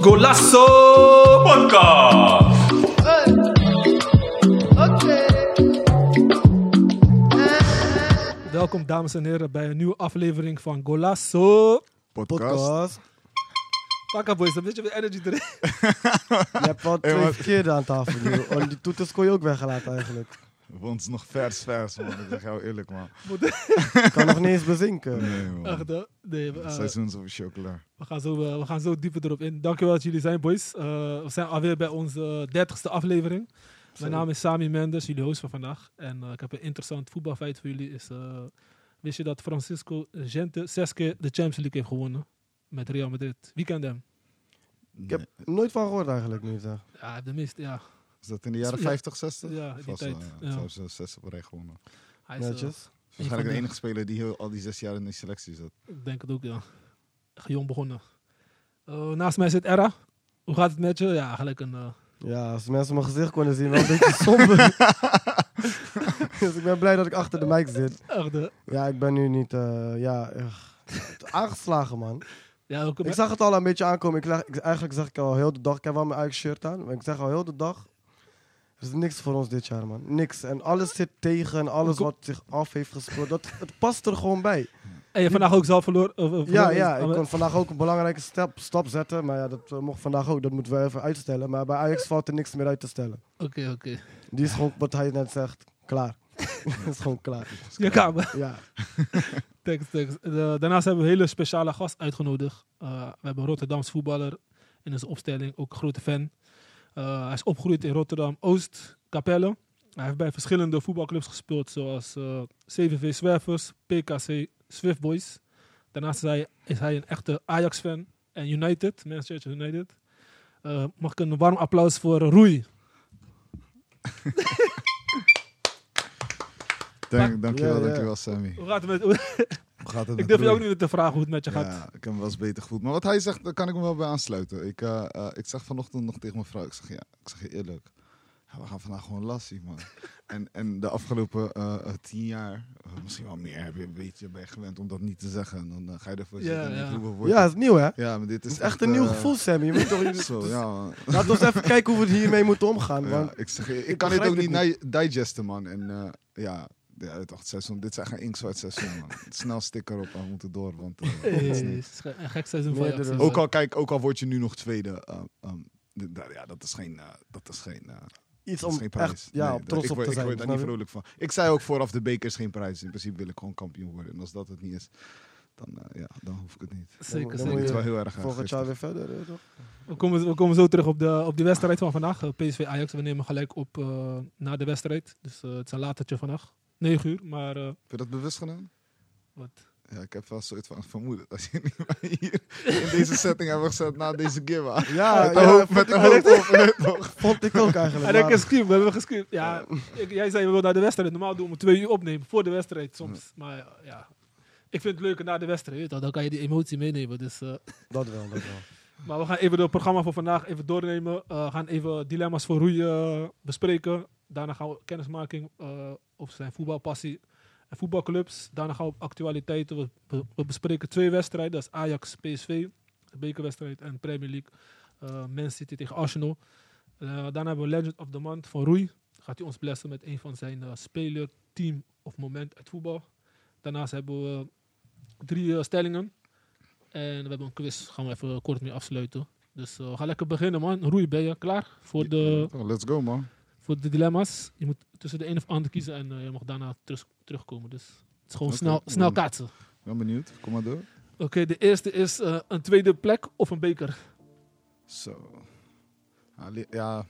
Golasso Podcast. Welkom dames en heren bij een nieuwe aflevering van Golasso Podcast. podcast. Pakka boys, een beetje weer energy erin. Je hebt al twee maar- verkeerde aan tafel. joh. En die toeters kon je ook weggelaten eigenlijk. We ons nog vers, vers, man. Ik zeg jou eerlijk, man. Ik kan nog niet eens bezinken. Nee, man. Echt, hè? Nee, we, eh, Seizoensofficieel klaar. we, gaan zo, eh, we gaan zo dieper erop in. Dankjewel dat jullie zijn boys. Eh, we zijn alweer bij onze eh, dertigste aflevering. Mijn naam is Sami Mendes, jullie host van vandaag. En eh, ik heb een interessant voetbalfeit voor jullie. Is, eh, wist je dat Francisco Gente zes keer de Champions League heeft gewonnen? Met Real Madrid. Wie kent hem? Ik heb nooit van gehoord eigenlijk nu. Zeg. Ja, hij heeft de mist, ja. Is dat in de jaren Ja. 50, 60? Ja, die Vast wel, tijd. ja. Ze Ja. hebben ze zes op rij gewonnen. Dat Hij is, eh, Netjes. is waarschijnlijk de- de enige speler die heel, al die zes jaar in de selectie zat. Ik denk het ook, ja. Echt jong begonnen. Eh, naast mij zit Era. Hoe gaat het met je? Ja, eigenlijk een... eh, Ja, als mensen mijn gezicht konden zien, wel een beetje somber. dus ik ben blij dat ik achter de mic zit. echt, eh, Ja, ik ben nu niet... eh, ja, echt aangeslagen man. ja, ook, Ik zag het al een beetje aankomen. Ik leg- ik, eigenlijk zeg ik al heel de dag, ik heb wel mijn eigen shirt aan. Maar ik zeg al heel de dag, er is niks voor ons dit jaar man. Niks. En alles zit tegen en alles wat zich af heeft gespeeld, dat, het past er gewoon bij. En je hebt vandaag ook zelf verloren? of, eh, Ja, verloren? ja, Ah, ik kon vandaag ook een belangrijke stap, stap zetten. Maar ja, dat eh, mocht vandaag ook. Dat moeten we even uitstellen. Maar bij Ajax valt er niks meer uit te stellen. Oké, oké. Die is gewoon, wat hij net zegt, klaar. Dat is gewoon klaar. Je kamer. Ja. Thanks, thanks. Eh, daarnaast hebben we een hele speciale gast uitgenodigd. Eh, we hebben een Rotterdamse voetballer in onze opstelling, ook een grote fan. Eh, hij is opgegroeid in Rotterdam-Oost, Capelle. Hij heeft bij verschillende voetbalclubs gespeeld, zoals eh, CVV Zwervers, PKC Swift Boys. Daarnaast is hij, is hij een echte Ajax-fan en United, Manchester United. Eh, mag ik een warm applaus voor Roei? Dank, dankjewel, Ja, ja. dankjewel, Sammy. Hoe gaat het met, Hoe gaat het ik met durf je Roei? ook niet te vragen hoe het met je gaat. Ja, ik heb hem wel eens beter gevoeld. Maar wat hij zegt, daar kan ik me wel bij aansluiten. Ik, eh, eh, ik zeg vanochtend nog tegen mijn vrouw, ik zeg, ja, ik zeg je eerlijk, ja, we gaan vandaag gewoon lassie, man. en, en de afgelopen eh, eh, tien jaar, eh, misschien wel meer, heb je een beetje ben je gewend om dat niet te zeggen. En dan eh, ga je ervoor Ja, zitten en ja. ik roep een woordje. ja, het is nieuw hè. Het Ja, maar dit is, is echt een nieuw eh, gevoel, Sammy. Je moet toch... Zo, ja, man. Laat ons even kijken hoe we hiermee moeten omgaan. Ja, Want ik, zeg, je, ik, ik kan dit ook begrijp niet het ni- digesten, man. En eh, ja, ja, het acht seizoen, dit is echt een inkzwart seizoen, man. Snel sticker op, we moeten door, want... eh, Hey, het is niet- het is ge- een gek seizoen voor Meerdere- Ajax. Ook al, kijk, ook al word je nu nog tweede. ehm, ehm, d- d- ja, dat is geen, eh, dat is geen, eh, iets dat is om geen prijs. echt ja, Nee, op dat- trots ik op word- te Ik zijn. word daar niet snap je? vrolijk van. Ik zei ook vooraf, de beker is geen prijs. In principe wil ik gewoon kampioen worden. En als dat het niet is, dan, eh, ja, dan hoef ik het niet. Zeker, Dan ik moet zeker. het je wel heel erg aan Volgend jaar giftig. weer verder. eh, toch? We komen, we komen zo terug op de, op de wedstrijd van vandaag. eh, PSV Ajax, we nemen gelijk op eh, na de wedstrijd. Dus eh, het is een latertje vandaag. 9 uur, maar eh, Heb je dat bewust gedaan? wat? Ja, ik heb wel een soort van vermoeden. Als je niet maar hier in deze setting hebben gezet na deze giveaway. Ja, Met de ja, hoop, vond met ik de ook. hoop op. weet je toch? Vond ik ook eigenlijk. En ik maar- heb gescreamd, we hebben gescreamd. Ja, ik- jij zei we willen naar de wedstrijd. Normaal doen we om twee uur opnemen voor de wedstrijd soms. Maar ja, ja, ik vind het leuker na de wedstrijd. weet je wel. Dan kan je die emotie meenemen. Dus, eh, Dat wel, dat wel. maar we gaan even het programma voor vandaag even doornemen. Eh, we gaan even dilemma's voor Roei eh, bespreken. Daarna gaan we kennismaking eh over zijn voetbalpassie en voetbalclubs. Daarna gaan we op actualiteiten. We, we- we bespreken twee wedstrijden. Dat is Ajax, PSV, de bekerwedstrijd en Premier League. eh Man City tegen Arsenal. Eh, daarna hebben we Legend of the Month van Roei. Gaat hij ons blessen met een van zijn eh, speler, team of moment uit voetbal. Daarnaast hebben we eh, drie eh, stellingen. En we hebben een quiz. Gaan we even kort mee afsluiten. Dus eh, we gaan lekker beginnen, man. Roei, ben je klaar voor de, Oh, Let's go, man. voor de dilemma's? Je moet tussen de een of ander kiezen en eh, je mag daarna terug, terugkomen. Dus het is gewoon Oké, snel, dan- snel kaatsen. Ben benieuwd. Kom maar door. Oké, de eerste is eh, een tweede plek of een beker. Zo. Ali- ja.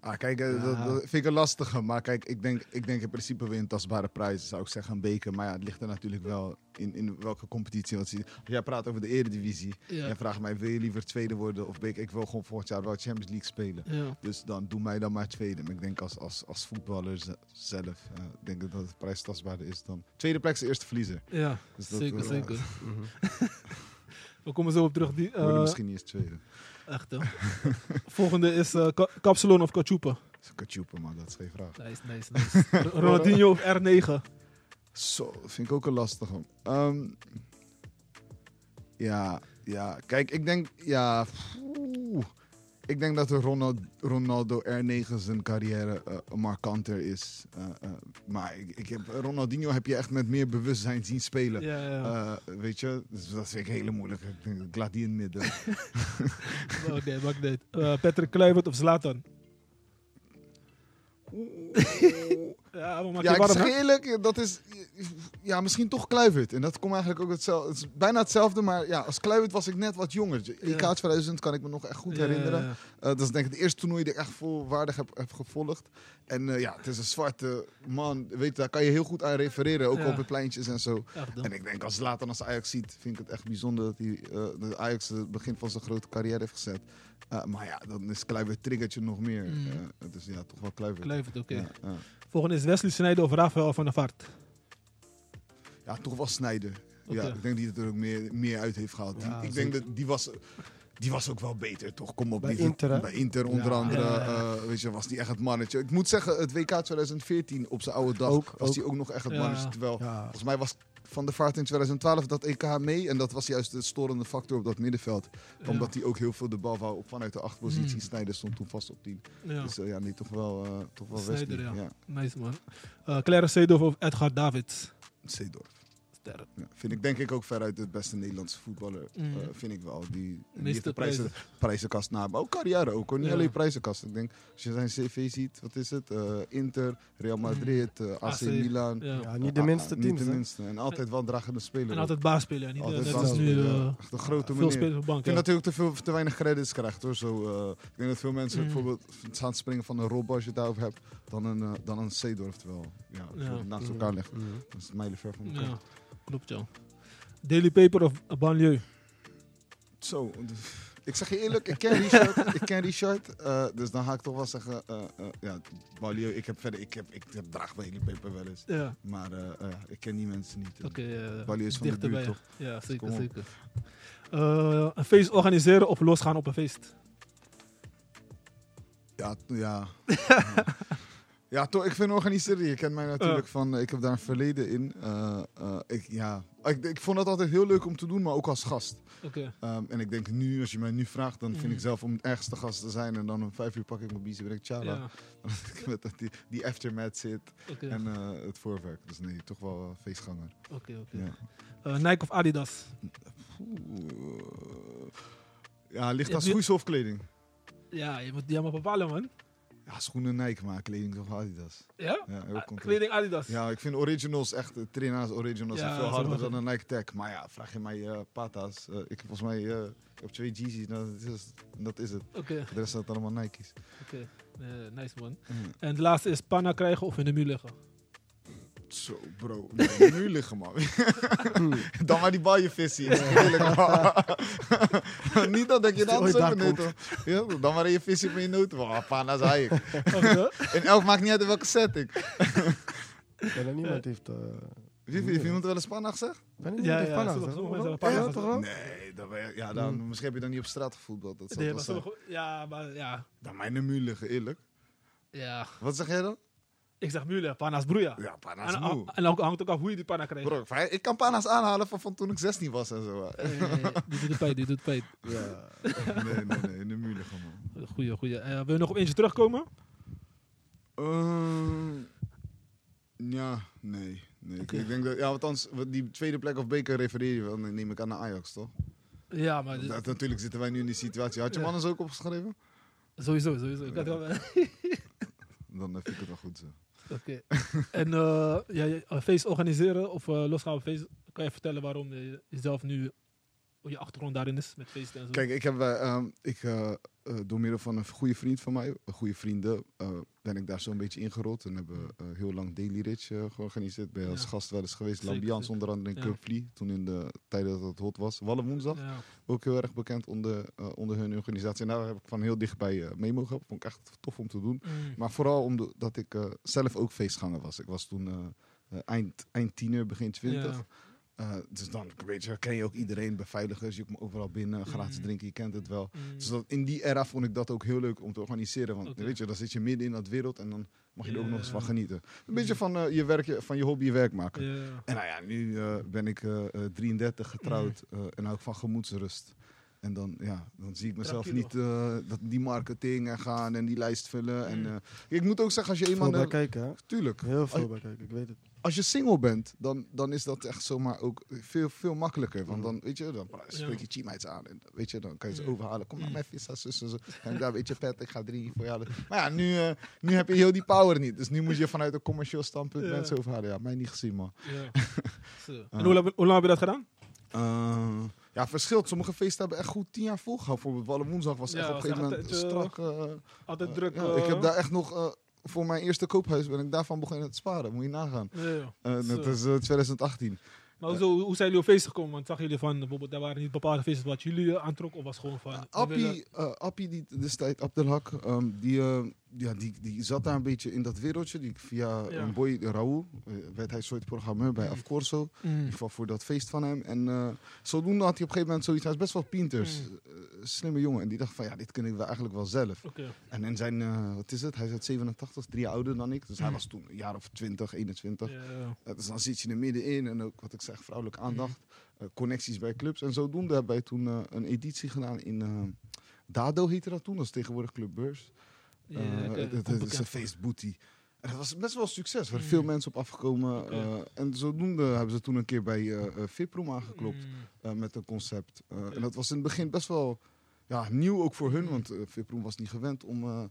ah, kijk, eh, dat, dat vind ik een lastige. Maar kijk, ik denk, ik denk in principe weer een tastbare prijs, zou ik zeggen, een beker. Maar ja, het ligt er natuurlijk wel in, in welke competitie. Want zie- jij praat over de eredivisie. Ja. Jij vraagt mij, wil je liever tweede worden of beker? Ik wil gewoon volgend jaar wel Champions League spelen. Ja. Dus dan doe mij dan maar tweede. Maar ik denk als, als, als voetballer ze- zelf, eh, ik denk ik dat het prijs tastbaarder is dan... Tweede plek is de eerste verliezer. Ja, Dus dat, zeker, eh, zeker. We komen zo op terug. Die, Worden eh, misschien niet eens tweede. Echt, hè? Volgende is eh Ka- Kapsalon of Kachupa. Dat is een kachupe, man. Dat is geen vraag. Nice, nice, nice. R- Ronaldinho of R9. Zo, vind ik ook een lastige. Ehm, ja, ja, kijk, ik denk, ja, oeh. ik denk dat de Ronald, Ronaldo R9 zijn carrière eh, markanter is. Eh, eh, maar ik, ik heb, Ronaldinho heb je echt met meer bewustzijn zien spelen. Ja, ja, ja. Eh, weet je, dus dat vind ik hele moeilijk. Ik denk, Ik laat die in het midden. Oh, nee, maakt niet. Eh, Patrick Kluivert of Zlatan? ja, maar maak ja, je ik warm, zeg hè? je eerlijk, dat is, ja, misschien toch Kluivert. En dat komt eigenlijk ook hetzelfde. Het is bijna hetzelfde, maar ja, als Kluivert was ik net wat jonger. EK Ja. 2000 kan ik me nog echt goed Ja, herinneren. ja, ja. Eh, dat is denk ik het eerste toernooi dat ik echt volwaardig heb, heb gevolgd. En eh, ja, het is een zwarte man. Weet, je, daar kan je heel goed aan refereren, ook Ja. op de pleintjes en zo. Echt dan. En ik denk als Later als Ajax ziet, vind ik het echt bijzonder dat hij eh, de Ajax het begin van zijn grote carrière heeft gezet. Eh, maar ja, dan is Kluivert triggertje nog meer. Mm. Eh, dus ja, toch wel Kluivert. Kluivert, oké. Ja, ja. Volgende is Wesley Sneijder of Rafael van der Vaart? Ja, toch wel snijden. Oké. Ja, ik denk dat hij er ook meer, meer uit heeft gehaald. Die- Ja, ik zeker. denk dat die was, die was ook wel beter, toch? Kom op. Bij die- Inter, hè? Bij Inter onder Ja. andere. Ja, ja, eh, weet je, was die echt het mannetje. Ik moet zeggen, het WK 2014 op zijn oude dag Ook, was ook. hij ook nog echt het Ja. mannetje. Terwijl, Ja. volgens mij was Van der Vaart in 2012 dat EK mee. En dat was juist de storende factor op dat middenveld. Omdat hij ook heel veel de bal wou op vanuit de achtpositie. Hmm. Snijder stond toen vast op 10. Ja, Dus eh, ja, nee, toch wel, eh toch wel Sneijder, Wesley. ja. Ja, nice man. Eh Clara Seedorf of Edgar Davids? Seedorf. Sterk. Ja, vind ik denk ik ook veruit de beste Nederlandse voetballer. Mm. eh, vind ik wel. Die, die Meeste heeft de prijzen, prijzenkast na. Maar ook carrière ook hoor. Niet Ja. alleen prijzenkast. Ik denk, als je zijn cv ziet, wat is het? Eh, Inter, Real Mhm. Madrid, eh, AC AC, Milan. Ja. Ja, niet de minste Ah, ah, Niet teams. de hè? minste. En altijd wel een dragende speler. En hoor. altijd baas spelen. hè? Niet, eh, Altijd dat wel is nu spelen, eh, Echt een grote veel meneer. spelers op bank. Ik vind ja. dat hij ook te, veel, te weinig credits krijgt hoor. Zo, eh, ik denk dat veel mensen Mm. bijvoorbeeld staan te springen van een Rob als je het daarover hebt, dan een, eh, dan een Seedorf. Terwijl ja, als je Ja. het naast elkaar legt, Mm. dan is het mijlenver van elkaar. Ja, klopt joh. Daily Paper of Banlieue? Zo, d- ik zeg je eerlijk, ik ken Richard, ik ken Richard eh, dus dan ga ik toch wel zeggen, eh, eh, ja, Balio, ik heb verder, ik heb, ik heb draag bij Haley Paper wel eens, Ja, maar eh, eh, ik ken die mensen niet. oké. eh, Banlieue is van de dichterbij, buurt, Dus ja. Ja, zeker, kom op. zeker. Eh, een feest organiseren of losgaan op een feest? Ja, t- ja. ja, toch, ik vind organiseren, je kent mij natuurlijk Ja. van, eh, ik heb daar een verleden in. Eh, eh, ik, ja, ik, ik vond dat altijd heel leuk om te doen, maar ook als gast. Oké. Ehm, en ik denk nu, als je mij nu vraagt, dan vind Mhm. ik zelf om ergens te gast te zijn en dan om vijf uur pak ik mijn bies en ben ik tjala. Ja, Met dat die, die aftermath zit. oké. En eh, het voorwerk. Dus nee, toch wel eh, feestganger. Oké, oké. Ja. Eh, Nike of Adidas? Oeh. Ja, ligt Ja, aan die- schoenen of kleding? Ja, je moet die allemaal bepalen, man. Ja, schoenen Nike, maar kleding toch Adidas. Ja? Ja, heel Ah, compleet. Kleding Adidas. Ja, ik vind originals echt, de Trina's originals Ja, zijn dat veel is harder wel dan een Nike Tech. Maar ja, vraag je mij eh, pata's. Eh, ik heb volgens mij eh, ik heb twee Yeezys, nou, dat, is, dat is het. Oké, De rest zijn allemaal Nike's. oké. Eh, nice man. Mm. En de laatste is panna krijgen of in de muur leggen. Zo, bro. Nee, nu liggen, man. Dan maar die baljevissie. Eerlijk, man. Niet dat ik je Als die dan ooit zo daar beneden. Ja, dan maar je vissie op je noten. Oh, pana, zei ik. Oké. En elk maakt niet uit in welke setting. Ja, dat niemand heeft. eh, Wie heeft iemand wel eens panna gezegd? ben ik niet Ja, heeft ja, Panna sommige- gezegd, sommige hoor. mensen hebben Ja, Panna toch wel? Nee, dan ben je- ja, dan, misschien heb je dan niet op straat gevoetbald. Dat zal Nee, wel maar zijn. sommige- Ja, maar ja. Dan mijn muur liggen, eerlijk. Ja. Wat zeg jij dan? Ik zeg muur leggen, panna's broeia. Ja, panna's En, moe. en ook hangt ook af hoe je die panna krijgt. Bro, ik kan panna's aanhalen van, van toen ik 16 was en zo. Eh, die doet het pijn, die doet pijn. Ja. Nee, nee, nee, in de muur liggen, man. Goeie, goeie. Eh, wil je nog op eentje terugkomen? Ehm, ja, nee. nee. Oké. Ik denk dat, ja, althans, wat die tweede plek of beker refereer je wel, neem ik aan naar Ajax, toch? Ja, maar dit- Dat, natuurlijk zitten wij nu in die situatie. Had je hem Ja. anders ook opgeschreven? sowieso, sowieso. Ik had wel- Oké. Dan eh, vind ik het wel goed zo. En eh, ja, ja, een feest organiseren of eh, losgaan op feest. Kan je vertellen waarom je jezelf nu, hoe je achtergrond daarin is met feesten en zo? Kijk, ik heb, eh, ehm, ik, eh, eh, door middel van een goede vriend van mij, een goede vrienden, eh, ben ik daar zo'n beetje ingerold. En hebben we, eh, heel lang Daily Rich eh, georganiseerd. Ben je als Ja. gast wel eens geweest. Zeker, Lambians zeker. onder andere in Ja. Cupvlie, toen in de tijden dat het hot was. Wallen woensdag. Ja, Ook heel erg bekend onder, eh, onder hun organisatie. En daar heb ik van heel dichtbij eh mee mogen. Vond ik echt tof om te doen. Mm. Maar vooral omdat ik eh, zelf ook feestganger was. Ik was toen eh, eh, eind, eind tiener, begin twintig. Ja. Eh, dus dan weet je, ken je ook iedereen, beveiligers, je komt overal binnen, gratis Mhm. drinken, je kent het wel. Mm. Dus dat, in die era vond ik dat ook heel leuk om te organiseren. Want Oké. weet je, dan zit je midden in dat wereld en dan mag je er ook nog eens van Ja. Mhm. genieten. Een beetje van, eh, je, werk, je- van je hobby je werk maken. Ja. En nou ja, nu eh, ben ik eh, eh, 33 getrouwd Mm. eh, en hou ik van gemoedsrust. En dan, ja, dan zie ik mezelf Tranquilo. niet eh, dat die marketing en gaan en die lijst vullen. En, Mm. eh, ik moet ook zeggen, als je Veel eenmaal... bij eh, kijken, hè? tuurlijk, Heel veel Als- bij kijken, ik weet het. als je single bent, dan, dan is dat echt zomaar ook veel, veel makkelijker. Want dan, weet je, dan spreek je teammates aan. En, weet je, dan kan je ze Ja. overhalen. Kom naar Ja. mijn visa, zus en zo. En ik daar, weet je, pet, ik ga drie voor je halen. Maar ja, nu, eh, nu heb je heel die power niet. Dus nu moet je vanuit een commercieel standpunt Ja. mensen overhalen. Ja, mij niet gezien, man. Ja. Zo. En hoe, lang- hoe lang heb je dat gedaan? Eh, ja, verschilt. Sommige feesten hebben echt goed tien jaar volgehouden. Bijvoorbeeld Wallen Woensdag was Ja, echt op een was gegeven echt moment het, eh, strak. eh, Altijd eh, druk. ja, ik heb eh, daar echt nog... eh, voor mijn eerste koophuis ben ik daarvan begonnen te sparen. Moet je nagaan. ja, ja. Eh Zo. dat is eh, 2018. Maar hoezo- hoe zijn jullie op feesten gekomen? Want zag jullie van, bijvoorbeeld, daar waren niet bepaalde feesten wat jullie eh, aantrok? Of was gewoon van... we willen- Appie, eh Appie die destijds, Abdelhak, ehm, die, eh, ja, die, die zat daar een beetje in dat wereldje. Die, via Ja. een boy, Raoul, eh, werd hij soort programmeur bij Of Corso. In Mm. ieder geval voor dat feest van hem. En eh, zodoende had hij op een gegeven moment zoiets. Hij is best wel pinters. Mm. eh, slimme jongen. En die dacht van, ja, dit kunnen we eigenlijk wel zelf. Oké. En in zijn, eh, wat is het? Hij is uit 87, drie jaar ouder dan ik. Dus hij Mm. was toen een jaar of 20, 21. Ja, ja, ja. Eh, Dus dan zit je er middenin en ook wat ik zeg, vrouwelijke aandacht, eh, connecties bij clubs. En zodoende hebben wij toen eh, een editie gedaan in eh, Dado heette dat toen, dat is tegenwoordig Club Beurs. Ja, Eh, oké. het- het, Komt is een bekend. feestbooty. En dat was best wel succes, er waren Mm. veel mensen op afgekomen. Oké. eh, en zodoende hebben ze toen een keer bij eh eh, Viproom aangeklopt Mm. eh, met een concept. Eh, Oké. En dat was in het begin best wel ja, nieuw ook voor hun, want eh Viproom was niet gewend om eh,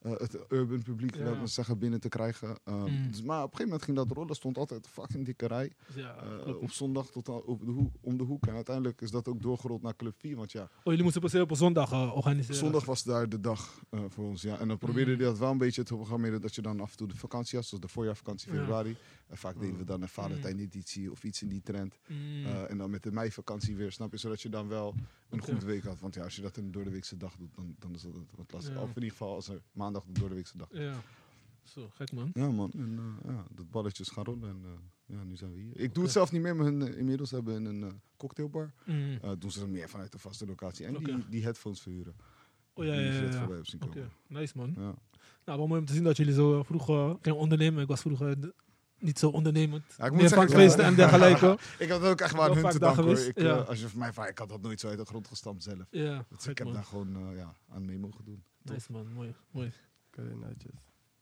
eh, het urban publiek, Ja. laten we zeggen, binnen te krijgen. Eh, Mm. dus- maar op een gegeven moment ging dat rollen, Er stond altijd een fucking dikke rij. Ja, eh, klopt. op zondag tot al op de hoek, om de hoek. En uiteindelijk is dat ook doorgerold naar Club 4, want ja, Oh, jullie moesten per se op een zondag eh, organiseren? zondag was daar de dag eh, voor ons. Ja. En dan probeerden Mm. die dat wel een beetje te programmeren, dat je dan af en toe de vakantie had, zoals de voorjaarvakantie Ja. februari. En vaak deden we dan een Mm. Valentijn-editie of iets in die trend. Mm. Eh, en dan met de meivakantie weer, snap je? Zodat je dan wel een Oké. goede week had. Want ja, als je dat in de doordeweekse dag doet, dan, dan is dat wat lastig. Ja. Of in ieder geval als er maandag de doordeweekse dag is. Ja. Zo, gek man. Ja man, en, eh, ja, dat balletje is gaan rollen en eh, ja, nu zijn we hier. Ik doe Oké. het zelf niet meer, maar hun, eh, inmiddels hebben hun een eh, cocktailbar. Mm. Eh, doen ze dan meer vanuit de vaste locatie. En Oké. die, die headphones verhuren. Oh ja, Die ja, je ja. net ja. voorbij hebt zien Oké, komen. nice man. Ja. Nou, wel mooi om te zien dat jullie zo eh, vroeg eh gingen ondernemen. Ik was vroeger eh, niet zo ondernemend. Ja, ik moet Meer zeggen, vaak ik- feesten en dergelijke. Ik had het ook echt Wel waar aan hun vaak te daar danken hoor. geweest, Ik, eh, ja. als je van mij vraagt, ik had dat nooit zo uit de grond gestampt zelf. ja, Dus ik gek heb daar man. gewoon eh, ja, aan mee mogen doen. Nice man, mooi. mooi. Oké, netjes.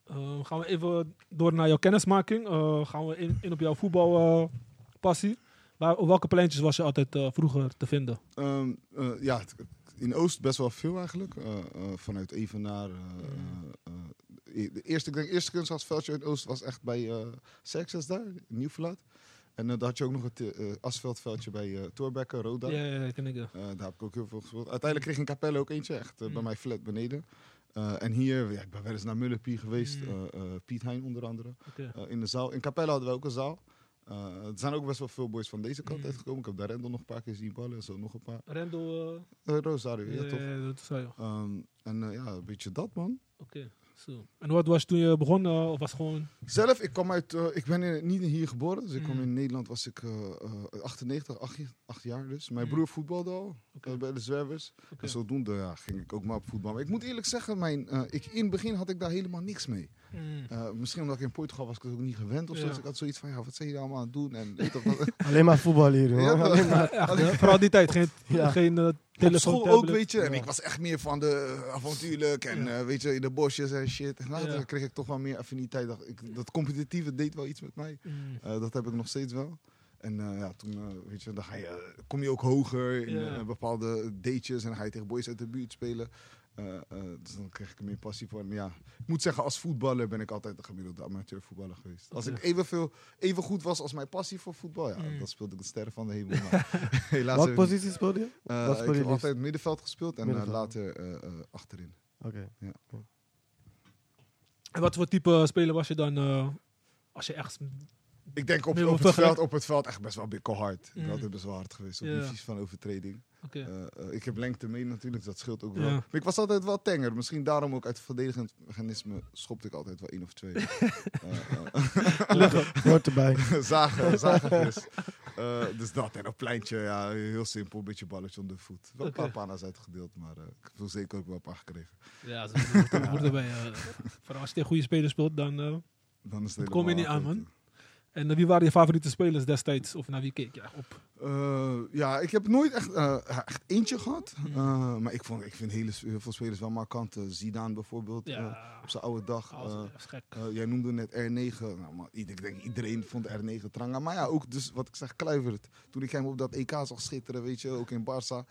Eh, gaan we even door naar jouw kennismaking. Eh, gaan we in, in op jouw voetbalpassie. Waar, op welke pleintjes was je altijd eh, vroeger te vinden? Ehm, eh, ja, het- in Oost best wel veel eigenlijk. Eh, eh, vanuit Evenaar. eh, eh, eh, de eerste, ik denk, eerste kunstgrasveldje in Oost was echt bij eh Serxes daar, in Nieuwverlaat. En eh, daar had je ook nog het eh, asfaltveldje bij eh Thoorbekke, Roda. Ja, ja, ja, ken ik. ja. Eh, daar heb ik ook heel veel gespeeld. Uiteindelijk kreeg ik in Capelle ook eentje, echt eh, bij Mm. mijn flat beneden. Eh, en hier, ja, ik ben wel eens naar Mullepie geweest, Mm. eh, eh, Piet Hein onder andere. Oké. Eh, in de zaal. In Capelle hadden we ook een zaal. Eh, er zijn ook best wel veel boys van deze kant Mm. uitgekomen. Ik heb daar Rendel nog een paar keer zien ballen en zo nog een paar. Rendo. eh, Eh, Rosario, ja, ja, toch? ja, dat zei je. Oké, Ehm, en eh, ja, een beetje dat, man. zo. En wat was je toen je begon? eh, of was het gewoon... Zelf, ik, kwam uit, eh, ik ben in- niet hier geboren. Dus ik kwam Mm. in Nederland, was ik eh, eh, 98, 8, acht jaar dus. Mijn Mm. broer voetbalde al Oké. eh, bij de Zwervers. oké. En zodoende ja, ging ik ook maar op voetbal. Maar ik moet eerlijk zeggen, mijn, eh, ik, in het begin had ik daar helemaal niks mee. Mm. Eh, misschien omdat ik in Portugal was, ik het ook niet gewend of zo. Ja. Dus ik had zoiets van, ja, wat zijn jullie allemaal aan het doen? En, weet je wat- Alleen maar voetbal hier, hoor. Ja, Alleen maar- Ja, echt, hè? Vooral die tijd. Geen, Ja. geen eh, Op telefoon, school ook, tablet. weet je. En Ja. ik was echt meer van de eh, avontuurlijk en eh, weet je, in de bosjes en shit. En later Ja. kreeg ik toch wel meer affiniteit. Dat, ik, dat competitieve deed wel iets met mij. Mm. Eh, dat heb ik nog steeds wel. En eh, ja, toen eh, weet je, dan ga je, kom je ook hoger in Ja. eh, bepaalde datejes en dan ga je tegen boys uit de buurt spelen. Eh, eh, dus dan kreeg ik er meer passie voor. Maar ja, ik moet zeggen, als voetballer ben ik altijd een gemiddelde amateurvoetballer geweest. Als Oké. ik evenveel, even goed was als mijn passie voor voetbal, ja, Mm. dan speelde ik de sterren van de hemel. Maar helaas heb Welke ik niet- positie speelde je? eh, Wat speel ik je heb liefst? altijd middenveld gespeeld en eh, Middenveld. later eh, eh, achterin. Oké. En wat voor type speler was je dan eh, als je echt... Ik denk op, Nee, op, want het, tegelijk- veld, op het veld echt best wel bikkelhard. Ik Mm. had altijd best wel hard geweest op Ja. die vies van overtreding. Oké. Eh, eh, ik heb lengte mee natuurlijk, dat scheelt ook wel. Ja. Maar ik was altijd wel tenger. Misschien daarom ook uit het verdedigend mechanisme schopte ik altijd wel één of twee. Eh, eh, Hoort erbij. zagen, zagen dus. Eh, Eh, dus dat en een pleintje, ja, heel simpel, een beetje balletje onder de voet. Wel een paar Oké. pana's uitgedeeld, maar eh, ik wil zeker ook wel een paar gekregen. Ja, dat hoort- dat hoort erbij. eh. vooral als je tegen goede spelers speelt, dan... eh. Dan is het Dat kom je helemaal niet aan, man. afgekeken. En eh, wie waren je favoriete spelers destijds? Of naar wie keek je echt op? Eh, ja, ik heb nooit echt, eh, echt eentje gehad. Mhm. Eh, maar ik, vond, ik vind hele, heel veel spelers wel markant. Eh, Zidane bijvoorbeeld, eh, Ja, op zijn oude dag. alles, eh, dat is gek. Eh, jij noemde net R9. Nou, maar ieder- ik denk iedereen vond R9 tranga. Maar ja, ook dus wat ik zeg, Kluivert. Toen ik hem op dat EK zag schitteren, weet je, ook in Barça.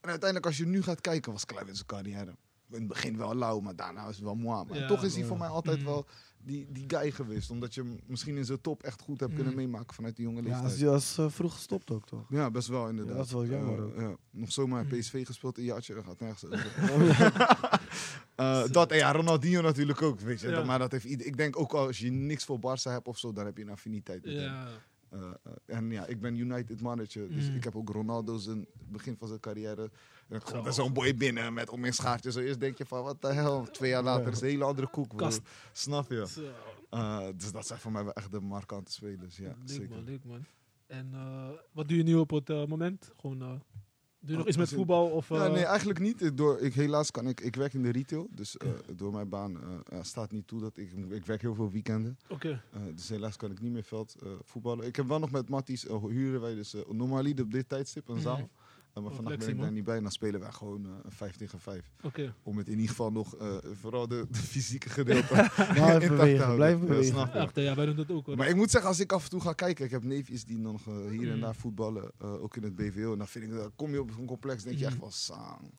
En uiteindelijk, als je nu gaat kijken, was Kluivert zijn carrière. In het begin wel lauw, maar daarna is het wel mooi. Maar Ja, toch is hij ja. voor mij altijd Mm. wel die, die guy geweest. Omdat je hem misschien in zijn top echt goed hebt kunnen Mm. meemaken vanuit die jonge Ja, leeftijd. als die was eh, vroeg gestopt ook, toch? Ja, best wel inderdaad. Ja, dat is wel jammer Eh, ook. ja. Nog zomaar Mm. PSV gespeeld, een jaartje, dat gaat nergens over. Oh, Eh, dat, en ja, Ronaldinho natuurlijk ook, weet je. Ja. Dat- Maar dat heeft ieder- ik denk ook al, als je niks voor Barça hebt of zo, dan heb je een affiniteit met hem. Ja, Eh, eh, en ja, ik ben United mannetje, dus Mm. ik heb ook Ronaldo zijn begin van zijn carrière. Dan Zo. komt er zo'n boy binnen met om in schaartje. Zo eerst denk je van, wat de hel. Twee jaar later is een hele andere koek, bro. Kast. Snap je? zo. Eh, dus dat zijn voor mij wel echt de markante spelers, ja, leuk zeker. man, leuk man. En eh, wat doe je nu op het eh, moment? Gewoon, eh, doe je nog Wat iets met is het? voetbal? Of, eh, Oh, Ja, nee, eigenlijk niet. Ik Door, ik, helaas kan ik, ik werk in de retail, dus eh, door mijn baan eh, eh, staat niet toe dat ik, ik werk heel veel weekenden. Oké, Eh, dus helaas kan ik niet meer veld eh, voetballen. Ik heb wel nog met Matties eh, huren wij dus normaal normaliter op dit tijdstip een Mhm. zaal. Eh, maar Wat vandaag ben flexie, man. ik daar niet bij. En dan spelen wij gewoon eh, een 5 tegen 5. oké. Om het in ieder geval nog, eh, vooral de, de fysieke gedeelte, Blijf intact te bewegen, houden. blijf Ja, bewegen. snap je. Echt, eh, ja, wij doen dat ook hoor. Maar ik moet zeggen, als ik af en toe ga kijken, ik heb neefjes die nog eh, hier en Mm. daar voetballen, eh, ook in het BVO. En dan vind ik, dat- kom je op zo'n complex, denk je Mm. echt wel saang.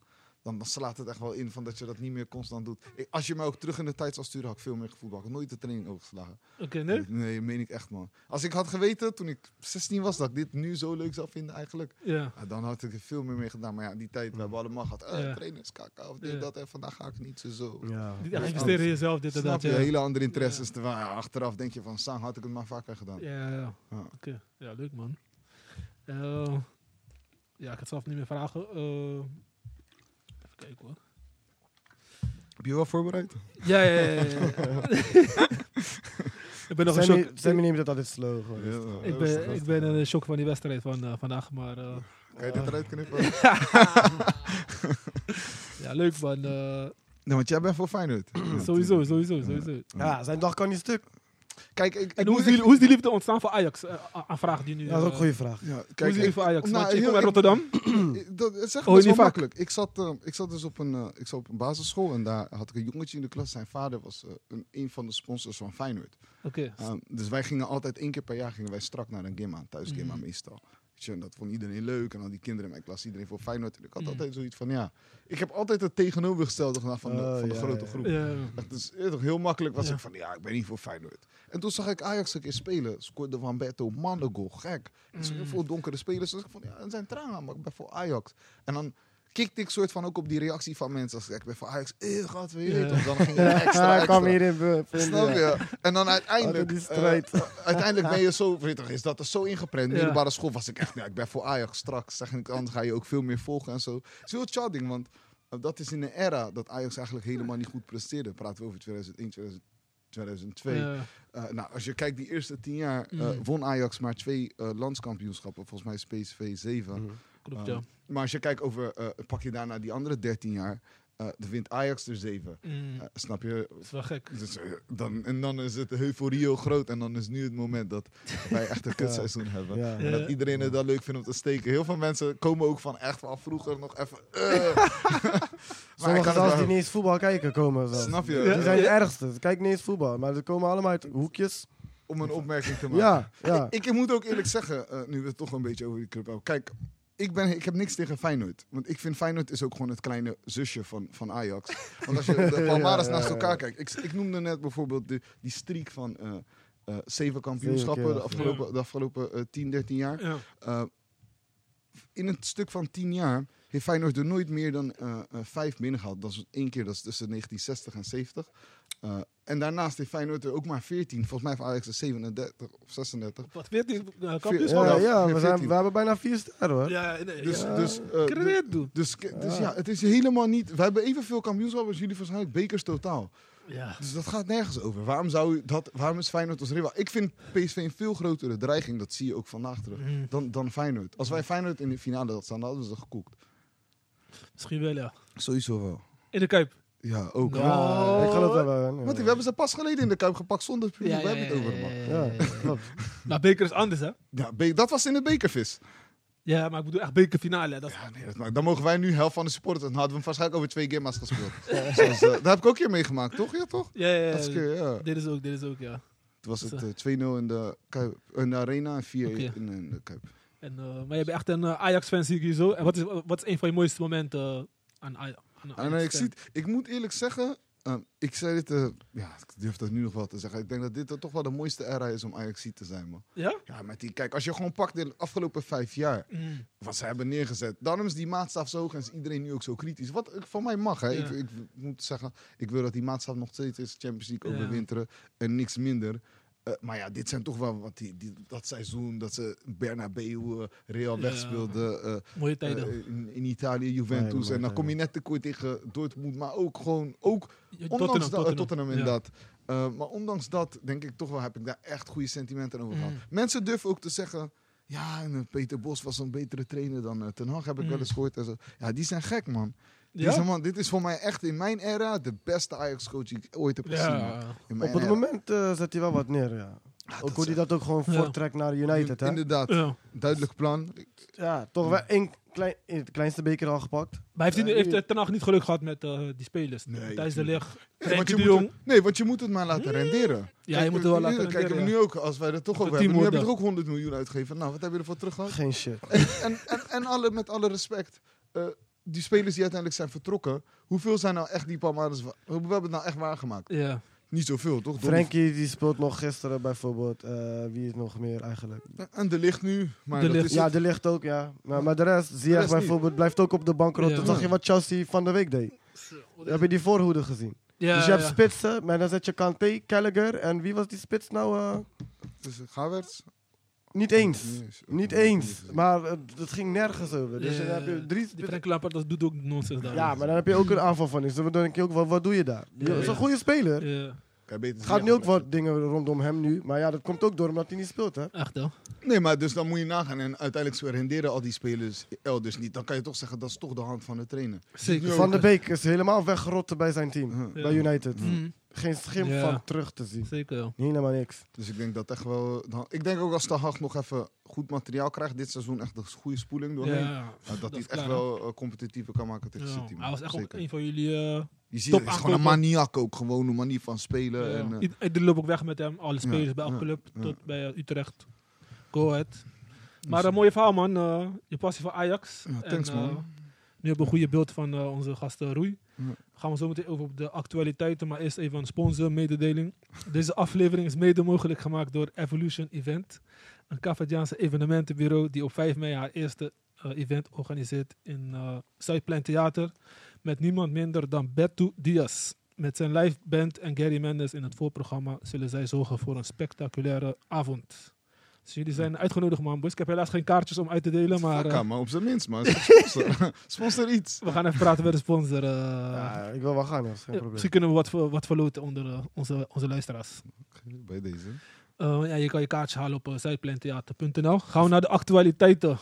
Dan, dan slaat het echt wel in van dat je dat niet meer constant doet. Ik- als je mij ook terug in de tijd zou sturen, had ik veel meer gevoetbald. Ik had nooit de training overgeslagen. Oké, nee? nee, meen ik echt, man. Als ik had geweten toen ik 16 was dat ik dit nu zo leuk zou vinden, eigenlijk, Ja. ja, dan had ik er veel meer mee gedaan. Maar ja, die tijd, we hebben allemaal gehad, eh Mm. Ja. trainers, kaka, of dit, Ja. dat. En vandaag ga ik niet zo. zo. Ja. Niet dat echt is investeren in jezelf, dit en Snap dat. je? Ja, Hele andere interesses. Terwijl ja, achteraf denk je van, saang had ik het maar vaker gedaan. ja, ja. Ja. Oké, ja, leuk man. Eh, ja, ik ga het zelf niet meer vragen. Eh, even kijken hoor. Heb je wel voorbereid? Ja, ja, ja. ja, ja. ik ben nog in Sammy, shock. Sammy neemt het altijd slow. Gewoon. Ik ben, ik ben in shock van die wedstrijd van eh, vandaag, maar eh, Kan je dit eruit knippen? ja, leuk man. Eh, nee, want jij bent voor Feyenoord. sowieso, sowieso, sowieso. Ja, zijn dag kan niet stuk. Kijk, ik, ik En hoe moet is, die, echt- hoe is die liefde ontstaan voor Ajax? Eh, a- aan vraag die nu. Ja, dat is ook eh, een goede vraag. Ja, Hoe is kijk, die Oh, ik, liefde voor Ajax? nou, Want je heel- komt uit ik- Rotterdam. ik- dat zeg je best niet wel vaak? makkelijk. Ik zat, eh, ik zat dus op een, eh, ik zat op een basisschool en daar had ik een jongetje in de klas. Zijn vader was eh, een, een van de sponsors van Feyenoord. Oké. Um, dus wij gingen altijd één keer per jaar gingen wij strak naar een gimma, thuis gimma Mhm. meestal. Weet je, en dat vond iedereen leuk en al die kinderen in mijn klas, iedereen voor Feyenoord. En ik had Mhm. altijd zoiets van, ja, ik heb altijd het tegenovergestelde gedaan van de, Oh, van de ja, grote ja. groep. Ja. Echt, dus, eh, toch heel makkelijk was Ja. ik van, ja, ik ben niet voor Feyenoord. En toen zag ik Ajax een keer spelen, scoorde Van Beto, mannengoal, gek. Er zijn heel Mm. veel donkere spelers, dus ik van, ja, het zijn tranen, maar ik ben voor Ajax. En dan kikte ik soort van ook op die reactie van mensen, als ik ben voor Ajax, eh, gaat weer. Ja. toch? Dan ging het extra, Ja, ik kwam extra. hier in eh, be- Snap vinden. je? En dan uiteindelijk... Altijd die eh, strijd. eh, uiteindelijk ben je zo... Weet je, toch, is dat er zo ingeprent. Ja. Middelbare school was ik echt... Ja, ik ben voor Ajax straks. Zeg ik, anders ga je ook veel meer volgen en zo. Het is heel charming, want eh, dat is in een era dat Ajax eigenlijk helemaal niet goed presteerde. Praten we over 2001, 2000 2002. Ja. Eh, nou, als je kijkt die eerste tien jaar... eh, Mm. won Ajax maar twee eh, landskampioenschappen. Volgens mij is PSV 7. Mm. Klopt, ja. Maar als je kijkt over... eh, pak je daarna die andere 13 jaar... eh, dan wint Ajax er 7. Mm, Eh, snap je? Dat is wel gek. Dus, eh, dan, en dan is het euforie heel groot. En dan is nu het moment dat wij echt een kutseizoen hebben. Ja. Ja. En dat iedereen het dan leuk vindt om te steken. Heel veel mensen komen ook van echt wel vroeger nog even. eh. maar ik Sommige kan zelfs het die wel- niet eens voetbal kijken komen. Zelfs. Snap je? Die zijn de Ja. ergste. Ze kijken niet eens voetbal, maar ze komen allemaal uit hoekjes. Om een opmerking te maken. Ja, ja. Ik, ik moet ook eerlijk zeggen, eh, nu we het toch een beetje over die club hebben. Kijk, ik, ben, ik heb niks tegen Feyenoord. Want ik vind Feyenoord is ook gewoon het kleine zusje van, van Ajax. Want als je de palmares Ja, ja, naast ja. elkaar kijkt. Ik, ik noemde net bijvoorbeeld de, die streak van eh, eh, zeven kampioenschappen keer, de ja. afgelopen, de afgelopen eh, 10, 13 jaar. Ja. Eh, in een stuk van 10 jaar heeft Feyenoord er nooit meer dan eh eh, vijf binnengehaald. Dat is één keer, dat is tussen 1960 en 70. Eh, en daarnaast heeft Feyenoord er ook maar 14. Volgens mij heeft Ajax er 37 of 36. Wat, 14 eh, Veer- Ja, kampioenschap? ja we, 14. zijn, we hebben bijna vier sterren hoor. Ja, nee, Dus, ja. dus, eh, Credit, dude. dus, dus ja, het is helemaal niet... We hebben evenveel kampioenschappen als jullie waarschijnlijk, bekers totaal. Ja. Dus dat gaat nergens over. Waarom, zou u dat, waarom is Feyenoord als rival? Ik vind PSV een veel grotere dreiging, dat zie je ook vandaag terug, Mm. dan, dan Feyenoord. Als wij Feyenoord in de finale hadden staan, dan hadden we ze gekoekt. Misschien wel, ja. Sowieso wel. In de Kuip. Ja, ook. Ja. Oh. Ik geloof dat wel. Want die- we hebben ze pas geleden in de Kuip gepakt zonder publiek. we hebben het over, man. Ja. Ja, klopt. Nou, beker is anders, hè? be- dat was in de bekervis. Ja, maar ik bedoel echt bekerfinale. hè. Dat is- Ja, nee, dat maakt- dan mogen wij nu helft van de supporters. Dan hadden we hem waarschijnlijk over twee gimma's gespeeld. Zoals, eh, dat heb ik ook een keer meegemaakt, toch? Ja, toch? ja, ja, ja. Dat is een keer, ja. Dit is ook, dit is ook, ja. Toen was het eh, 2-0 in, de Kuip- eh, in de Arena en 4 Oké. in, in de Kuip. En, eh, maar je bent echt een eh, Ajax-fan, zie ik hier zo. En wat is, wat is een van je mooiste momenten eh, aan, Aj- aan een En eh, ik, Ajax-fan? zie, het- ik moet eerlijk zeggen, ehm, ik zei dit, eh, ja, ik durf dat nu nog wel te zeggen. Ik denk dat dit eh, toch wel de mooiste era is om Ajax te zijn, man. Ja? Ja, met die, kijk, als je gewoon pakt de afgelopen vijf jaar, Mm. wat ze hebben neergezet. Daarom is die maatstaf zo hoog en is iedereen nu ook zo kritisch. Wat ik- van mij mag, hè. Ja. Ik, ik moet zeggen, ik wil dat die maatstaf nog steeds is. Champions League Ja. overwinteren en niks minder. Eh, maar ja, dit zijn toch wel wat die, die, dat seizoen dat ze Bernabeu, eh, Real Ja. wegspeelden. eh, Mooie tijden. eh, in, in Italië, Juventus. Hele mooie en dan kom je tijden. net tekort tegen Dortmund. Maar ook gewoon, ook Ja, ondanks dat, eh, Tottenham, Ja. inderdaad. Eh, maar ondanks dat, denk ik toch wel, heb ik daar echt goede sentimenten over gehad. Mm. Mensen durven ook te zeggen, ja, en, eh, Peter Bos was een betere trainer dan eh, Ten Hag, heb ik Mm. wel eens gehoord. En zo. Ja, die zijn gek, man. Ja? Deze man. Dit is voor mij echt in mijn era de beste Ajax-coach die ik ooit heb gezien. man. Ja. In mijn Op het era. moment eh, zet hij wel wat neer, ja. Ja, Ook dat hoe hij is dat ook gewoon Ja. voortrekt naar United, echt- hè. Inderdaad, Ja. duidelijk plan. Ja, toch wel één klein, in het kleinste beker al gepakt. Maar heeft, hij nu, Eh, heeft eh, Ten Hag niet geluk gehad met eh, die spelers? Nee, Thijs de tuurlijk. Ligt, Nee, want Frenkie je de moet Jong. Mm. het, nee, want je moet het maar laten renderen. Ja, je moet het wel laten renderen. Kijk, ja. nu ook, als wij er toch Op het over hebben, nu teamwork heb je er ook 100 miljoen uitgegeven. Nou, wat heb je ervoor terug gehad? Geen shit. en, en, en alle, met alle respect, eh, die spelers die uiteindelijk zijn vertrokken, hoeveel zijn nou echt die palmares? wa- Hoeveel hebben het nou echt waargemaakt? Ja. Niet zoveel, toch? Donny- Frankie die speelt nog gisteren bijvoorbeeld. eh, wie is nog meer eigenlijk? En de licht nu. Maar De dat Ligt. is Ja, het. de ligt ook, ja. Maar, maar de rest, zie je rest niet. bijvoorbeeld, blijft ook op de bank rotten. Ja. Zag je wat Chelsea van de week deed? Heb je die voorhoede gezien? Ja, dus je hebt ja. spitsen, maar dan zet je Kante, Gallagher en wie was die spits nou? eh? Dus Gavertz? niet eens. Nee, is ook Niet nog eens. gezien. Maar het, het ging nergens over. Dus Ja, dan heb je drie Die spitsen. Frank Lampard, dat doet ook nonsens daar. Ja, maar dan heb je ook een aanval van iets. Dan denk je ook, wat, wat doe je daar? Ja, dat is een ja. goede speler. Ja, Kan je beter Het gaat nu zeggen, ook wat dingen rondom hem nu. Maar ja, dat komt ook door omdat hij niet speelt, hè? echt hè? maar- Nee, maar dus dan moet je nagaan. En uiteindelijk zo renderen al die spelers elders niet. Dan kan je toch zeggen, dat is toch de hand van de trainer. Zeker. Van der Beek is helemaal weggerotten bij zijn team. Huh. Ja. Bij United. Mm, Geen schim Ja. van terug te zien. Zeker, ja. Helemaal niks. Dus ik denk dat echt wel... eh, dan- ik denk ook als de Hag nog even goed materiaal krijgt dit seizoen, echt een goede spoeling doorheen. Ja, eh, dat hij is het klaar, echt hè? wel eh, competitiever kan maken tegen Ja, City. man. Hij was echt ook Zeker. een van jullie. eh, Je ziet, Top het is gewoon een aankopen. maniak ook. Gewoon een manier van spelen. ja. En, eh, Ied- Iedereen loopt ook weg met hem. Alle spelers bij elke ja, club. ja. Tot bij eh, Utrecht. Go ahead. dus Maar een mooie verhaal, man. eh, je passie voor Ajax. Ja, thanks, eh, man. nu hebben we een goede beeld van eh, onze gasten Roei. Ja. Gaan we zo meteen over op de actualiteiten. Maar eerst even een sponsormededeling. Deze aflevering is mede mogelijk gemaakt door Evolution Event. Een Cavadiaanse evenementenbureau die op 5 mei haar eerste eh, event organiseert in eh Zuidplein Theater. Met niemand minder dan Beto Diaz. Met zijn live band en Gary Mendes in het voorprogramma zullen zij zorgen voor een spectaculaire avond. Dus jullie zijn uitgenodigd, man. Boys, ik heb helaas geen kaartjes om uit te delen, maar Fuck, eh, maar op zijn minst, man. Sponsor, Sponsor iets. we gaan even praten met de sponsor. eh. Ja, ik wil wel gaan, dat is geen Ja, probleem. misschien kunnen we wat, ver- wat verloten onder eh, onze, onze luisteraars. Bij deze. Eh, ja, je kan je kaartje halen op eh, zuidpleintheater.nl. Gaan we naar de actualiteiten.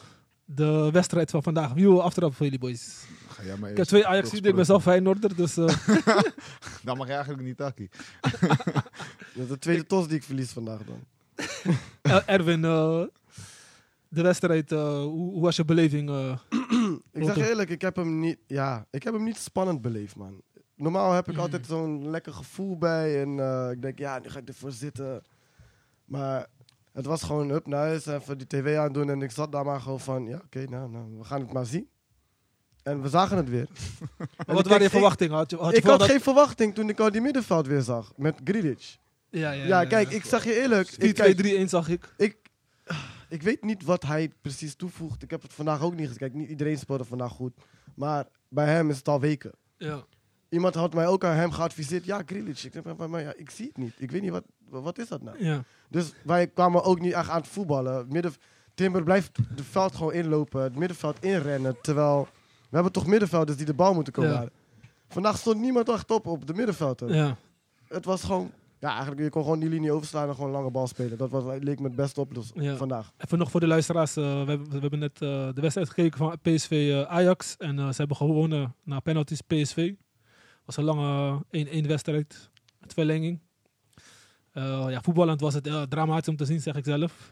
De wedstrijd van vandaag. Wie wil aftrappen voor jullie, boys? Ga jij maar Ik heb eerst twee ajax ik ben gesproken. zelf Feyenoorder, dus... eh, Dan mag je eigenlijk niet, Taki. Dat is de tweede tos die ik verlies vandaag dan. Eh, Erwin, eh, de wedstrijd, eh, hoe, hoe was je beleving? eh? Ik zeg Oké. eerlijk, ik heb hem niet, ja, ik heb hem niet spannend beleefd, man. Normaal heb ik Mm. altijd zo'n lekker gevoel bij. En eh, ik denk, ja, nu ga ik ervoor zitten. Maar het was gewoon up naar huis, even die tv aandoen. En ik zat daar maar gewoon van, ja, oké, nou, nou, we gaan het maar zien. En we zagen het weer. En wat ik waren je keek- verwachtingen? Had je, had Ik, je ik had verwacht geen verwachting toen ik al die middenveld weer zag. Met Grilich. dat- Ja, Ja, kijk, ik zeg je eerlijk. Ik, kijk, 4-2-3-1 zag ik. ik, ik weet niet wat hij precies toevoegt. Ik heb het vandaag ook niet gekeken. Niet iedereen speelde vandaag goed. Maar bij hem is het al weken. Ja. Iemand had mij ook aan hem geadviseerd. Ja, Grealish. Ik denk van, maar ja, ik zie het niet. Ik weet niet, wat, wat is dat nou? Ja. Dus wij kwamen ook niet echt aan het voetballen. Midden, Timber blijft het veld gewoon inlopen. Het middenveld inrennen. Terwijl, we hebben toch middenvelders die de bal moeten komen Ja. halen. Vandaag stond niemand echt op op de middenvelden. Ja. het was gewoon... Ja, eigenlijk, je kon gewoon die linie overslaan en gewoon lange bal spelen. Dat was, leek me het beste oplossing Ja. vandaag. Even nog voor de luisteraars. eh, we, hebben, we hebben net eh, de wedstrijd gekeken van PSV eh, Ajax. En eh, ze hebben gewonnen na penalties PSV. was een lange 1-1 wedstrijd. Met verlenging. Eh, ja, voetballend was het eh, dramatisch om te zien, zeg ik zelf.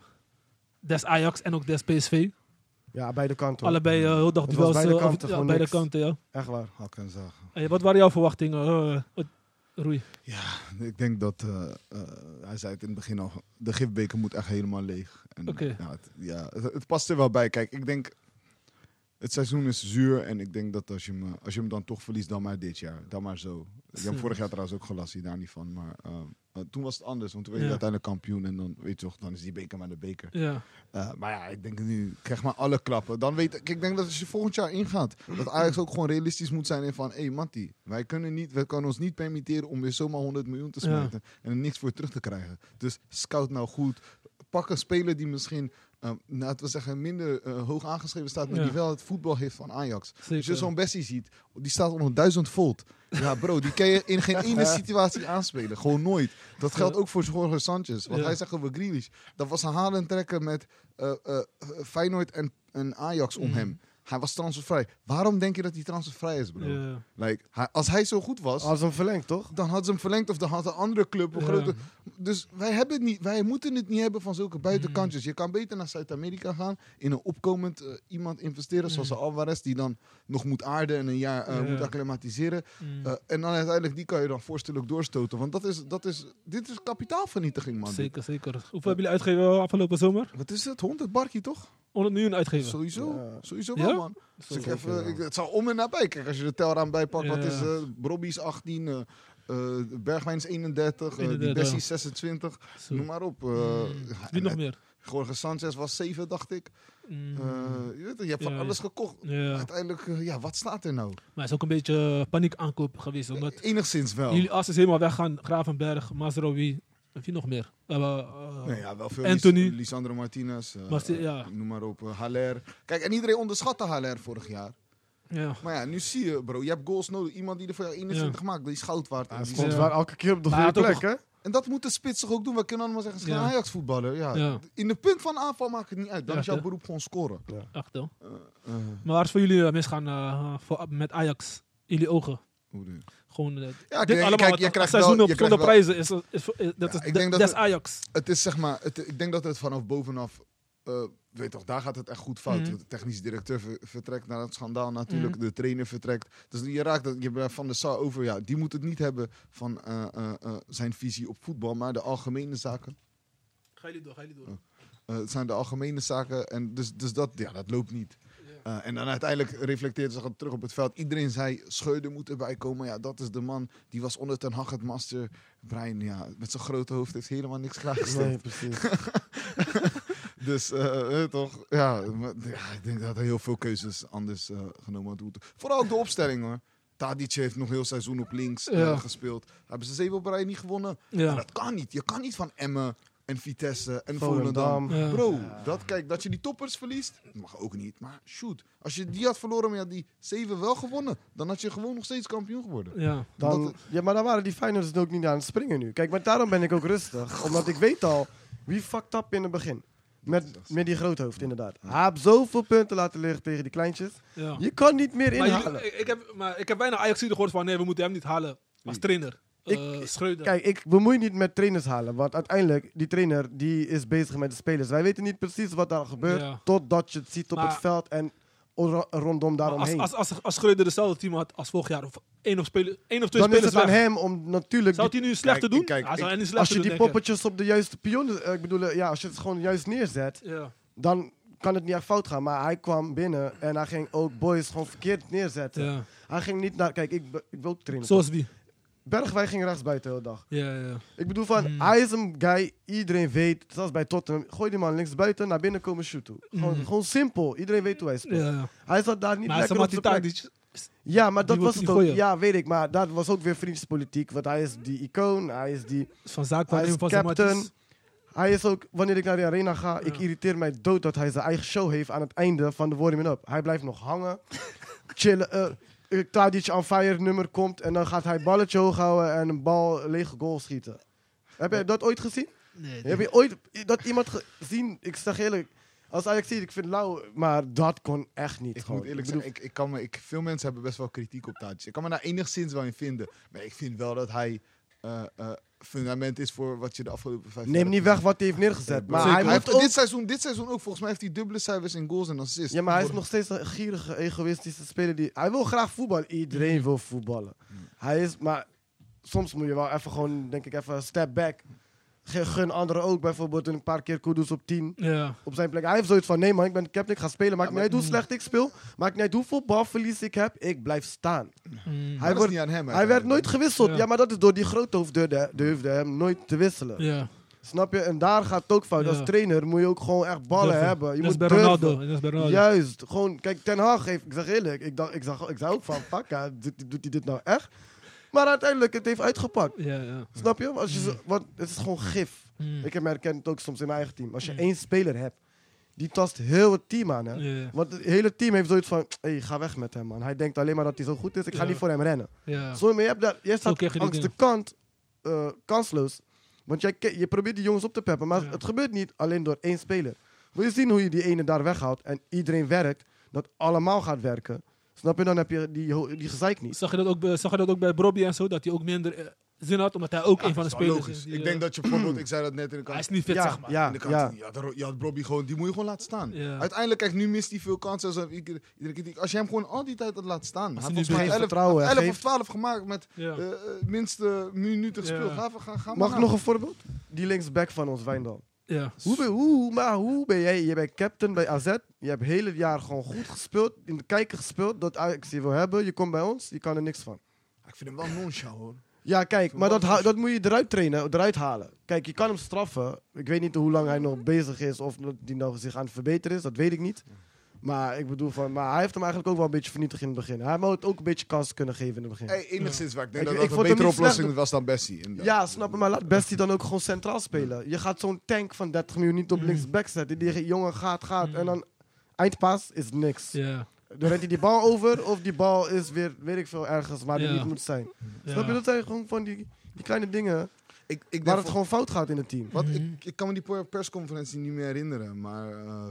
Des Ajax en ook des PSV. Ja, beide kanten. hoor. Allebei eh, heel dag Het was duels. beide eh, of- kanten, ja, gewoon beide niks. kanten, ja. Echt waar. Hak en zagen. Hey, wat waren jouw verwachtingen, eh, eh, Roei? Ik denk dat, eh, eh, hij zei het in het begin al, de gifbeker moet echt helemaal leeg. En, Oké. ja, het, ja, het, het past er wel bij. Kijk, ik denk, het seizoen is zuur en ik denk dat als je hem, eh, als je hem dan toch verliest, dan maar dit jaar. Dan maar zo. Je hebt hem vorig jaar trouwens ook gelast, daar niet van. Maar ehm, eh, toen was het anders, want toen werd je Ja. uiteindelijk kampioen en dan, weet je toch, dan is die beker maar de beker. Ja, Eh, maar ja, ik denk nu, krijg maar alle klappen. Dan weet ik, ik denk dat als je volgend jaar ingaat, dat Ajax ook gewoon realistisch moet zijn in van, hé hey, Matty, wij kunnen, niet, wij kunnen ons niet permitteren om weer zomaar 100 miljoen te Ja. smijten en er niks voor terug te krijgen. Dus scout nou goed, pak een speler die misschien, ehm, laten we zeggen, minder eh, hoog aangeschreven staat, maar Ja. die wel het voetbal heeft van Ajax. Als je zeker. zo'n Bessie ziet, die staat onder 1000 volt. Ja, bro, die kan je in geen ene situatie aanspelen. Gewoon nooit. Dat geldt ook voor Jorge Sanchez. Wat Ja. hij zegt over Grealish. Dat was een halen trekken met eh, eh, Feyenoord en, en Ajax om Mm. hem. Hij was transfervrij. Waarom denk je dat hij transfervrij is, bro? Ja. Like, hij- als hij zo goed was, Als hem verlengd, toch? dan had ze hem verlengd of dan had een andere club. Een Ja. grote... Dus wij, hebben het niet, wij moeten het niet hebben van zulke buitenkantjes. Hmm. Je kan beter naar Zuid-Amerika gaan, in een opkomend eh, iemand investeren, zoals Mm. een Alvarez, die dan nog moet aarden en een jaar eh, Ja. moet acclimatiseren. Mm, Eh, en dan uiteindelijk, die kan je dan voorstelijk doorstoten. Want dat is, dat is, dit is kapitaalvernietiging, man. Mm, zeker, zeker. Hoeveel hebben jullie uitgegeven eh, afgelopen zomer? Wat is het? 100 barkie, toch? 100 miljoen uitgeven. Sowieso. Ja. Sowieso Ja? wel, man. Dus ik Zeker, even, ja. ik- het zal om en nabij. Kijk, als je de telraam bijpakt, wat Ja. is eh Robbie's 18, eh eh, Bergwijn is 31, eh, die 31, Bessie ja. 26. Zo. Noem maar op. eh, Mm, ja, Wie en nog het- meer? Jorge Sanchez was 7, dacht ik. Mm, Eh, je, weet, het, je hebt van Ja, alles ja. gekocht. ja. Maar Uiteindelijk, eh, ja, wat staat er nou? het is ook een beetje eh, paniek aankoop geweest. Eh, Omdat Enigszins wel. jullie as is helemaal weggaan. Gravenberg, Mazraoui. Wie nog meer? We hebben, eh, Nee, ja, wel veel Anthony. Lis- Lisandro Martinez. eh, Marti- eh, ja. Noem maar op. eh, Haller. Kijk, en iedereen onderschatte Haller vorig jaar. ja. Maar ja, nu zie je, bro. Je hebt goals nodig. Iemand die er voor jou 21 maakt, die is goud waard. En Hij die stond Ja. wel elke keer op de Maar goede hij had plek, ook hè? En dat moet de spits toch ook doen? We kunnen allemaal zeggen, het is geen Ja. Ajax-voetballer. Ja. Ja. In de punt van aanval maakt het niet uit. Dan Ja, is jouw hè? beroep gewoon scoren. Echt wel. Eh, eh, Maar waar is voor jullie eh, misgaan eh, voor, met Ajax? Jullie ogen. hoe doe je? Gewoon, eh, Ja, Ah, dit kijk, allemaal, kijk, het je krijgt seizoen wel- op je zonder krijgt prijzen. Is, is, is- dat Ja, is, ik de- denk dat des het- Ajax. Het is zeg maar, het, ik denk dat het vanaf bovenaf, eh, weet toch, daar gaat het echt goed fout. Mhm. De technische directeur ver- vertrekt naar het schandaal natuurlijk, de trainer vertrekt. Dus je raakt dat, je bent van de Sar over, ja, die moet het niet hebben van eh, eh, eh, zijn visie op voetbal, maar de algemene zaken. Ga jullie door, ga jullie door. eh, het zijn de algemene zaken en dus, dus dat, ja, dat loopt niet. Eh, en dan uiteindelijk reflecteert zich het terug op het veld. Iedereen zei, Scheuder moet erbij komen. Ja, dat is de man. Die was onder Ten Hag het master. Brian, ja, met zijn grote hoofd heeft helemaal niks klaargesteld. Nee, precies. Dus eh, eh, toch, ja, maar, ja, ik denk dat er heel veel keuzes anders eh, genomen hadden moeten. Vooral ook de opstelling hoor. Tadic heeft nog heel seizoen op links eh, Ja. gespeeld. Hebben ze zeven op rij niet gewonnen? Maar Ja. dat kan niet. Je kan niet van Emmen en Vitesse en Volendam. Volendam. Ja. Bro, dat, kijk, dat je die toppers verliest, dat mag ook niet. Maar shoot, als je die had verloren, maar je had die zeven wel gewonnen, dan had je gewoon nog steeds kampioen geworden. Ja. Dan, Omdat ja, maar dan waren die Feyenoorders dus ook niet aan het springen nu. Kijk, maar daarom ben ik ook rustig. Omdat ik weet al, wie fucked up in het begin? Met, met die groothoofd, inderdaad. Hij heeft zoveel punten laten liggen tegen die kleintjes. ja. Je kan niet meer Maar, inhalen. jullie- ik, ik heb, maar ik heb bijna ajax gehoord van nee, we moeten hem niet halen als trainer. Ik- Eh, Schreuder. Kijk, ik bemoei niet met trainers halen. Want uiteindelijk, die trainer die is bezig met de spelers. Wij weten niet precies wat daar gebeurt. Ja. Totdat je het ziet op Maar- het veld en ro- rondom Maar als, daaromheen. als, als, als Schreuder dezelfde team had als vorig jaar, of één of, speler, één of twee dan is spelers het aan weg, hem om natuurlijk. zou die- hij nu slechter Kijk, doen? ik- kijk, hij zou ik- hij niet als slechter je die doen, denk ik. poppetjes op de juiste pionnen. eh, Ik bedoel, eh, ja, als je het gewoon juist neerzet. Ja. dan kan het niet echt fout gaan. Maar hij kwam binnen en hij ging ook boys gewoon verkeerd neerzetten. Ja. Hij ging niet naar... Kijk, ik, be- ik wil ook trainen. Zoals wie? Bergwijn ging rechtsbuiten de hele dag. Ja, ja. Ik bedoel van, Mm. hij is een guy, iedereen weet, zelfs bij Tottenham, gooi die man linksbuiten, naar binnen komen shooten. Gewoon, Mm. gewoon simpel, iedereen weet hoe hij speelt. ja, ja. Hij zat daar niet Maar lekker op Samati zijn plek. Tadic, Ja, die maar dat wil was je het niet ook. gooien. Ja, weet ik, maar dat was ook weer vriendjespolitiek, want hij is die icoon, hij is die... van zaak van Hij is een van captain. Samati's. Hij is ook, wanneer ik naar de arena ga, ik Ja. irriteer mij dood dat hij zijn eigen show heeft aan het einde van de Warming Up. Hij blijft nog hangen, chillen. eh, eh, Tadic aan fire nummer komt en dan gaat hij balletje hoog houden en een bal lege goal schieten. Heb je dat ooit gezien? Nee, Heb je ooit dat iemand gezien? Ik zeg eerlijk, als Ajax ziet, ik vind Lau, maar dat kon echt niet. Ik gewoon. moet eerlijk bedoel, zeggen, ik, ik kan me, ik, veel mensen hebben best wel kritiek op Tadic. Ik kan me daar enigszins wel in vinden. Maar ik vind wel dat hij eh, eh, fundament is voor wat je de afgelopen vijf Neem niet weg wat hij heeft neergezet. Maar hij, heeft moet ook, dit, seizoen, dit seizoen ook, volgens mij heeft hij dubbele cijfers in goals en assists. ja, maar hij is nog steeds een gierige, egoïstische speler. Die, hij wil graag voetballen. Iedereen wil voetballen. Hij is, maar soms moet je wel even gewoon, denk ik, even een step back. Ge- Gun anderen ook. Bijvoorbeeld een paar keer Kudus op 10. Ja, Op zijn plek. Hij heeft zoiets van, nee man, ik ben captain, ik ga spelen. Maakt Ja, niet maar- uit hoe slecht ik speel. Maakt niet uit hoeveel balverlies ik heb. Ik blijf staan. Mm. hij Hij was wordt niet aan hem. Hij werd nooit gewisseld. Ja. Ja, maar dat is door die grote hoofd durfde, durfde hem nooit te wisselen. ja. Snap je? En daar gaat het ook fout. Ja. Als trainer moet je ook gewoon echt ballen Durven. hebben. Je dat is moet bij durven. Ronaldo. Dat is bij Ronaldo. Juist. Gewoon, kijk, Ten Hag heeft, ik zeg eerlijk, ik, dacht, ik, zag, ik zei ook van, fuck, ja, doet, doet hij dit nou echt? Maar uiteindelijk, het heeft uitgepakt. Ja, ja. Snap je? Als je zo- want het is gewoon gif. Mm. Ik herken het ook soms in mijn eigen team. Als je Mm. één speler hebt, die tast heel het team aan, hè? Ja, Want het hele team heeft zoiets van, hé, hey, ga weg met hem, man. Hij denkt alleen maar dat hij zo goed is, ik ga Ja. niet voor hem rennen. ja. Sorry, maar je, hebt daar, jij staat krijg je die langs de dingen. kant eh, kansloos. Want jij, ke- je probeert die jongens op te peppen, maar Ja. het gebeurt niet alleen door één speler. Wil je zien hoe je die ene daar weghoudt en iedereen werkt, dat allemaal gaat werken. Snap je? Dan heb je die, ho- die gezeik niet. Zag je dat ook bij, zag je dat ook bij Brobby en zo? Dat hij ook minder eh, zin had, omdat hij ook Ah, een van de spelers is. die, Ik eh, denk dat je bijvoorbeeld, ik zei dat net in de Hij kant. is niet fit, ja, zeg maar. ja, in de kant, ja. je, had, Ro- je had Robbie gewoon, die moet je gewoon laten staan. Ja. Uiteindelijk, kijk, nu mist hij veel kansen. Als, iedere, iedere keer, als je hem gewoon al die tijd had laten staan. Hij hij had nu volgens mij geeft 11, vertrouwen, hij 11 of geeft- 12 gemaakt met Ja. eh, eh, minste minuten Ja. gespeeld. Ga, ga, ga maar Mag ik na. nog een voorbeeld? Die linksback van ons, Wijndal. ja. Hoe ben, hoe, maar hoe ben jij? Je bent captain bij AZ. Je hebt het hele jaar gewoon goed gespeeld, in de kijker gespeeld, dat Ajax je wil hebben. Je komt bij ons, je kan er niks van. Ik vind hem wel nonchalant hoor. Ja, kijk, maar dat, hou- dat moet je eruit trainen, eruit halen. Kijk, je kan hem straffen. Ik weet niet hoe lang hij nog bezig is of dat die nou zich aan het verbeteren is, dat weet ik niet. Maar ik bedoel van, maar hij heeft hem eigenlijk ook wel een beetje vernietigd in het begin. Hij moet ook een beetje kans kunnen geven in het begin. Hey, enigszins waar. Ik denk Ik- dat dat ik een vond hem betere niet slecht. oplossing was dan Bessie. inderdaad. ja, snap je, maar laat Bestie dan ook gewoon centraal spelen. Je gaat zo'n tank van 30 miljoen niet op Mm. linksback zetten. Die jongen gaat, gaat Mm. en dan eindpaas is niks. Ja. Dan rent hij die bal over of die bal is weer, weet ik veel, ergens waar Ja. die niet moet zijn. Ja. Snap je, dat zijn gewoon van die, die kleine dingen Ik, ik waar denk het van- gewoon Hmm. fout gaat in het team. Wat, Mhm. ik, ik kan me die per- persconferentie niet meer herinneren, maar eh,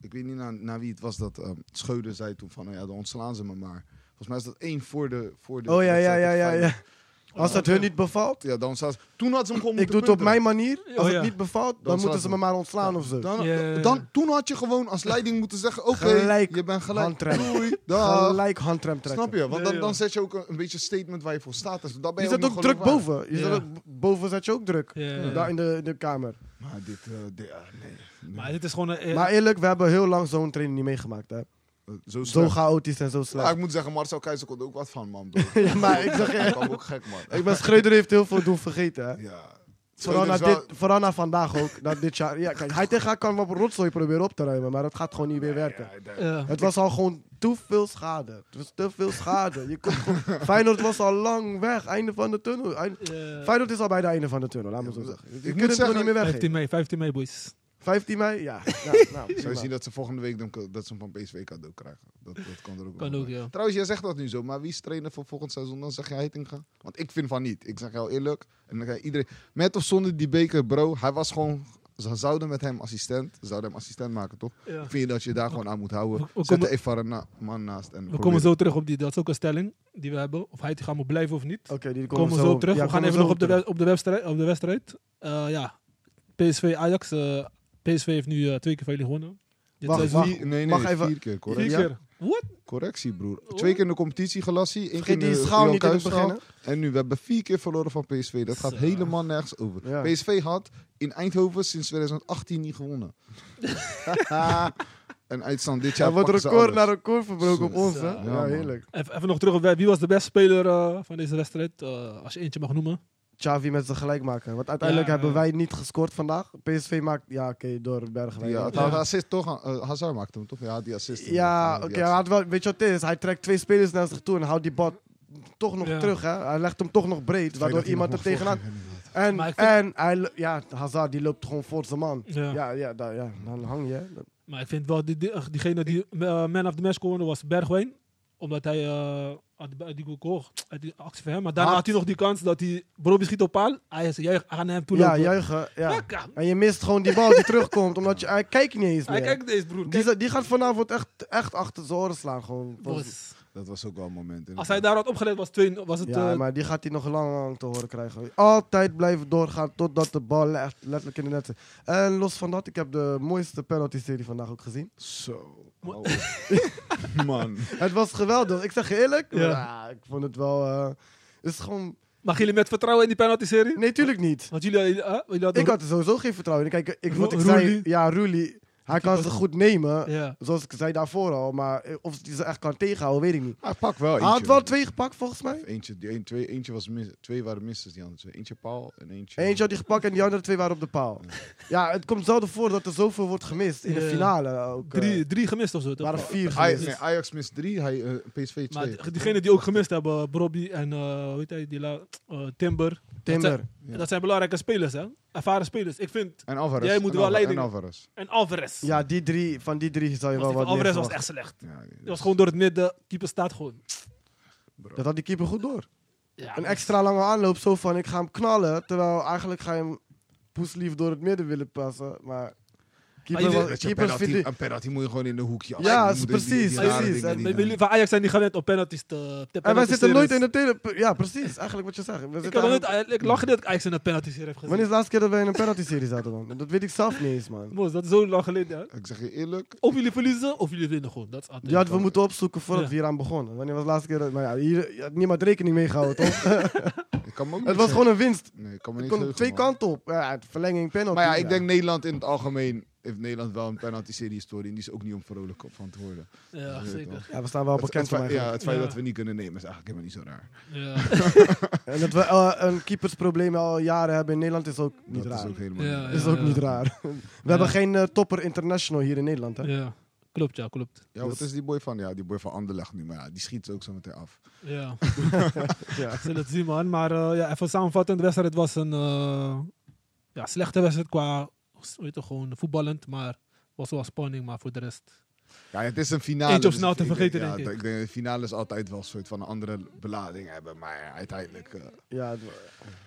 ik weet niet naar, naar wie het was dat eh Scheuden zei toen van, nou ja, dan ontslaan ze me maar. Volgens mij is dat één voor de... Voor de Oh ja, ja, wedstrijd ja, tegen ja, ja. Feyenoord. Als eh, dat hun niet bevalt, Ja, dan ontslaan ze- Toen had ze hem gewoon ik doe het op mijn manier. Oh, Als ja. het niet bevalt, dan moeten slaat ze het. me maar ontslaan of zo. Dan, Ja, ja, ja. dan, toen had je gewoon als leiding moeten zeggen, oké, Gelijk je bent gelijk. handrem. Doei, dag. Gelijk handrem trekken. Snap je? Want Ja, dan, ja. dan zet je ook een, een beetje statement waar je voor staat. Dus dan ben je Je zet nog ook druk geloofwaardig. boven. Je Ja. zet ook, boven zet je ook druk. Ja, ja, ja. Daar in de, in de kamer. Maar dit... eh, dit- ah, nee. nee. Maar dit is gewoon een... eh, Maar eerlijk, we hebben heel lang zo'n trainer niet meegemaakt. Hè. Eh, zo Zo slecht. chaotisch en zo Maar slecht. ik moet zeggen, Marcel Keizer kon er ook wat van, man. bro. Ja, maar ik zeg Dat je. kwam ook gek, man. Ik ben Schreuder heeft heel veel doen vergeten. Hè. Ja. Vooral, Schreuder na is wel- dit, vooral na vandaag ook. Na dit jaar. Ja, kijk, hij tegen haar kan wat rotzooi proberen op te ruimen, maar dat gaat gewoon niet meer werken. Ja, daar- ja. Het was al gewoon te veel schade. Het was te veel schade. Je kon gewoon- Feyenoord was al lang weg. Einde van de tunnel. Eind- Ja. Feyenoord is al bij de einde van de tunnel, laat me zo Ja, zeggen. Je ik moet kunt het gewoon zeggen- niet meer weggeven. 15 mei, 15 mei, boys. 15 mei? Ja. ja nou, Zou prima. je zien dat ze volgende week dan, dat ze hem van PSV cadeau krijgen? Dat, dat kan er ook Kan wel ook, bij. ja. Trouwens, jij zegt dat nu zo, maar wie is trainer voor volgend seizoen? Dan zeg jij Heitinga. Want ik vind van niet. Ik zeg jou eerlijk. En dan ga je iedereen, met of zonder die beker, bro. Hij was gewoon... Ze zouden met hem assistent, ze zouden hem assistent maken, toch? Ja. Vind je dat je daar gewoon aan moet houden? We- we Zet komen- er even een na- man naast. En We probeer- komen zo terug op die... Dat is ook een stelling die we hebben. Of hij te gaan moet blijven of niet. Oké, die komen we zo op terug. ja, we gaan komen even zo nog op de, terug. we- op de, wedstrijd, op de wedstrijd. Eh, ja, PSV Ajax. eh, PSV heeft nu eh, twee keer van jullie gewonnen. Dit Wacht, Vier- seizoen. nee, nee, Mag even- vier keer, correct. Vier ja. keer. What? Correctie, broer. Twee keer in de competitie gelassie. één keer in Vergeet die de schaal Johan niet in het Cruijffschaal. begin. hè. En nu, we hebben vier keer verloren van PSV. Dat gaat Zo. helemaal nergens over. Ja. PSV had in Eindhoven sinds 2018 niet gewonnen. en uitstand dit jaar Er wordt pakken ze record alles. na record verbroken op Zo. ons, hè? Ja, Ja, man. heerlijk. Even, even nog terug op wie was de beste speler eh, van deze wedstrijd. eh, als je eentje mag noemen. Xavi met zijn gelijk maken. Want uiteindelijk Ja, hebben eh. wij niet gescoord vandaag. PSV maakt... Ja, oké, door Bergwijn. Ja, Ja, het Ja. had de assist toch? aan- eh, Hazard maakte hem toch? Ja, die assist. Ja, Die oké. hij assist. had wel, weet je wat het is? Hij trekt twee spelers naar zich toe en houdt die bal toch nog Ja. terug. Hè? Hij legt hem toch nog breed, waardoor Tweede iemand er nog mag tegenaan... volgen, inderdaad. En, Maar ik vind- en hij, lo- ja, Hazard die loopt gewoon voor zijn man. Ja. Ja, ja, daar- ja dan hang je. hè. Maar ik vind wel, die, die- eh, diegene die eh, man of the match kon worden was Bergwijn. Omdat hij eh, had die- die goal gekocht. Had die actie van hem. Maar daarna Hard. had hij nog die kans dat hij... Broby schiet op paal. Hij is juich aan hem toe. Ja, lopen. juichen. Ja. Lekker. En je mist gewoon die bal die terugkomt, omdat je, hij kijkt niet eens Hij meer. kijkt deze broer. die, Kijk, za- die gaat vanavond echt, echt achter zijn oren slaan. Gewoon. Bos. Dat was ook wel een moment. Als hij daar had opgelet was, twee, was het... Ja, eh, maar die gaat hij nog lang, lang te horen krijgen. Altijd blijven doorgaan totdat de bal echt letterlijk in de net zit. En los van dat, ik heb de mooiste penalty-serie vandaag ook gezien. Zo. hou op. Man. Het was geweldig. Ik zeg je eerlijk, Ja. ja, ik vond het wel... eh, het is gewoon... Mag jullie met vertrouwen in die penalty-serie? Nee, tuurlijk niet. Want jullie, eh, eh, jullie hadden... Ik had er sowieso geen vertrouwen in. Kijk, ik, wat ik Ru- zei... Roelie? Ja, Roelie, hij kan ze goed nemen. Ja. Zoals ik zei daarvoor al. Maar eh, of hij ze echt kan tegenhouden, weet ik niet. Hij Ah, pak wel eentje. Hij had wel twee gepakt, volgens mij. Eentje, die een, twee, eentje was mis, twee waren missers, die andere twee. Eentje paal en eentje... Eentje had die gepakt en die andere twee waren op de paal. Ja, het komt zelden voor dat er zoveel wordt gemist. In de Ja. finale ook. eh, Drie, drie gemist of zo. toch? waren vier Aj- gemist. nee, Ajax mist drie, hij, eh, PSV Maar twee. d- diegenen die ook gemist hebben, Bobby en eh, hoe heet hij, die la- eh, Timber. Timber. Ja. Dat zijn belangrijke spelers, hè? Ervaren spelers. Ik vind. En Alvarez. Jij moet en wel Alva- leiding- En Alvarez. En Alvarez. Ja, die drie, van die drie zou Want je wel die van wat Alvarez meer was verwachten. echt slecht. Ja, die- Die was gewoon door het midden. Keeper staat gewoon. Dat had die keeper goed door. Ja, Een extra lange aanloop, zo van ik ga hem knallen. Terwijl eigenlijk ga je hem poeslief door het midden willen passen. Maar Maar keeper, Ah, je was, Weet je, keepers penalty- vinden- Een penalty moet je gewoon in de hoekje. Ja, afzetten. Je moet die- die- precies, die rare precies. dingen En niet Bij doen. jullie van Ajax zijn die gewend om penalties te. te En wij penalty zitten nooit in series. de tweede... pe- Ja, precies. Eigenlijk wat je zegt. We Ik, zitten had nog eigenlijk- nooit- eh, ik lach niet dat ik Ajax in een penalty serie heb Wanneer is gezien. de laatste keer dat wij in een penalty-serie zaten dan? Dat weet ik zelf niet eens, man. Moos, dat is zo lang geleden. Hè? Ik zeg je eerlijk, Of jullie verliezen of jullie winnen gewoon. Dat is altijd. Die hadden we moeten opzoeken voordat Ja. we hier aan begonnen. Wanneer was de laatste keer... dat- Maar ja, hier je had niemand rekening mee gehouden, ik toch? kan me ook Het niet was zeggen. gewoon een winst. Nee, ik kan me niet Het kon heugen, twee man. kanten op. Ja, verlenging, penalty. Maar ja, ik denk Nederland in het algemeen heeft Nederland wel een penalty-serie-historie. En die is ook niet om vrolijk op van te worden. Ja, Ja, zeker. Ja, we staan wel Het- het, bekend van feit- ja, eigenlijk. het feit Ja. dat we niet kunnen nemen is eigenlijk helemaal niet zo raar. Ja. En dat we eh, een keepersprobleem al jaren hebben in Nederland is ook niet dat raar. is ook helemaal Ja, niet Is ook ja. niet raar. We hebben geen eh, topper international hier in Nederland, hè? ja. Klopt, ja, klopt. Ja, wat is die boy van? Ja, die boy van Anderlecht nu. Maar ja, die schiet ook zo meteen af. Ja. Ja. We zullen het zien, man. Maar eh, ja, even samenvattend, de wedstrijd was een eh, ja, slechte wedstrijd qua weet je, gewoon voetballend, maar was wel spanning, maar voor de rest. Ja, het is een finale. Eentje op dus snel te ik vergeten, ja, denk ik. Ik denk, de finales altijd wel een soort van een andere belading hebben. Maar ja, uiteindelijk, eh, Ja, het-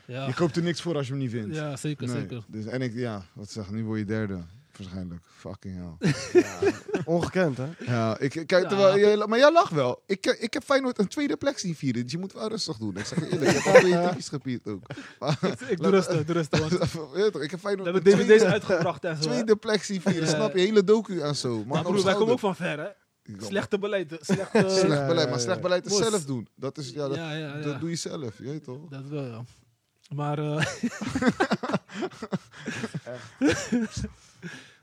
Ja, je koopt er niks voor als je hem niet vindt. ja zeker, Nee, zeker. Dus, en ik, ja, wat zeg, nu word je derde. Waarschijnlijk. Fucking hell. ja, ongekend, hè? ja, ik, ik- kijk, Ja. terwijl, jij- maar jij lacht wel. Ik, eh, ik heb Feyenoord een tweede plek zien vieren. Dus je moet wel rustig doen. Ik zeg je eerlijk, ik heb al twee tipjes gepierd ook. Maar, Ik doe rustig, doe rustig. want Weet je toch, ik heb We Feyenoord hebben een DVD's tweede, uitgebracht en zo. hè. tweede plek zien vieren. Ja. Snap je? Hele docu en zo. Maar Maar broer, wij komen ook van ver, hè? Slechte beleid. Slechte. Slecht beleid, Ja, ja, maar slecht ja. beleid is Moest. zelf doen. Dat, is, ja, Ja, dat, ja, ja. dat doe je zelf, je weet toch? Dat wel, ja. Maar. eh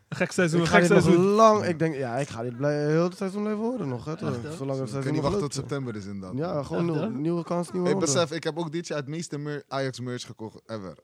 gek seizoen, ik ga gek dit nog seizoen. lang... Ik denk, ja, ik ga dit blij, heel het seizoen blijven horen nog, hè? toch? Echt, hè? Ik Zolang het kan seizoen niet nog wachten tot loopt. september is in dat. Ja, gewoon Echt, hè? nieuwe, nieuwe kans, nieuwe Ik ronde. besef, ik heb ook dit jaar het meeste mer- Ajax merch gekocht ever.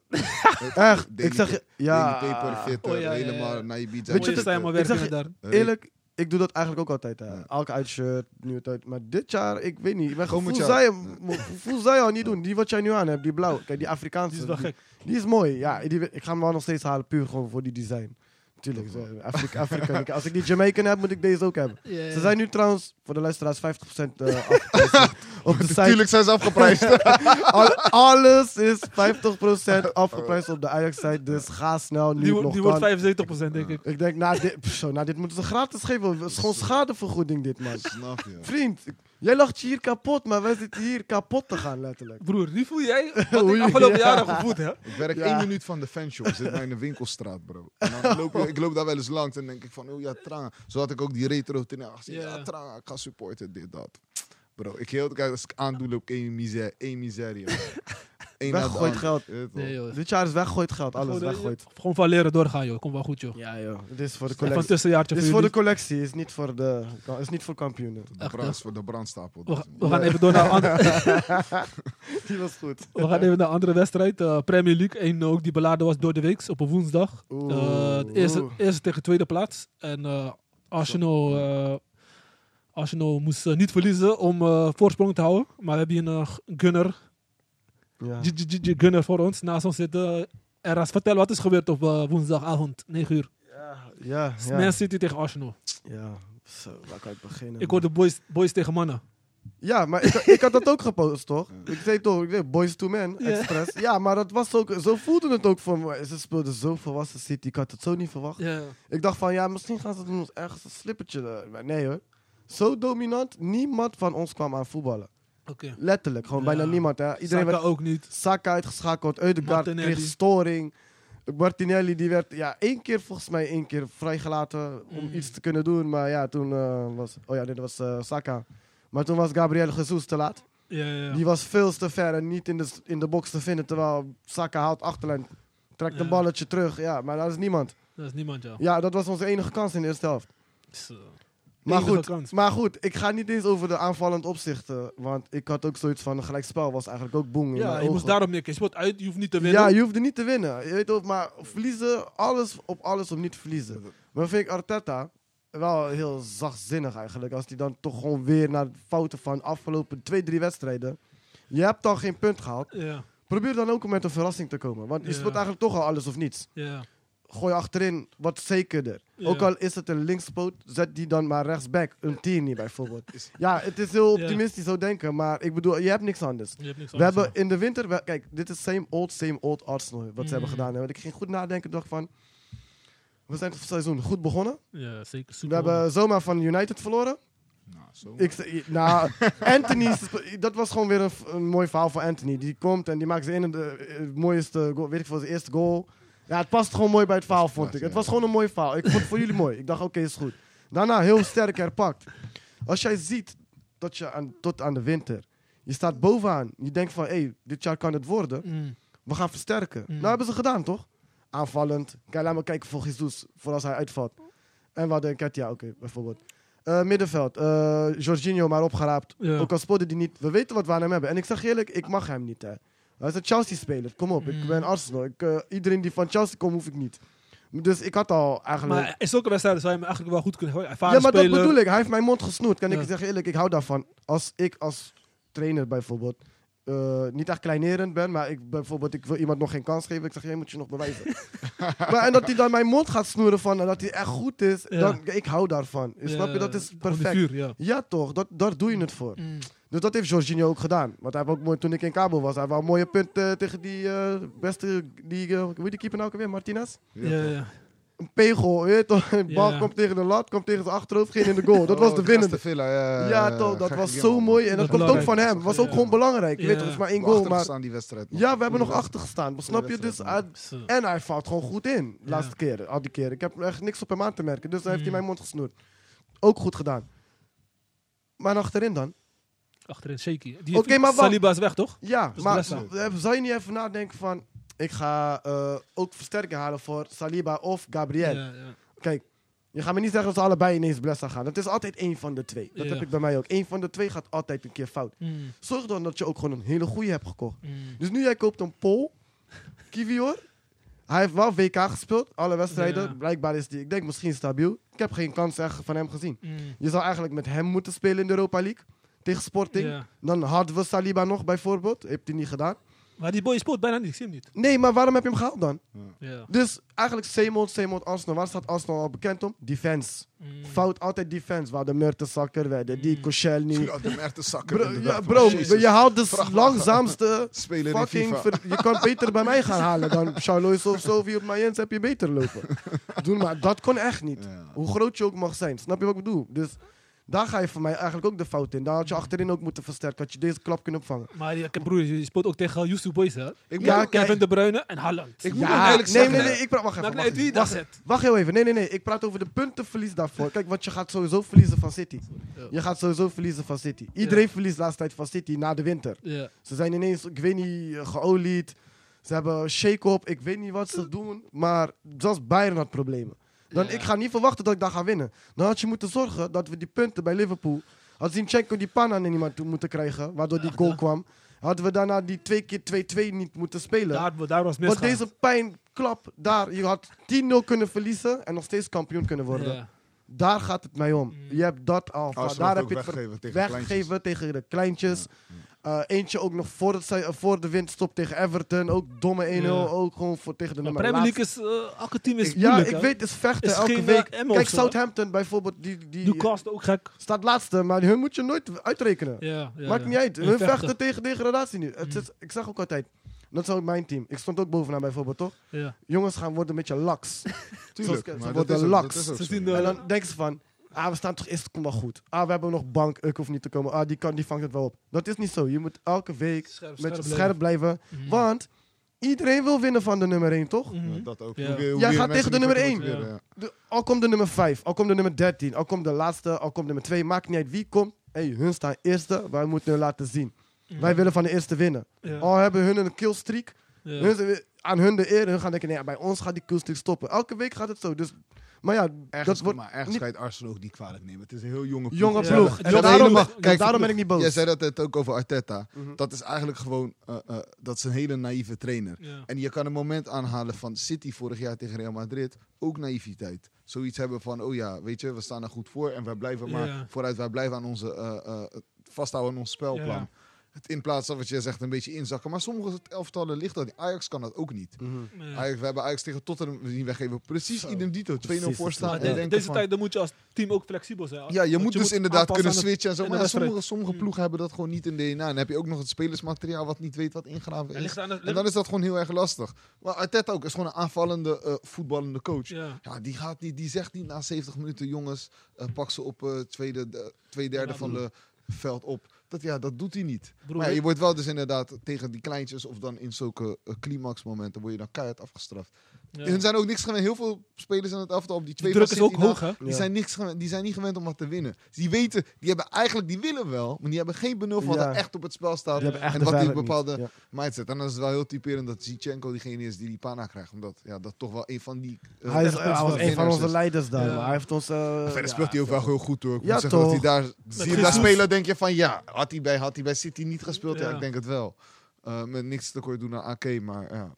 Echt, Daily ik zeg... je- Pa- Ja, Daily paper, fitter, Oh, ja, ja, ja. helemaal naar je biet. Weet je, Mooie dat- stijl, maar ik zeg werken je- daar. Eerlijk, ik doe dat eigenlijk ook altijd. Hè. Ja. Elke uitshirt, nieuwe tijd. Maar dit jaar, ik weet niet. Mijn Komend gevoel jaar. zou je, mijn gevoel zou je al niet doen. Die wat jij nu aan hebt, die blauw. Kijk, die Afrikaanse. Die is wel die, gek. die is mooi. Ja, die, ik ga hem wel nog steeds halen, puur gewoon voor die design. Tuurlijk, zo, Afrika, Afrika. Ik- Als ik die Jamaican heb, moet ik deze ook hebben. Ja, ja, Ze ja. zijn nu trouwens, voor de luisteraars, 50% eh, afgeprijsd. op de site. Tuurlijk zijn ze afgeprijsd. Al- alles is 50% afgeprijsd op de Ajax-site. Dus ga snel, nu Die, nog wo- die kan. wordt 75% denk ik. Ik denk, na dit, pff, zo, na dit moeten ze gratis geven. Het is gewoon schadevergoeding dit, man. Snap je? Vriend, ik- jij lacht je hier kapot, maar wij zitten hier kapot te gaan, letterlijk. Broer, nu voel jij wat Hoe ik je- afgelopen ja. jaren gevoeld heb. Ik werk Ja. één minuut van de fanshop. Zit mij in de winkelstraat, bro. En dan loop, ik- ik loop daar wel eens langs en denk ik van, oh ja, Tranga. Zo had ik ook die retro ten gezien. Ja, Ja. Tranga, ik ga supporten, dit, dat. Bro, ik heel de tijd als ik aandoe, loop ik één miserie. Één miserie. man. Eén na de Weggooid andere, geld. je weet toch. Nee, joh. Dit jaar is weggooid geld, alles Gewoon, eh, weggooid. Gewoon van leren doorgaan, joh. Komt wel goed, joh. Ja, joh. Dit is voor de Even een collectie. tussenjaartje Dit voor is voor de jullie. collectie, is niet voor, de, is niet voor kampioenen. De, brand, voor de brandstapel. We, dat ga- is we gaan even door naar andere, Die was goed. we gaan even naar andere wedstrijd. Eh, Premier League, één ook die beladen was door de week op een woensdag. Eh, Oeh. het eerste, Oeh. eerste tegen tweede plaats. En eh, Arsenal, eh, Arsenal moest eh, niet verliezen om eh, voorsprong te houden. Maar we hebben hier een g- gunner, Ja. G- G- G- gunner voor ons. Naast ons zit eh, Eras. Vertel wat is gebeurd op eh, woensdagavond, 9 uur. Ja, Man ja. City tegen Arsenal. ja. Zo, waar kan ik beginnen? Ik hoorde boys, boys tegen mannen. Ja, maar ik, ik had dat ook gepost, toch? Ik zei toch, ik zei, Boys to Men, Ja. Express. Ja, maar dat was ook, zo voelde het ook voor me. Ze speelden zo volwassen City, ik had het zo niet verwacht. Ja. Ik dacht van, ja, misschien gaan ze ons ergens een slippertje... eh, maar nee hoor. Zo dominant, niemand van ons kwam aan voetballen. Oké. Letterlijk, gewoon Ja. bijna niemand. Hè. Iedereen Saka werd ook niet. Saka uitgeschakeld, Eudegaard Martinelli. kreeg storing. Martinelli die werd ja, één keer volgens mij één keer vrijgelaten om Mm. iets te kunnen doen. Maar ja, toen eh, was... Oh ja, dit was eh, Saka. Maar toen was Gabriel Jesus te laat. Ja, ja, ja. Die was veel te ver en niet in de, in de box te vinden. Terwijl Saka haalt achterlijn, trekt Ja. een balletje terug. Ja, maar daar is niemand. Dat is niemand, ja. Ja, dat was onze enige kans in de eerste helft. Zo. Maar Enige goed, kans. maar goed, ik ga niet eens over de aanvallend opzichten. Want ik had ook zoiets van, een gelijkspel was eigenlijk ook boem in Ja, mijn je moest ogen. daarop nekken. Je speelt uit, je hoeft niet te winnen. Ja, je hoefde niet te winnen. Je weet ook, maar verliezen, alles op alles om niet te verliezen. Maar vind ik Arteta wel heel zachtzinnig eigenlijk. Als hij dan toch gewoon weer naar de fouten van de afgelopen twee, drie wedstrijden. Je hebt al geen punt gehaald. ja, Probeer dan ook met een verrassing te komen. Want je Ja. speelt eigenlijk toch al alles of niets. ja. Gooi achterin wat zekerder. Ja. Ook al is het een linkspoot, zet die dan maar rechtsback. Een tien bijvoorbeeld. Ja, het is heel Ja. optimistisch zo denken. Maar ik bedoel, je hebt niks anders. Je hebt niks We anders, hebben in de winter, we- kijk, dit is same old, same old Arsenal. Wat Mm. ze hebben gedaan. hè. Want ik ging goed nadenken. dacht van, we zijn het seizoen goed begonnen. ja. Ja, zeker. We Super. hebben zomaar van United verloren. Nou, zo. Ik, zei- nou, Anthony, is- dat was gewoon weer een, f- een mooi verhaal van Anthony. Die komt en die maakt zijn ene de, eh, mooiste goal, weet ik veel, zijn eerste goal. Ja, het past gewoon mooi bij het verhaal, vond ik. Het was gewoon een mooi verhaal. Ik vond het voor jullie mooi. Ik dacht, oké, is goed. Daarna heel sterk herpakt. Als jij ziet dat je aan, tot aan de winter, je staat bovenaan. Je denkt van, hé, hey, dit jaar kan het worden. Mm. We gaan versterken. Mm. Nou hebben ze gedaan, toch? Aanvallend. Kijk, laat maar kijken voor Jesus, voor als hij uitvalt. En we hadden Ketia, oké, bijvoorbeeld. Eh, middenveld, eh Jorginho maar opgeraapt. Ja. Ook al speelde die niet. We weten wat we aan hem hebben. En ik zeg je eerlijk, ik mag hem niet, hè. Hij is een Chelsea-speler, kom op. Mm. Ik ben Arsenal. Ik, eh, iedereen die van Chelsea komt, hoef ik niet. Dus ik had al eigenlijk... Maar is ook een wedstrijd, zou je hem eigenlijk wel goed kunnen gooien. Ervaren ja, maar speler. dat bedoel ik. Hij heeft mijn mond gesnoerd. Kan ik Ja. je zeggen eerlijk, ik hou daarvan. Als ik als trainer bijvoorbeeld eh, niet echt kleinerend ben, maar ik bijvoorbeeld ik wil iemand nog geen kans geven, ik zeg jij moet je nog bewijzen. maar en dat hij dan mijn mond gaat snoeren van en dat hij echt goed is, Ja. dan, ik hou daarvan. Ja, Snap je? Dat is gewoon die perfect. Vuur, ja. Ja toch, dat, daar doe je het voor. Mm. Dus dat heeft Jorginho ook gedaan. Want hij heeft ook mooi, toen ik in Cabo was, hij had een mooie punt eh, tegen die eh, beste, die, eh, hoe heet die keeper nou ook weer, Martinez? Ja, ja, eh, ja. Een pegel, je weet toch? Een bal Ja. komt tegen de lat, komt tegen zijn achterhoofd, ging in de goal. oh, Dat Oh, was de winnende. Villa, ja, Ja, toch, dat was zo mooi. En dat, Dat komt ook van belangrijk hem. Was Ja. ook gewoon belangrijk. Je Ja. weet toch, het is maar één Goal, goal. maar... Maar staan die wedstrijd. nog. ja, we hebben nog Goeie achter gestaan. Snap je? Dus wedstrijd, hij- Zo. en hij valt gewoon goed in. De Ja. laatste keren, al die keren. Ik heb echt niks op hem aan te merken. Dus hij heeft Mm. hij mijn mond gesnoerd. Ook goed gedaan. Maar achterin dan? Achterin, shaky. Die Oké, maar wacht. Saliba is weg, toch? Ja, Dus maar Blessa. eh, zou je niet even nadenken van... Ik ga eh, ook versterking halen voor Saliba of Gabriel. Ja, ja. Kijk, je gaat me niet zeggen dat ze allebei ineens Blessa gaan. Dat is altijd één van de twee. Dat Ja. heb ik bij mij ook. Eén van de twee gaat altijd een keer fout. Mm. Zorg dan dat je ook gewoon een hele goede hebt gekocht. Mm. Dus nu jij koopt een Pool, Kivior. Hij heeft wel WK gespeeld, alle wedstrijden. Ja. Blijkbaar is die, ik denk misschien stabiel. Ik heb geen kans echt van hem gezien. Mm. Je zou eigenlijk met hem moeten spelen in de Europa League. Tegen Sporting. Ja. Dan hadden we Saliba nog bijvoorbeeld. Heeft hij niet gedaan. Maar die boy speelt bijna niet, ik zie hem niet. Nee, maar waarom heb je hem gehaald dan? Ja. Dus eigenlijk Seemond, Seemond, Arsenal. Waar staat Arsenal al bekend om? Defense. Mm. Fout altijd defense. Waar de Mertensakker werden, die Koscielny. Ja, de merk te zakken. Bro, inderdaad, ja, man. bro Jezus. je haalt de Vrachtwagen. langzaamste Speler in fucking... FIFA. ver- je kan beter bij mij gaan halen dan Charlois of Sofie op Mayens heb je beter lopen. Doen, maar dat kon echt niet. Ja. Hoe groot je ook mag zijn, snap je wat ik bedoel? Dus daar ga je voor mij eigenlijk ook de fout in. Daar had je achterin ook moeten versterken, had je deze klap kunnen opvangen. Maar ja, broer, je speelt ook tegen Youssou Boys, hè? Ik moet, Ja, ook- kijk. Kevin De Bruyne en Haaland. ik moet Ja, ook eerlijk nee, zeggen. nee, nee, ik praat, wacht even. Nou, Wacht, nee, die even, dat wacht, zet. wacht heel even, nee, nee, nee, ik praat over de puntenverlies daarvoor. Kijk, want je gaat sowieso verliezen van City. Ja. Je gaat sowieso verliezen van City. Iedereen verliest de laatste tijd van City na de winter. Ja. Ze zijn ineens, ik weet niet, eh, geolied. Ze hebben shake-up. Ik weet niet wat ze doen. Maar zelfs Bayern had problemen. Dan, Ja. Ik ga niet verwachten dat ik daar ga winnen. Dan had je moeten zorgen dat we die punten bij Liverpool... Had Zinchenko die pan aan iemand toe moeten krijgen, waardoor die goal kwam. Hadden we daarna die twee keer 2-2 niet moeten spelen. Daar, daar was Want misgaan. deze pijnklap daar, je had 10-0 kunnen verliezen en nog steeds kampioen kunnen worden. Ja. Mm. Daar gaat het mij om. Je hebt dat al. Oh, ze daar dat heb ook je weggeven het ver- tegen kleintjes. weggeven tegen de kleintjes. Eh, eentje ook nog voor, het, zij- voor de windstop tegen Everton. Ook domme 1-0. Ja. Ook gewoon voor, tegen de Maar nummer Premier laatste. League is, eh, elke team is Ja, moeilijk, ik hè. weet, het is vechten Is elke geen, week. eh, Emmen Kijk, of zo, hè? Southampton bijvoorbeeld, die, die Newcastle ook gek. staat laatste, maar hun moet je nooit uitrekenen. Ja, ja, Maakt ja. Mm. niet uit. En Hun vechten tegen degradatie nu. Het is, ik zag ook altijd, dat is ook mijn team. Ik stond ook bovenaan bijvoorbeeld, toch? Ja. Jongens gaan worden met je laks. Tuurlijk, Zoals- maar ze dat worden is ook- laks. dat is ook Ze zo, zien ja. de- En dan denken ze van, ah, we staan toch eerst, komt wel goed. Ah, we hebben nog bank, ik hoef niet te komen. Ah, die kan, die vangt het wel op. Dat is niet zo. Je moet elke week Scherp- met scherp scherp, blijven. blijven. Mhm. Want iedereen wil winnen van de nummer 1, toch? Mhm. Ja, Dat ook. Ja. Hoe weer- hoe Jij weer gaat mensen tegen de niet nummer motiveren, één. ja. De- al komt de nummer 5, al komt de nummer 13, al komt de laatste, al komt de nummer 2, maakt niet uit wie komt. Hey, hun staan eerste, wij moeten hun laten zien. Ja. Wij willen van de eerste winnen. Ja. Al hebben hun een killstreak, Ja. hun zijn weer- aan hun de eer, hun gaan denken, nee, bij ons gaat die killstreak stoppen. Elke week gaat het zo. Dus, maar ja, Ergens, dat wordt maar ergens niet- ga je het Arsenal ook niet kwalijk nemen. Het is een heel jonge ploeg. jonge Ja. ploeg. Ja. En Ja. daarom, Helemaal- kijk, kijk, daarom ben ik niet boos. Jij zei dat het ook over Arteta. Mhm. Dat is eigenlijk gewoon, eh, eh, dat is een hele naïeve trainer. Ja. En je kan een moment aanhalen van City vorig jaar tegen Real Madrid. Ook naïviteit. Zoiets hebben van, oh ja, weet je, we staan er goed voor. En wij blijven maar Ja. vooruit. Wij blijven aan onze, eh, eh, vasthouden aan ons spelplan. Ja. Het in plaats van wat jij zegt, een beetje inzakken. Maar sommige elftallen ligt dat niet. Ajax kan dat ook niet. Mhm. Ja. Ajax, we hebben Ajax tegen Tottenham zien weggeven. Precies idem dito. 2-0 Precies, voor staan. Maar En de- denken deze van, tijd dan moet je als team ook flexibel zijn. ja, je Want moet dus inderdaad aanpassen kunnen aan het- switchen en zo. in Maar de ja, wedstrijd. sommige, sommige ploegen hebben dat gewoon niet in DNA. En dan heb je ook nog het spelersmateriaal wat niet weet wat ingraven Het is. ligt aan het- En dan is dat gewoon heel erg lastig. Maar Arteta ook is gewoon een aanvallende, eh, voetballende coach. Ja. Ja. die, gaat niet, die zegt niet na 70 minuten, jongens, eh, pak ze op eh, tweede, de- twee derde Ja, van de veld op. Dat, ja, dat doet hij niet. Broer, maar ja, weet- je wordt wel dus inderdaad tegen die kleintjes of dan in zulke eh, climaxmomenten word je dan keihard afgestraft. Ja. Hun zijn ook niks gewend. Heel veel spelers in het aftal op die De twee druk van is ook City na- hoog, hè? die, Ja. zijn niks gewend- die zijn niet gewend om wat te winnen. Dus die weten, die hebben eigenlijk, die willen wel, maar die hebben geen benul van wat Ja. er echt op het spel staat. Die hebben echt en de wat die vrijheid niet. bepaalde Ja. mindset. En dat is wel heel typerend dat Zichenko diegene is die die pana krijgt. Omdat ja, dat toch wel een van die... eh, Hij, is, echt hij was een van winnaars onze is. leiders daar. Ja. maar Hij heeft ons... eh, dus- Verder speelt hij ook wel heel goed hoor. Ik Ja, moet zeggen dat hij toch. daar... Zie je hem daar Christus. spelen denk je van ja, had hij bij, had hij bij City niet gespeeld? Ja, Ja. ik denk het wel. Eh, met niks tekort doen aan AK, maar ja.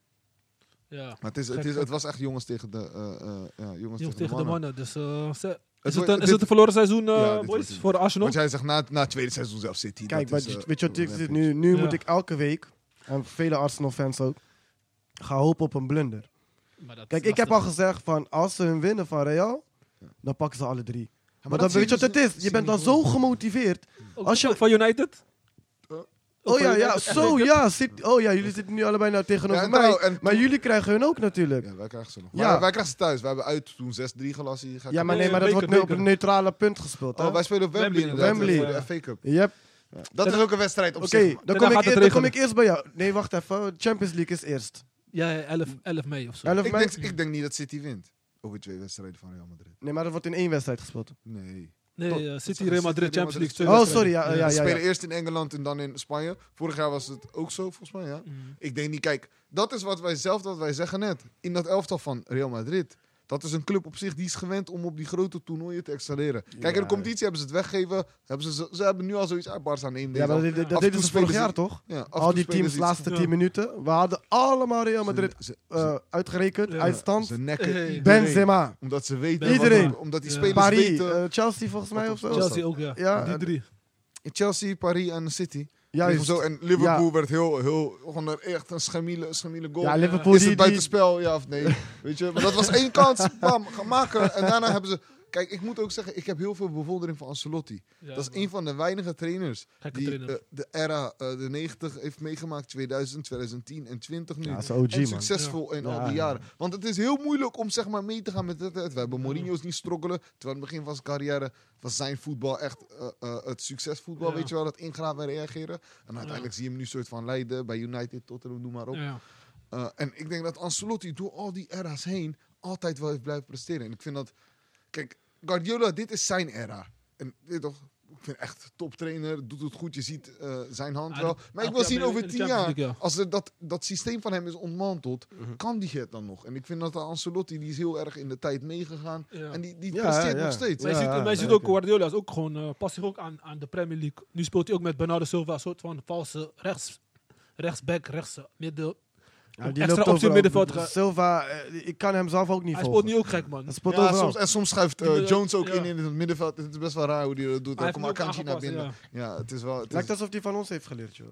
Ja. Maar het, is, het, Gek, is, gek. het was echt jongens tegen de, eh, eh, ja, jongens Die hoeft tegen de mannen. Dus eh, ze- is, het wordt- een, is dit- het een verloren seizoen, eh, Ja, dit wordt boys, het. voor Arsenal? Want jij zegt na, na het tweede seizoen zelf City. Kijk, dat maar is, eh, weet je wat ik rampage. zit nu? Nu Ja. moet ik elke week, en vele Arsenal-fans ook, gaan hopen op een blunder. Maar dat is Kijk, ik heb al lastig. gezegd van als ze hun winnen van Real, dan pakken ze alle drie. Ja, maar dan weet je wat het is. Je bent dan zo gemotiveerd. Ook als je- Van United? Eh? Oh ja, ja, zo ja. Zit, oh ja, jullie zitten nu allebei nou Ja, tegenover en mij. trouw- en Maar toen- jullie krijgen hun ook natuurlijk. Ja, wij krijgen ze nog. Ja. Maar wij krijgen ze thuis. We hebben uit toen 6-3 gelassen. Hier ga ik- Ja, maar nee, Nee, maar dat beker, wordt nu op beker. een neutrale punt gespeeld. hè? Oh, wij spelen op Wembley, Wembley, inderdaad. Wembley. voor de FA Cup. Yep. Dat is ook een wedstrijd op Oké, zich. man. dan, Dan kom gaat ik het eer- dan kom regenen. ik eerst bij jou. Nee, wacht even. Champions League is eerst. Ja, ja, 11, 11 mei of zo. 11 Ik mei. denk, ik denk niet dat City wint. Over twee wedstrijden van Real Madrid. Nee, maar dat wordt in één wedstrijd gespeeld. Nee. Nee, Tot- eh, City, Real Real Madrid, Madrid, Champions League. twee Oh, wedstrijden. sorry. Ja, ja, ja, Ze ja. spelen eerst in Engeland en dan in Spanje. Vorig jaar was het ook zo, volgens mij. Ja? Mm. Ik denk niet, kijk, dat is wat wij zelf wat wij zeggen net. In dat elftal van Real Madrid. Dat is een club op zich die is gewend om op die grote toernooien te excelleren. Kijk, in Ja. de competitie hebben ze het weggeven. Hebben ze, ze, ze hebben nu al zoiets uit Barça neem deze. Ja, maar dat, dat- Af dat en deden toe ze vorig spelen jaar ze- toch? Ja, af en toe Al die spelen teams ze laatste Ja. 10 minuten. We hadden allemaal Real iets- Madrid Ze, ze, eh, uitgerekend, Ja. uitstand. ze nekken Hey. iedereen. Benzema, Omdat ze weten. Iedereen. wat- omdat die Ja. spelers Paris, weten. eh, Chelsea volgens mij of zo. Chelsea ook, ja. Ja, Die eh, drie. Chelsea, Paris en City. Juist. Zo, en Liverpool Ja. werd heel, heel, gewoon een- echt een schamiele, schamiele goal. Ja, Liverpool eh, is het die, die, buitenspel, ja of nee? Weet je, maar dat was één kans, bam, gaan maken. En daarna hebben ze... Kijk, ik moet ook zeggen, ik heb heel veel bewondering voor Ancelotti. Ja, dat is een van de weinige trainers Gekke die trainer. eh, de era, eh, de 90 heeft meegemaakt. 2000, 2010 en 20 nu. Ja, dat is OG, en man. succesvol in Ja, al die ja. jaren. Want het is heel moeilijk om zeg maar mee te gaan met de tijd. We hebben Mourinho's niet strokkelen. Terwijl in het begin van zijn carrière was zijn voetbal echt eh, eh, het succesvoetbal. Ja. Weet je wel, dat ingraven en reageren. En uiteindelijk zie je hem nu soort van leiden bij United, Tottenham, noem maar op. Ja. Uh, en ik denk dat Ancelotti door al die era's heen altijd wel heeft blijven presteren. En ik vind dat... Kijk, Guardiola, dit is zijn era. En dit toch... Ik vind echt toptrainer, doet het goed. Je ziet eh, zijn hand Ah, wel. dat- Maar elk ik wil jaar zien bij de- over in de tien Champions jaar, League, ja. als er dat, dat systeem van hem is ontmanteld, kan die het dan nog? En ik vind dat de Ancelotti, die is heel erg in de tijd meegegaan. Ja. En die, die Ja, presteert ja. nog steeds. Ja. Maar je ziet, maar je ziet ook, Guardiola is ook gewoon, eh, past zich ook aan, aan de Premier League. Nu speelt hij ook met Bernardo Silva, een soort van valse rechts, rechtsback, rechts eh, midden. Ja, die extra loopt optie overal. middenveld gaat- Silva, eh, ik kan hem zelf ook niet Hij speelt volgen. nu ook gek, man. Hij speelt Ja, overal. soms, en soms schuift eh, Inderdaad, Jones ook ja. in in het middenveld. Het is best wel raar hoe hij dat doet. Hij Hij heeft komt hem ook Akanji naar aangepast, binnen. Ja. het is wel... Het Lijkt is, alsof hij van ons heeft geleerd, joh.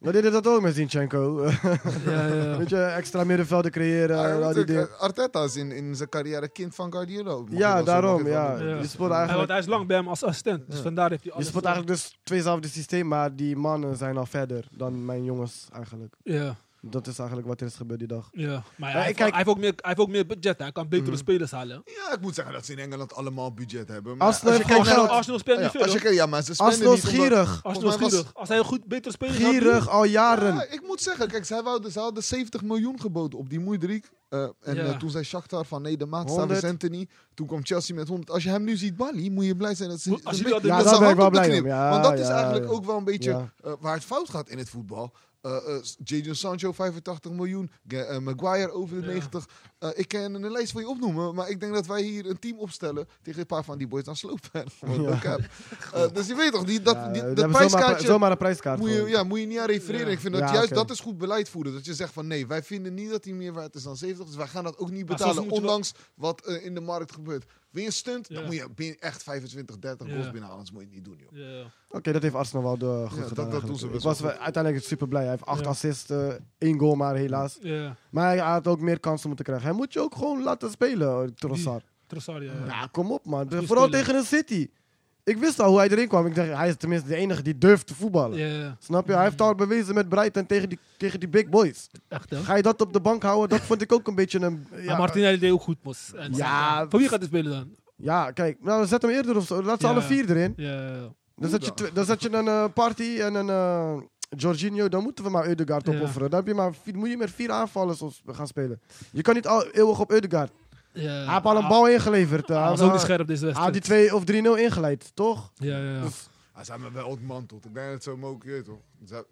We deden dat ook met Zinchenko. eh, Ja, ja, ja. Weet je, extra middenvelden creëren. Hij en moet al die ook- eh, dingen. Arteta is in, in zijn carrière kind van Guardiola. Mag je wel Ja, zo- mag daarom. je wel Ja. doen. Ja. Je speelt Hij, want eigenlijk, hij is lang bij hem als assistent, dus Ja. vandaar heeft hij je alles. speelt eh, eigenlijk dus tweezelfde systeem, maar die mannen zijn al verder dan mijn jongens eigenlijk. Ja, Dat is eigenlijk wat er is gebeurd die dag. ja. Maar ja, Ja, hij, ik heeft, kijk- hij, heeft ook meer, hij heeft ook meer budget, hij kan betere Mhm. spelers halen. Ja, ik moet zeggen dat ze in Engeland allemaal budget hebben. Maar Arsenal je heeft gewoon Arsenal, kijkt naar- geld. Arsenal speelt ja, niet veel. als je hoor. kijkt- ja, maar ze spelen Arsenal is niet omdat- gierig. Arsenal is volgens mij was- gierig. Als hij een goed, betere speler gaat doen- Gierig al Ja, jaren. ik moet zeggen, kijk, zij wouden, ze hadden 70 miljoen geboden op die Moedrik. en Ja. eh, toen zei Shakhtar van nee, de maatstaf is 100. Anthony. Toen kwam Chelsea met 100. Als je hem nu ziet, Bali, moet je blij zijn dat ze Moet- als ze jullie met- hadden- met Ja, daar zijn ben ik hand wel op de blij knip. om. Ja, Want dat is ja, eigenlijk ja. ook wel een beetje Ja. eh, waar het fout gaat in het voetbal. Eh eh, Jadon Sancho 85 miljoen, Ga- eh, Maguire over de Ja. 90. Eh, ik kan een lijst voor je opnoemen, maar ik denk dat wij hier een team opstellen tegen een paar van die boys aan slopen. Ja. dus je weet toch, die, dat, Ja, die- we dat hebben zomaar- prijskaartje Zomaar een prijskaart. moet je, gewoon. ja, moet je niet aan refereren. Ja. Ik vind dat Ja, juist oké. dat is goed beleid voeren. Dat je zegt van nee, wij vinden niet dat hij meer waard is dan 70. Dus wij gaan dat ook niet Maar soms betalen. moet je wel- Ondanks wat eh, in de markt gebeurt. Wil je een stunt? Ja. Dan moet je bin- echt 25, 30 Ja. goals binnenhalen. Anders moet je het niet doen, joh. Ja, ja. Oké, dat heeft Arsenal wel eh, goed Ja, dat- gedaan. dat doen eigenlijk. ze Ik best was wel wel goed. uiteindelijk super blij. Hij heeft acht Ja. assists, eh, één goal maar helaas. Ja, Maar hij had ook meer kansen moeten krijgen. Hij moet je ook gewoon laten spelen, eh, Trossard. Trossard, ja. ja. Ja, kom op man. Goeie Vooral speler. tegen een City. Ik wist al hoe hij erin kwam. Ik dacht, hij is tenminste de enige die durft te voetballen. Ja, ja. Snap je? Hij heeft al bewezen met Brighton tegen die, tegen die big boys. echt hè. Ga je dat op de bank houden? Dat vond ik ook een beetje een... Ja, Ja, Martinelli deed ook goed, mos. En- Ja. Voor wie gaat hij spelen dan? ja, kijk. Nou, zet hem eerder of zo. Laat ze Ja. alle vier erin. Ja, ja. Dan zet je, tw- dan zet je een eh, party en een eh Jorginho. Dan moeten we maar Eudegaard Ja. opofferen. Dan heb je maar, vier- moet je met vier aanvallers op- gaan spelen. Je kan niet al eeuwig op Eudegaard. ja. Hij heeft al een Ah, bal ingeleverd. Hij Hij was ook niet hij scherp deze had die wedstrijd. 2 of 3-0 ingeleid, toch? Ja, ja, ja. Dus- Hij zijn me wel ontmanteld. Ik denk dat ze hem ook, je weet toch. Ze-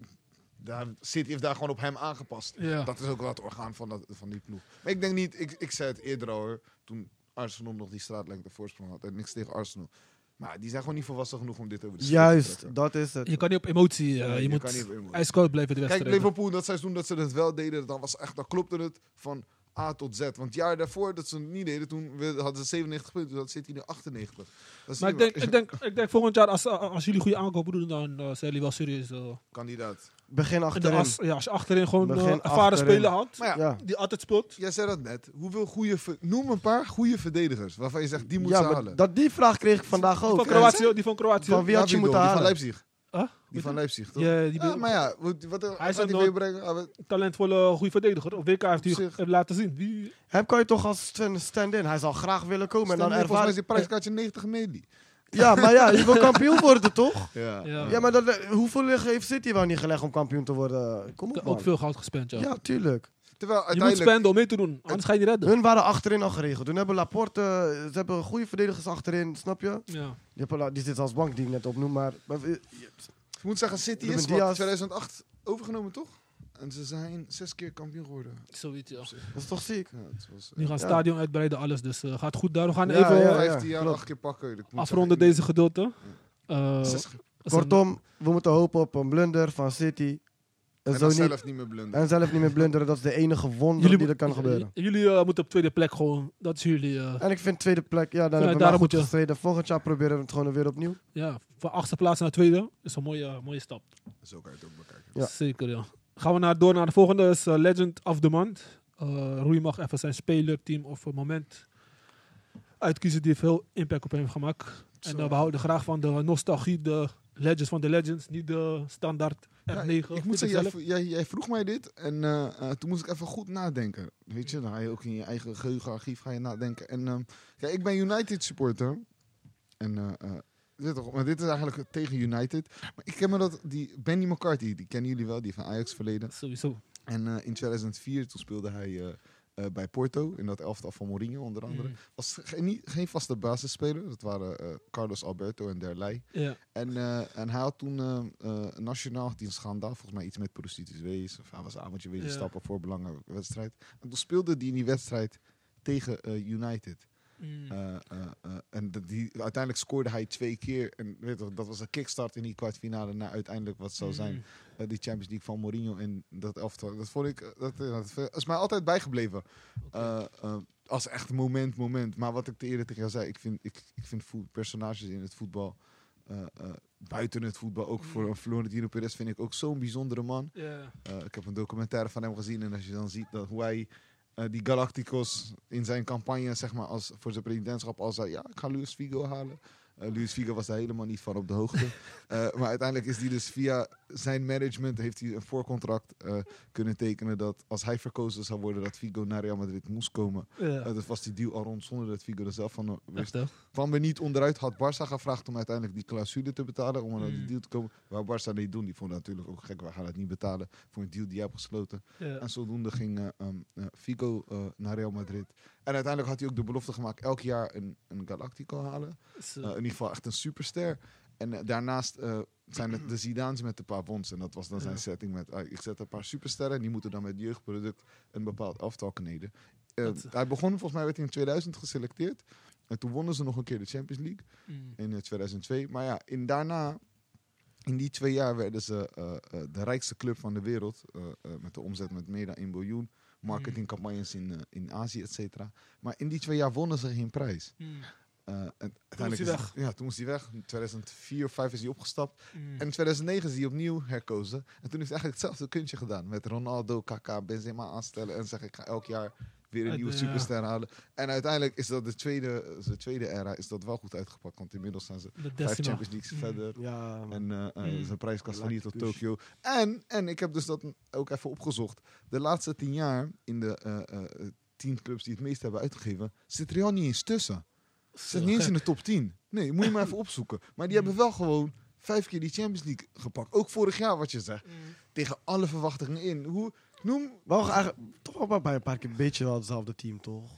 Daar, City heeft daar gewoon op hem aangepast. Ja. Dat is ook wel het orgaan van, dat, van die ploeg. Maar ik denk niet, ik, ik zei het eerder al hoor, toen Arsenal nog die straatlengte voorsprong had. En niks tegen Arsenal. Maar die zijn gewoon niet volwassen genoeg om dit over de streep te trekken. Juist, dat is het. Je kan niet op emotie. eh, Ja, je, je moet kan niet op emotie. ijskoud blijven de Kijk, wedstrijd. Liverpool dat seizoen dat ze dat wel deden, dan was echt, dan klopte het van A tot Z. Want het jaar daarvoor dat ze het niet deden, toen we- hadden ze 97 punten, toen had City nu 98. Dat is Maar ik niet denk, ik, denk, ik denk volgend jaar, als, als jullie goede aankopen doen, dan eh, zijn jullie wel serieus. eh, waar- kandidaat. Begin in de achterin. as, ja, als je achterin gewoon Begin eh, ervaren achterin. spelen had, Maar ja, Ja. die altijd speelt. jij zei dat net. Hoeveel goede, ver- noem een paar goede verdedigers waarvan je zegt die moet Ja, ze maar halen. dat, die vraag kreeg ik vandaag Die ook. van En- Kroatië. Die van Kroatië. Oh, Van wie had je Davido, die moeten van halen? Leipzig. Huh? Die van Leipzig, toch? Ja, die Ja, maar ja, wat, wat hij gaat een hij Noord- weer brengen? Ah, we- talentvolle, goede verdediger. Op WK heeft hij Op zich. heeft laten zien. Die, Hem kan je toch als st- stand-in. Hij zou graag willen komen. En Stel, dan volgens mij is ervaren... die prijskaartje 90 miljoen. Ja, maar ja, je wil kampioen worden, toch? Ja. Ja. Ja, maar dat, eh, hoeveel heeft City wel niet gelegd om kampioen te worden? Kom op, ook man. veel goud gespend, ja. Ja, tuurlijk. Terwijl je moet uiteindelijk... spenden om mee te doen, anders ga je niet redden. Hun waren achterin al geregeld. Toen hebben Laporte, eh, ze hebben goede verdedigers achterin, snap je? Ja. Die, hebben, La- die zit als bank die ik net opnoem, maar... maar eh, Ik moet zeggen, City Ruben is wat, Diaz. 2008 overgenomen, toch? En ze zijn zes keer kampioen geworden. Zoiets, ja. Dat is toch ziek? Ja, het was, eh, Nu gaan het Ja. stadion uitbreiden, alles. Dus eh, gaat goed daar. We gaan Ja, even ja, ja. 15 jaar, klopt. acht keer pakken. Ik moet afronden zeggen, deze gedeelte. Eh, zes- is een- Kortom, we moeten hopen op een blunder van City. En, en zo dan niet, zelf niet meer blunden. en zelf niet meer blunderen, dat is de enige wonder die mo- er kan gebeuren. j- jullie eh, moeten op tweede plek gewoon. Dat is jullie. eh, En ik vind tweede plek, Ja, ja, dan hebben we maar daarom goed moet je- gestreden. Volgend jaar proberen we het gewoon weer opnieuw. ja, van achtste plaats naar tweede is een mooie, eh, mooie stap. Zo kan je het ook bekijken. Ja. Zeker, ja. Gaan we naar, door naar de volgende. is eh, Legend of the Month. Eh Roei mag even zijn speler, team of eh, moment uitkiezen die veel impact op hem heeft gemaakt. En Zo. eh, we houden graag van de nostalgie, de legends van de legends. Niet de standaard R9. Ja, ik moet Vind zeggen, jij, zelf. v- jij, jij vroeg mij dit en eh, eh, toen moest ik even goed nadenken. Weet je, dan ga je ook in je eigen geheugenarchief ga je nadenken. En ehm, kijk, ik ben United supporter. En eh, eh, dit, toch, maar dit is eigenlijk tegen United. Maar ik ken me dat, die Benny McCarthy, die kennen jullie wel, die van Ajax verleden. Sowieso. En eh, in 2004, toen speelde hij eh, eh, bij Porto, in dat elftal van Mourinho onder andere. Mm. Was geen, niet, geen vaste basisspeler, dat waren eh, Carlos Alberto en derlei. Ja. En, eh, en hij had toen eh, eh, nationaal had hij een schandaal, volgens mij iets met prostituees. Of hij was een avondje weer Ja. stappen voor een belangrijke wedstrijd. En toen speelde hij in die wedstrijd tegen eh, United. Hm. Eh, eh, eh, en dat die, uiteindelijk scoorde hij twee keer. En weet je, dat was een kickstart in die kwartfinale naar uiteindelijk wat Hm. zou zijn. Mm. eh, die Champions League van Mourinho en dat elftal. Dat vond ik, eh, dat, eh, dat is mij altijd bijgebleven. Eh, eh, als echt moment, moment. Maar wat ik te eerder tegen jou zei, ik vind, ik, ik vind voet- personages in het voetbal, eh, eh, buiten het voetbal, ook voor een Florentino Perez vind ik ook zo'n bijzondere man. Ja. Eh, ik heb een documentaire van hem gezien en als je dan ziet dat hoe hij eh, die Galacticos in zijn campagne, zeg maar, als, voor zijn presidentschap al zei, ja, ik ga Luis Figo halen. Eh, Luis Figo was daar helemaal niet van op de hoogte. Eh, maar uiteindelijk is hij dus via zijn management heeft hij een voorcontract eh, kunnen tekenen dat als hij verkozen zou worden, dat Figo naar Real Madrid moest komen. Ja. Eh, dus- dat was die deal al rond zonder dat Figo er zelf van eh, wist. Echt, hè? Kwam er niet onderuit, had Barça gevraagd om uiteindelijk die clausule te betalen. Om aan die Mm. deal te komen. Waar Barça niet doen, die vonden natuurlijk ook gek. We gaan het niet betalen voor een deal die je hebt gesloten. Ja. En zodoende ging eh, um, eh, Figo eh, naar Real Madrid. En uiteindelijk had hij ook de belofte gemaakt elk jaar een, een Galactico halen. Zo. Eh, in ieder geval echt een superster. En eh, daarnaast eh, zijn het de Zidaans met een paar wons. En dat was dan zijn Ja. setting met... ah, ik zet een paar supersterren en die moeten dan met jeugdproduct een bepaald aftal kneden. Eh, Dat- hij begon, volgens mij werd hij in 2000 geselecteerd. En toen wonnen ze nog een keer de Champions League Mm. in eh, 2002. Maar ja, in daarna... In die twee jaar werden ze eh, eh, de rijkste club van de wereld. eh, eh, met de omzet met meer dan 1 biljoen. Hmm. Marketingcampagnes in, eh, in Azië, et cetera. Maar in die twee jaar wonnen ze geen prijs. Mm. Eh, en Toen moest uiteindelijk hij is- Ja, toen moest hij weg. In 2004 of 5 is hij opgestapt. Mm. En in 2009 is hij opnieuw herkozen. En toen heeft hij eigenlijk hetzelfde kuntje gedaan. Met Ronaldo, Kaká, Benzema aanstellen. En zeggen, ik ga elk jaar weer een Uit nieuwe de- superster halen. En uiteindelijk is dat de tweede, de tweede era is dat wel goed uitgepakt. Want inmiddels zijn ze De vijf decima. Champions Leagues Mm. verder. Ja, man. En eh, eh, Hmm. Mm. zijn prijskast van hier tot Galacticus. Tokio. En, en ik heb dus dat ook even opgezocht. De laatste tien jaar in de eh, eh, tien clubs die het meest hebben uitgegeven... zit Real niet eens tussen. Ze Zo, zijn niet eens gek. in de top 10. Nee, moet je maar even opzoeken. Maar die hebben wel gewoon vijf keer die Champions League gepakt. Ook vorig jaar, wat je zegt. Mm. Tegen alle verwachtingen in. Hoe, noem... Maar we eigenlijk toch wel bij een paar keer een beetje wel hetzelfde team, toch?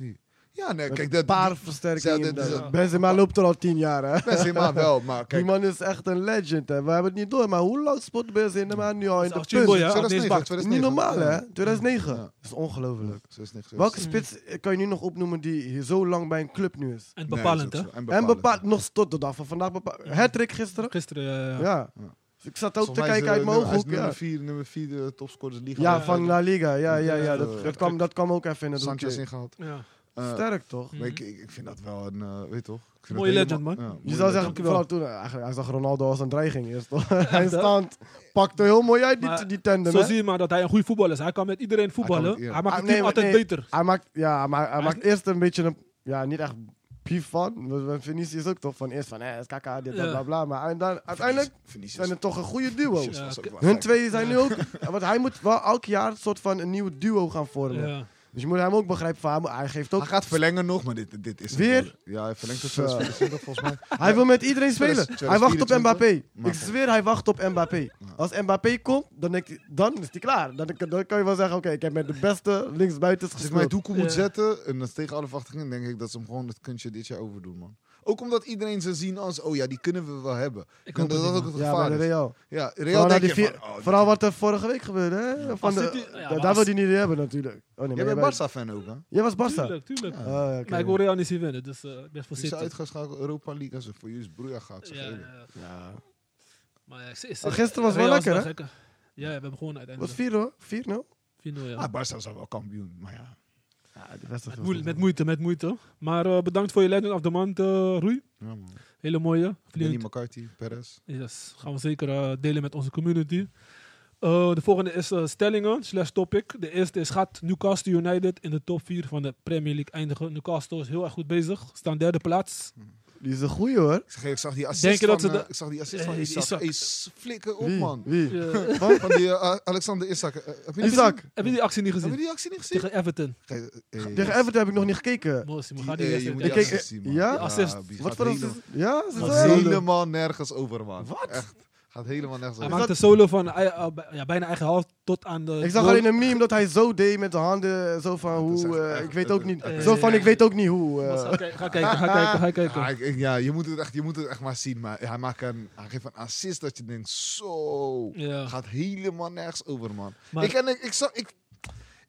Ja, nee, Met kijk, een dat... paar Ja, versterkingen. dat is- Ja. Benzema loopt er al tien jaar, hè? Benzema wel, maar Die kijk... man is echt een legend, hè? We hebben het niet door, maar hoe lang spot Benzema nu al in Is de al Chimbo, punt? ja? Dat 2009, bak. is 2009. Niet normaal, hè? Ja. 2009. Ja. dus- Dat is ongelooflijk. 2009, Welke spits eh, kan je nu nog opnoemen die hier zo lang bij een club nu is? En Nee, bepalend, dat is hè? ook zo. En En bepaalt nog tot de dag van vandaag. bepaald. Mm. Hattrick gisteren? Gisteren, ja, ja. Ja. Ja. Dus ik zat ook te kijken uit mijn ooghoek. eh, Nummer Ja, 4, nummer 4 de topscorers liga. ja Ja, van La Liga. Ja, ja, ja. Ja, Dat, eh, dat, kwam, dat kwam ook even in het Sanchez hoekje. ingehaald. Ja. Eh, Sterk, toch? maar ik, ik ik vind dat wel een... eh, weet toch? Ik vind Mhm. Mooie dat legend, helemaal- man. Ja, Je mooie zou legend. zeggen, vooral toen, eh, eigenlijk, hij zag Ronaldo als een dreiging eerst. toch? Hij hè? staand pakte heel mooi uit die, Maar die tandem. Zo hè? zie je maar dat hij een goede voetballer is. Hij kan met iedereen voetballen. Hij Hij, kan met- ja. maakt Ah, het nee, team maar altijd nee. beter. Hij maakt, ja, maar hij is maakt niet- eerst een beetje een, ja, niet echt pief van. Want- want Vinicius ook toch van eerst van, eh, is kaka, dit, dat, Ja. bla, bla. Maar en dan, uiteindelijk Vinicius- zijn het toch een goede duo. Vinicius was ook Ja, wel Hun gek. twee zijn nu ook, want hij moet wel elk jaar een soort van een nieuw duo gaan vormen. Ja. Dus je moet hem ook begrijpen van, hij moet- hij geeft ook, Hij gaat verlengen nog, maar dit, dit is... hem Weer? wel. Ja, hij verlengt het Zo. 2024 volgens mij. hij wil met iedereen spelen. Tweeduizend- Hij wacht op 2024, Mbappé. maar Ik goed. zweer, hij wacht op Mbappé. Als Mbappé komt, dan, denkt hij, dan is hij klaar. Dan, dan kan je wel zeggen, oké, ik heb met de beste linksbuitens Als ik mijn gespeeld. doekoe Ja. moet zetten, en dat is tegen alle verwachtingen, denk ik dat ze hem gewoon dat kuntje dit jaar overdoen, man. Ook omdat iedereen ze zien als, oh ja, die kunnen we wel hebben. Ik En hoop dat het is ook niet, het Ja, bij gevaar. de is. Real. Ja, Vooral, Real na denk die je vier, van, oh, vooral wat er vorige week gebeurde, hè? Van Als de, City- ja, maar da- daar wil als- hij niet hebben, natuurlijk. Oh, nee, Jij maar bent Barca-fan ook, hè? Jij was Barca. Tuurlijk, tuurlijk. Ja. Oh, ja, oké. Maar ik wil Real niet zien winnen, dus eh, ik ben Die is voorzichtig. uitgeschakeld Europa League en ze voor jullie is broeia gaat. Zeg Ja, eerlijk. ja. Ja. Maar ja, ik- ik- Oh, gisteren was wel Real lekker, hè? gekker. Ja, ja, we hebben gewoon Was uiteindelijk. 4 hoor? 4 0 4-0, ja. Ah, Barca zou wel kampioen, maar ja. Ja, de beste Met, moe- met moeite, met moeite. Maar eh, bedankt voor je leiding af de maand, eh, Roei. ja man. Hele mooie. Lenny Vliegend. McCarthy, Perez. Yes, gaan we zeker eh, delen met onze community. Eh, de volgende is eh, stellingen slash topic. De eerste is, gaat Newcastle United in de top 4 van de Premier League eindigen? Newcastle is heel erg goed bezig. Staan derde plaats. Eh, Die is een goeie hoor. Ik, zeg, ik zag die assist Denk je dat van, ze eh, de- ik zag die assist Eh, van die Isaac. Isaac. Hey, s- flikker op, Wie? man. Wie? Eh, Van, van die eh, Alexander Isaac. Eh, heb je die Isaac. gezien? heb je die actie niet Heb je gezien? die actie niet gezien? eh, Tegen Everton. Tegen Everton heb ik nog niet gekeken. Moos, Die- maar ga eh, die je wedstrijd moet Ik die kijken. keek- assist zien, man. ja? Assist. die Wat gaat voor helemaal- een... Ja, ze Gaat zijn- helemaal nergens over, man. Wat? Echt. Gaat helemaal nergens Hij over. maakt de solo van eh, eh, bij- ja, bijna eigen half tot aan de... Ik zag goal. alleen een meme dat hij zo deed met de handen. Zo van Dat is hoe... echt- eh, echt- ik weet ook niet... eh, Zo van eh, ik weet ook niet hoe. eh. Ga kijken, ga kijken, ga kijken, ga kijken. Ja, ik- ik- ja, je moet, het echt, je moet het echt maar zien. Maar hij, maakt een, hij geeft een assist dat je denkt, zo. Ja. Gaat helemaal nergens over, man. Maar- ik, en ik, ik, zag, ik,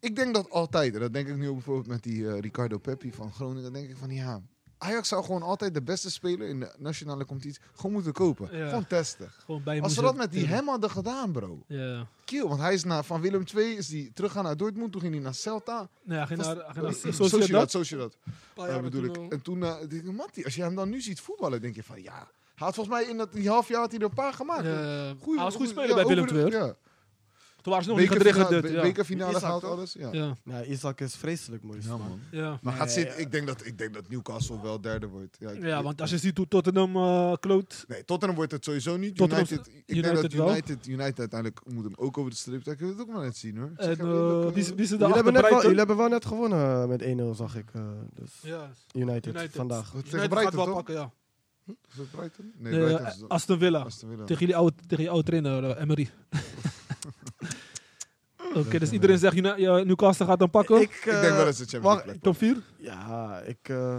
ik denk dat altijd, en dat denk ik nu ook bijvoorbeeld met die eh, Ricardo Peppi van Groningen, denk ik van ja. Ajax zou gewoon altijd de beste speler in de nationale competitie gewoon moeten kopen. Ja. Gewoon testen. Gewoon bij Als ze moeten- dat met die hem hadden gedaan, bro. Ja. Kiel, want hij is naar, van Willem II is die teruggaan naar Dortmund. Toen ging hij naar Celta. Nee, hij ging Was- naar, hij ging naar Sociedad, Sociedad. Oh, Sociedad. Paar Eh, jaren bedoel toen ik. al. En toen eh, dacht ik, Mattie, als je hem dan nu ziet voetballen, denk je van ja. Hij had volgens mij in dat, die half jaar had hij er een paar gemaakt. Ja, Goeie- hij was goed goeie- speler ja, bij Willem over II. de- hoor. Ja. Toen waren ze nog niet Bekerfinale, gedreigd. be- Ja. bekerfinale Isaac, gehaald, toch? alles. Ja. Ja. Ja, Isaac is vreselijk moeilijk. Ja. Maar gaat Nee, zitten, ja. ik, denk dat, ik denk dat Newcastle wel derde wordt. Ja, ik- ja, want als je ziet hoe Tottenham eh kloot. Nee, Tottenham wordt het sowieso niet. Tottenham- United, ik denk United dat wel. United, United uiteindelijk moet hem ook over de strip trekken. Ik wil het ook maar net zien hoor. Ik zeg, En ja, leuk, eh eh, die, z- die zitten Jullie achter hebben, net wel, jullie Brighton. hebben wel net gewonnen met 1-0, zag ik. eh, dus Ja, United, United. vandaag. Tegen United gaat Brighton, wel toch? pakken, ja. is dat Brighton? Nee, Nee, Brighton eh, is dat- Aston Villa. Aston Villa. Tegen jullie oude, tegen je oude trainer, eh, Emery. Oké, dus Emery. iedereen zegt Uni- ja, Newcastle gaat dan pakken. Ik denk wel dat ze Champions League eh, wacht, plek Top 4? Ja, ik, eh,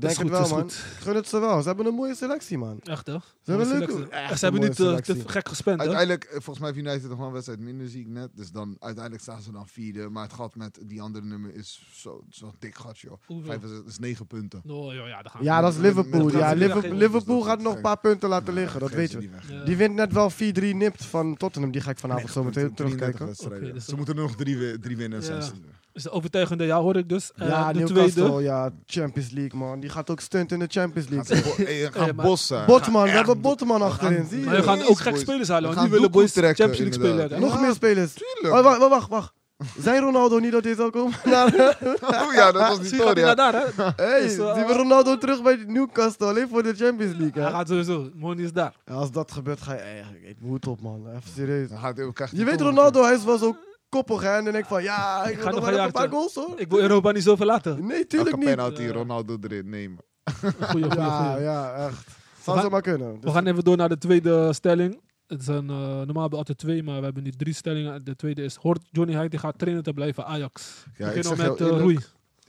Dat denk is goed, het wel, dat is man. Ik goed. gun het ze wel. Ze hebben een mooie selectie, man. Echt, hè? Ze hebben Mooie leuk. selectie. echt Ze een hebben mooie niet eh, te selectie. gek gespend, hè? Uiteindelijk, eh, volgens mij heeft United nog wel een wedstrijd minder, zie ik net. Dus dan uiteindelijk staan ze dan vierde. Maar het gat met die andere nummer is zo- zo'n dik gat, joh. Hoeveel? Vijf is, is negen punten. Oh, ja, ja, daar gaan we. Ja, dat is Met- met- Liverpool. met- Ja, met- Liverpool, met- Liverpool met- gaat nog een paar punten laten liggen, dat Geef weet ze je. die weg. Ja. Die wint net wel 4-3 nipt van Tottenham. Die ga ik Nou, vanavond zo meteen 39 terugkijken. wedstrijden. Oké, dat is ze wel- moeten er nog drie, wi- drie winnen. Ja. Zijn ze er. is de overtuigende, ja, hoor ik dus. Eh, Ja, de Newcastle, tweede. ja, Champions League, man. Die gaat ook stunt in de Champions Gaan League. ze bo- eh, gaan Hey, maar- Bos zijn. Botman, Gaan we echt hebben bo- Botman achterin, gaan- zie Maar we je. gaan Yes, ook gek boys. spelers halen, We want die gaan willen doekoe boys trekken, Champions League spelen. inderdaad. hè? Nog meer spelers. Tuurlijk. Oh, wacht, wacht, wacht, wacht. Zijn Ronaldo niet dat hij zal komen? naar- Oh ja, dat was Zie niet je, gaat door, hij ja. naar daar, hè? hey, Is, die eh, Ronaldo terug bij Newcastle, alleen voor de Champions League. Hij Hè? gaat sowieso. Money is daar. Ja, Als dat gebeurt, ga je eigenlijk... Ik moet op, man. Even serieus. Dan gaat hij ook echt Je die weet, toren Ronaldo, hij is wel zo koppig, hè. En dan denk ik van, ja, ik ga nog wil nog een wel een paar jaartje. goals, hoor. Ik wil Europa niet zo verlaten. Nee, kunnen. tuurlijk Elke niet. penalty, Ja. Ronaldo erin nemen. Goeie, goeie, Ja, goeie. ja, echt. We Zou gaan- zo maar kunnen. We Dus- gaan even door naar de tweede stelling. Het zijn eh, normaal hebben we altijd twee, maar we hebben nu drie stellingen. De tweede is, hoort Johnny Heitinga gaat trainen te blijven Ajax? Ja, Beginnen ik we zeg met heel eh, eerlijk, Roei.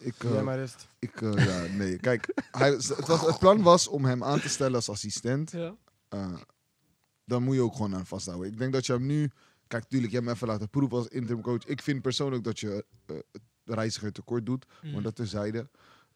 Ik, eh, Jij maar rest. ik, eh, ja, nee. Kijk, hij, het, was, het plan was om hem aan te stellen als assistent. Ja. eh, dan moet je ook gewoon aan vasthouden. Ik denk dat je hem nu... Kijk, tuurlijk, je hebt hem even laten proeven als interim coach. Ik vind persoonlijk dat je eh, de reiziger tekort doet. Maar Mm. dat terzijde.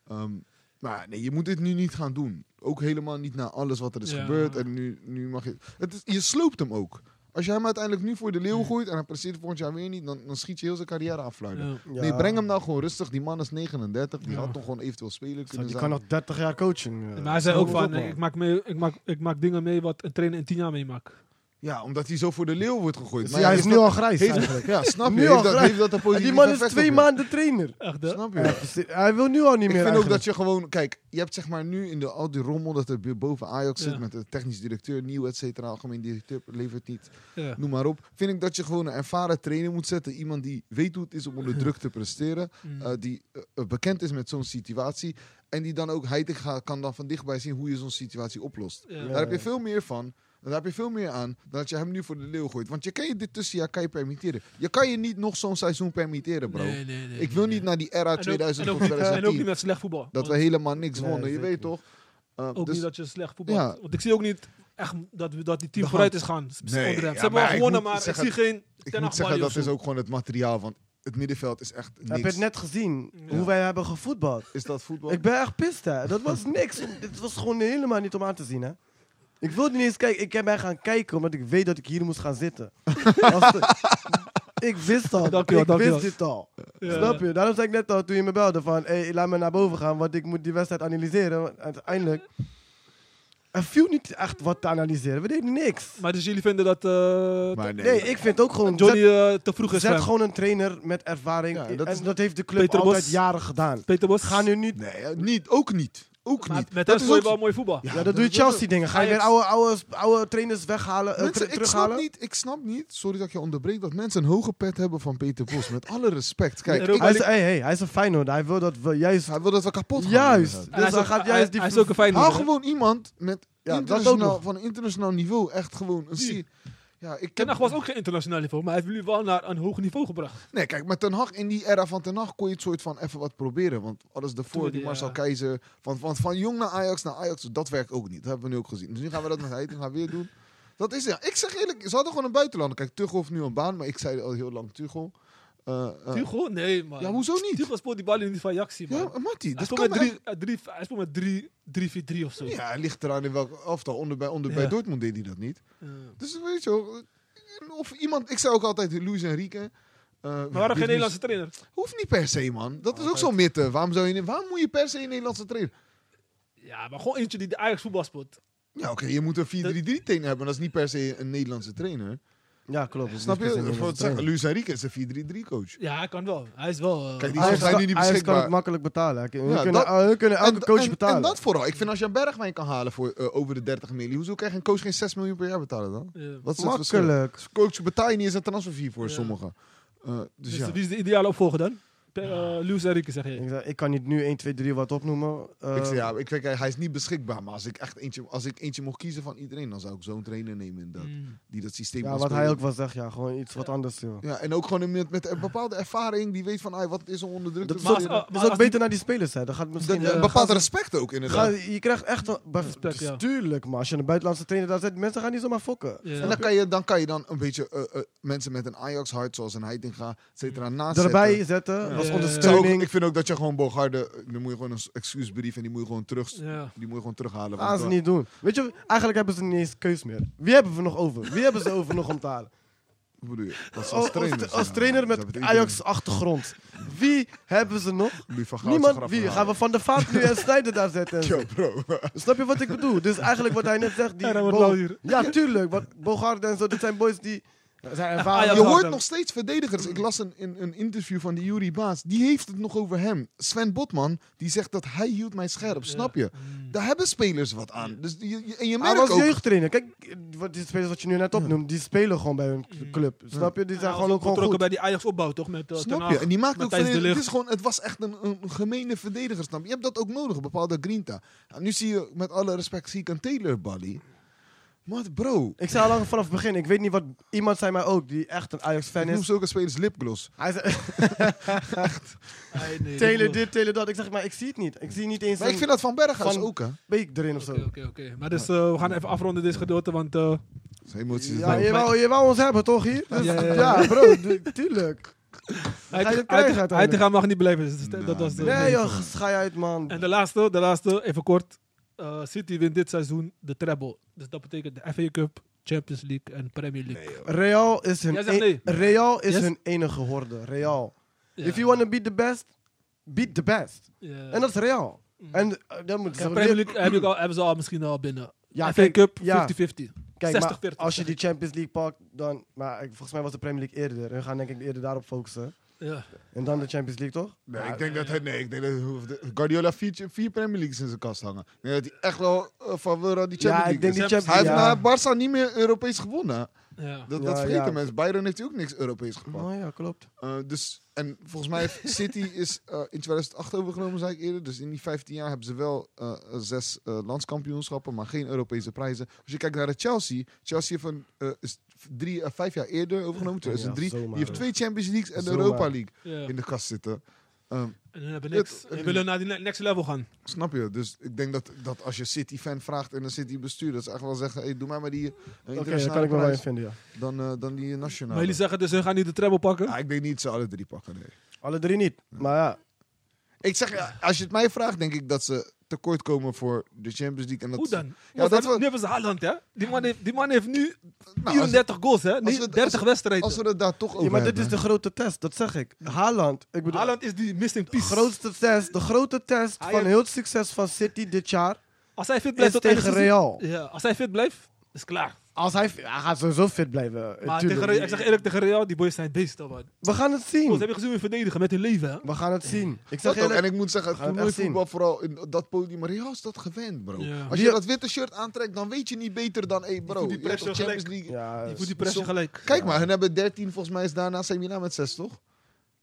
Ehm maar nee, je moet dit nu niet gaan doen. Ook helemaal niet na alles wat er is Ja. gebeurd. En nu, nu mag je... Het is, je sloopt hem ook. Als je hem uiteindelijk nu voor de leeuw gooit... en hij presteert volgend jaar weer niet... dan, dan schiet je heel zijn carrière afluiten. Ja. Nee, Ja. breng hem nou gewoon rustig. Die man is 39. Die Ja. had toch gewoon eventueel speler Zo, kunnen Die kan zijn. nog 30 jaar coachen. eh. Maar hij zei ook Kom op, van, man. ik maak, mee, ik, maak, ik maak dingen mee wat een trainer in tien jaar meemaakt. Ja, omdat hij zo voor de leeuw wordt gegooid. Dus Maar hij ja, is heeft nu al grijs heeft- eigenlijk. dat- Ja, snap je? nu al Heeft dat, gelijk. heeft dat een En positieve die man is effect twee op je? maanden trainer. Echt, hè? Snap je? Hij heeft- Hij wil nu al niet Ik meer vind ook dat eigenlijk. je gewoon, kijk, je hebt zeg maar nu in de, al die rommel dat er boven Ajax Ja. zit met de technisch directeur, nieuw, et cetera, algemeen directeur, levert niet, Ja. noem maar op. Vind ik dat je gewoon een ervaren trainer moet zetten. Iemand die weet hoe het is om onder druk te presteren, Mm. eh, die eh, eh, bekend is met zo'n situatie en die dan ook, hij te- ga- kan dan van dichtbij zien hoe je zo'n situatie oplost. Ja. Daar heb je veel meer van. Daar heb je veel meer aan dan dat je hem nu voor de leeuw gooit. Want je kan je dit tussenjaar kan je permitteren. Je kan je niet nog zo'n seizoen permitteren, bro. Nee, nee, nee, ik wil nee. niet naar die era En ook- 2000 en ook tot niet- En ook 2010. niet met slecht voetbal. Dat we Want helemaal niks Nee, wonnen, je zeker weet toch? Uh, ook dus- niet dat je slecht voetbal Ja. hebt. Want ik zie ook niet echt dat, we- dat die team We vooruit is gaan. s- Nee, onder hem. ja, Ze hebben wel maar ik gewonnen, moet maar ik zeggen- zie geen ik Ten Hag moet zeggen, Mali dat of zo. is ook gewoon het materiaal. Want het middenveld is echt niks. Heb je het net gezien? Ja. Hoe wij hebben gevoetbald? Is dat voetbal? Ik ben echt pist, hè. Dat was niks. Dit was gewoon helemaal niet om aan te zien, hè. Ik wilde niet eens kijken. Ik heb mij gaan kijken omdat ik weet dat ik hier moest gaan zitten. Als de- ik wist al. Dank je wel, ik dank je wist wel. dit al. Ja. Snap je? Daarom zei ik net al toen je me belde van... Hey, laat me naar boven gaan, want ik moet die wedstrijd analyseren. Want uiteindelijk... Er viel niet echt wat te analyseren. We deden niks. Maar dus jullie vinden dat eh, maar nee. Nee, ik vind ook gewoon... Johnny zet- eh, te vroeg is Zet, voor hem. gewoon een trainer met ervaring. Ja, dat is- en dat heeft de club Peter Bos. altijd jaren gedaan. Peter Bos. Ga nu niet... nee, eh, niet. Ook niet. Ook Maar niet. met Dat hem is speel je ook- wel mooi voetbal. Ja, dat doe je Chelsea-dingen. Ga je weer Ajax. oude, oude, oude trainers weghalen, eh, Mensen, ter- ik, snap terughalen? niet, ik snap niet, sorry dat ik je onderbreekt, dat mensen een hoge pet hebben van Peter Bos. Met alle respect. Kijk, Nee, ik- Hij is, hey, hey, hij is een Feyenoord. Hij wil dat we juist... hij wil dat we kapot gaan. Juist. inderdaad. En hij Dus is dan ook- gaat hij- juist die... Hij is ook een fijn Haal gewoon iemand met Ja, dat ook internationaal, nog. van een internationaal niveau. Echt gewoon een... Wie? C- Ja, ik Ten heb- Hag was ook geen internationaal niveau, maar hij heeft jullie wel naar een hoog niveau gebracht. Nee, kijk, met Ten Hag, in die era van Ten Hag kon je het soort van even wat proberen. Want alles daarvoor, Tuurlijk, die Marcel ja. Keizer, van, van, van jong naar Ajax naar Ajax, dat werkt ook niet. Dat hebben we nu ook gezien. Dus nu gaan we dat met Heitinga weer doen. Dat is ja. Ik zeg eerlijk, ze hadden gewoon een buitenlander. Kijk, Tuchel heeft nu een baan, maar ik zei al heel lang Tuchel. eh, eh, Tugo? Nee, man. ja, hoezo niet? Tugo speelt die bal in die van Jaxi, man. Ja, Matty, hij dat speelt kan met drie... 3 drie, hij speelt met drie- 3-4-3 of zo. Ja, hij ligt eraan in welk elftal. Onder bij, onder bij Ja. Dortmund deed hij dat niet. Ja. Dus weet je wel, eh, of iemand, ik zei ook altijd Luis Enrique. eh, Maar waarom dit geen is- Nederlandse trainer? Hoeft niet per se, man. Dat is ook zo'n mythe. Waarom, zou je, waarom moet je per se een Nederlandse trainer? Ja, maar gewoon eentje die de Ajax voetbal speelt. Ja, oké, je moet een 4-3-3 trainer hebben. maar Dat is niet per se een Nederlandse trainer. Ja, klopt. dat is Snap niet per se je? een Voor het zeggen, trainer. Luis Enrique is een 4-3-3 coach. Ja, hij kan wel. Hij is wel... eh, Kijk, die Ajax zijn nu kan- niet Ajax kan het beschikbaar. makkelijk betalen. Hun Ja, kunnen, dat- eh, hun kunnen elke En- coach en, betalen. En dat vooral. Ik vind als je een Bergwijn kan halen voor eh, over de 30 miljoen, hoezo krijg je een coach geen 6 miljoen per jaar betalen dan? ja. Wat is het verschil? makkelijk. Coach betaal je niet eens een transferfee voor Ja. sommigen. Eh, dus, Dus ja. wie is de ideale opvolger dan? Pe- eh, Luis Enrique, zeg je. Ik, zeg, ik kan niet nu 1, 2, 3 wat opnoemen. Eh, ik zeg, ja, ik vind, hij is niet beschikbaar, maar als ik echt eentje, als ik eentje mocht kiezen van iedereen, dan zou ik zo'n trainer nemen in dat, Mm. die dat systeem ja, kan wat hij spelen. ook wel zegt, ja, gewoon iets wat anders. Joh. Ja, en ook gewoon een- met, met een bepaalde ervaring, die weet van, ah, wat is er onder druk. Dat te is maar als- ook, eh, spelen. is maar ook als beter naar die spelers. Hè. Dan gaat misschien, Dat- eh, een bepaald gaan ze- respect ook, ga, inderdaad. je krijgt echt... wel- bij- Respect, ja. Tuurlijk, maar als je een buitenlandse trainer daar zet, mensen gaan niet zomaar fokken. Ja. En dan kan, je, dan kan je dan een beetje eh, eh, mensen met een Ajax-hart, zoals een Heitinga, et cetera, naast Daarbij zetten, als Ja. Ik zou ook- ondersteuning. ik vind ook dat je gewoon Bogarde, eh, dan moet je gewoon een s- excuusbrief en die moet je gewoon, terug, Ja. die moet je gewoon terughalen. Gaan want, ze eh, niet doen. Weet je, eigenlijk hebben ze niet eens keus meer. Wie hebben we nog over? Wie hebben ze over nog om te halen? hoe bedoel je? Dat is Als, als als, trainer. Oh, als trainer met Ajax-achtergrond. Wie hebben ze nog? Niemand. Wie? Gaan we Van de Vaart nu en Snijder daar zetten? en zo? Yo, bro. Snap je wat ik bedoel? Dus eigenlijk wat hij net zegt. Die Ja, dat wordt Bo- wel hier. ja tuurlijk. Want Bogarde en zo, dit zijn boys die... Nou, Zijn ervaren. Ajax Je Ah, Ja, hoort dan- nog steeds verdedigers. Ik las een, een, een interview van die Yuri Baas. Die heeft het nog over hem. Sven Botman, die zegt dat hij hield mij scherp. Snap je? Mm. Daar hebben spelers wat aan. Dus je, je- en je Hij merkt was ook... jeugdtrainer. Kijk, wat die spelers wat je nu net opnoemt, die spelen gewoon bij hun club. Snap je? Die zijn gewoon ook gewoon betrokken goed. bij die Ajax opbouw, toch? Met, eh, Ten Snap je? Hag, En die maakt ook Matthijs de verdedigers. Het, Ligt. is gewoon, het was echt een, een gemene verdediger, snap je? Je hebt dat ook nodig, een bepaalde grinta. En nu zie je, met alle respect, zie ik een Taylor Bally. Maar bro, Ik zei al lang vanaf het begin, ik weet niet wat... Iemand zei mij ook, die echt een ik Ajax-fan noem is. zulke spelers lipgloss. Hij zei, Ai, nee, telen dat dit, telen dat. Ik zeg, maar ik zie het niet. Ik zie niet eens Maar ik een vind dat Van Berghuis Van- ook, hè? beek erin of zo. Oké, oké, oké. Maar dus eh, we gaan even afronden dit gedeelte, want eh, Zijn emoties Ja, zijn- je wou, je wou ons hebben toch hier? Dus- Ja, ja, ja, ja. bro, du- tuurlijk. hij je krijgen uit, uiteindelijk? te gaan mag niet blijven. Dus dat- dat was de, Nee joh, schij uit man. En de laatste, de laatste, even kort. Eh, City wint dit seizoen de treble. Dus dat betekent de FA Cup, Champions League en Premier League. Real is hun, Jij zegt e- nee. Real is Yes. hun enige horde. Real. Ja. If you wanna be the best, beat the best. Ja. En dat is Real. En eh, dan moet Kijk, Premier League heb ik al, hebben ze al misschien al binnen. Ja, FA kijk, Cup 50-50. ja. Kijk, maar 60-40. als je zeg die ik. Champions League pakt, dan... Maar ik- volgens mij was de Premier League eerder. We gaan denk ik eerder daarop focussen. Ja. En dan de Champions League, toch? Nee, ik denk dat hij... Nee, ik denk dat Guardiola vier, vier Premier Leagues in zijn kast hangen. Nee, dat hij echt wel eh, van wil dat die Champions Ja, League ik denk is. die Hij heeft Champions- ja. na Barça niet meer Europees gewonnen. Ja. Dat, Ja, dat vergeten ja. mensen. Bayern heeft ook niks Europees gepakt. Oh ja, klopt. Eh, dus, en volgens mij heeft City is eh, in 2008 overgenomen, zei ik eerder. Dus in die 15 jaar hebben ze wel eh, eh, zes eh, landskampioenschappen, maar geen Europese prijzen. Als je kijkt naar de Chelsea, Chelsea heeft een, eh, is drie, eh, vijf jaar eerder overgenomen, 2003. Ja, zomaar. die heeft twee Champions Leagues en de Zomaar. Europa League Ja. in de kast zitten. Ehm, En hun hebben niks. Het- Ze willen naar die ne- next level gaan. snap je? Dus ik denk dat, dat als je City-fan vraagt en een City-bestuur, dat ze echt wel zeggen: hey, doe mij maar die eh, Oké, daar kan internationale ik me wel in prijs vinden, ja. dan, eh, dan die Maar nationale. jullie zeggen dus, hun gaan niet de treble pakken. Ja, ik denk niet dat ze alle drie pakken, nee. Alle drie niet. Maar ja, Ik zeg, ja, als je het mij vraagt, denk ik dat ze tekort komen voor de Champions League. En dat Hoe ze- dan? Ja, dat nu we, hebben ze Haaland, hè? Die man heeft, die man heeft nu nou, als, 34 goals, hè? als Nee, we het- 30 wedstrijden. als we het daar toch over Ja, maar dit hebben. is de grote test, dat zeg ik. Haaland, ik bedoel, Haaland is die missing de piece. grootste test, de grote test Hij van heeft- heel het succes van City dit jaar Als hij fit blijft is tot einde tegen seizoen- Real. Ja, als hij fit blijft, is klaar. Als hij, hij gaat sowieso fit blijven. eh, Maar tuurlijk. tegen Real, ik zeg eerlijk, tegen Real, die boys zijn beesten, man. We gaan het Ze zien. hebben gezien hun verdedigen met hun leven, hè? We gaan het zien. Ik Dat zeg ook. En eerlijk, ik moet zeggen, We gaan het toernooi echt zien. voetbal vooral in dat podium. Maar Real is dat gewend, bro. Ja. Als je Die- dat witte shirt aantrekt, dan weet je niet beter dan... Hey, bro, voelt die je hebt pressure toch Champions League. ja, Je voelt die pressie gelijk. Kijk maar, hun hebben 13, volgens mij is daarna Semina met 6, toch?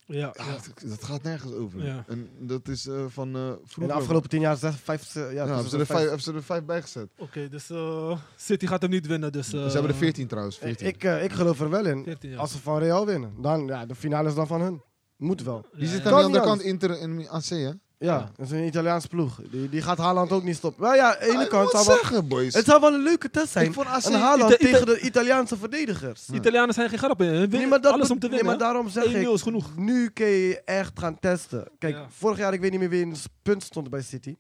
Ja, Ja, ja. Dat, dat gaat nergens over. Ja. En dat is eh, van eh, vroeger. in de afgelopen tien jaar zes, vijf, ze- ja, Ja, tussen hebben ze de er vijf, vijf- hebben ze er vijf bij gezet. Oké, dus eh, City gaat hem niet winnen. Dus, eh, ze hebben er 14 trouwens. 14. Ik, eh, ik geloof er wel in. 14, ja. Als ze van Real winnen, dan, ja, de finale is dan van hun. Moet wel. Ja, Wie zit ja. aan de Kan niet andere kant? anders. Inter en AC, hè? Ja, dat is een Italiaans ploeg. Die, die gaat Haaland ook niet stoppen. Maar ja, aan de ene Ik kant moet zou wel- zeggen, boys. het zou wel een leuke test Ik zijn. vond AC... Een Haaland Ah, Ita- Ita- tegen de Italiaanse verdedigers. Italianen zijn geen grap in. Hun Nee, winnen maar dat alles be- om te nee, winnen. maar daarom zeg 1-0 ik, is genoeg. nu kun je echt gaan testen. Kijk, Ja. vorig jaar, ik weet niet meer wie in het punt stond bij City.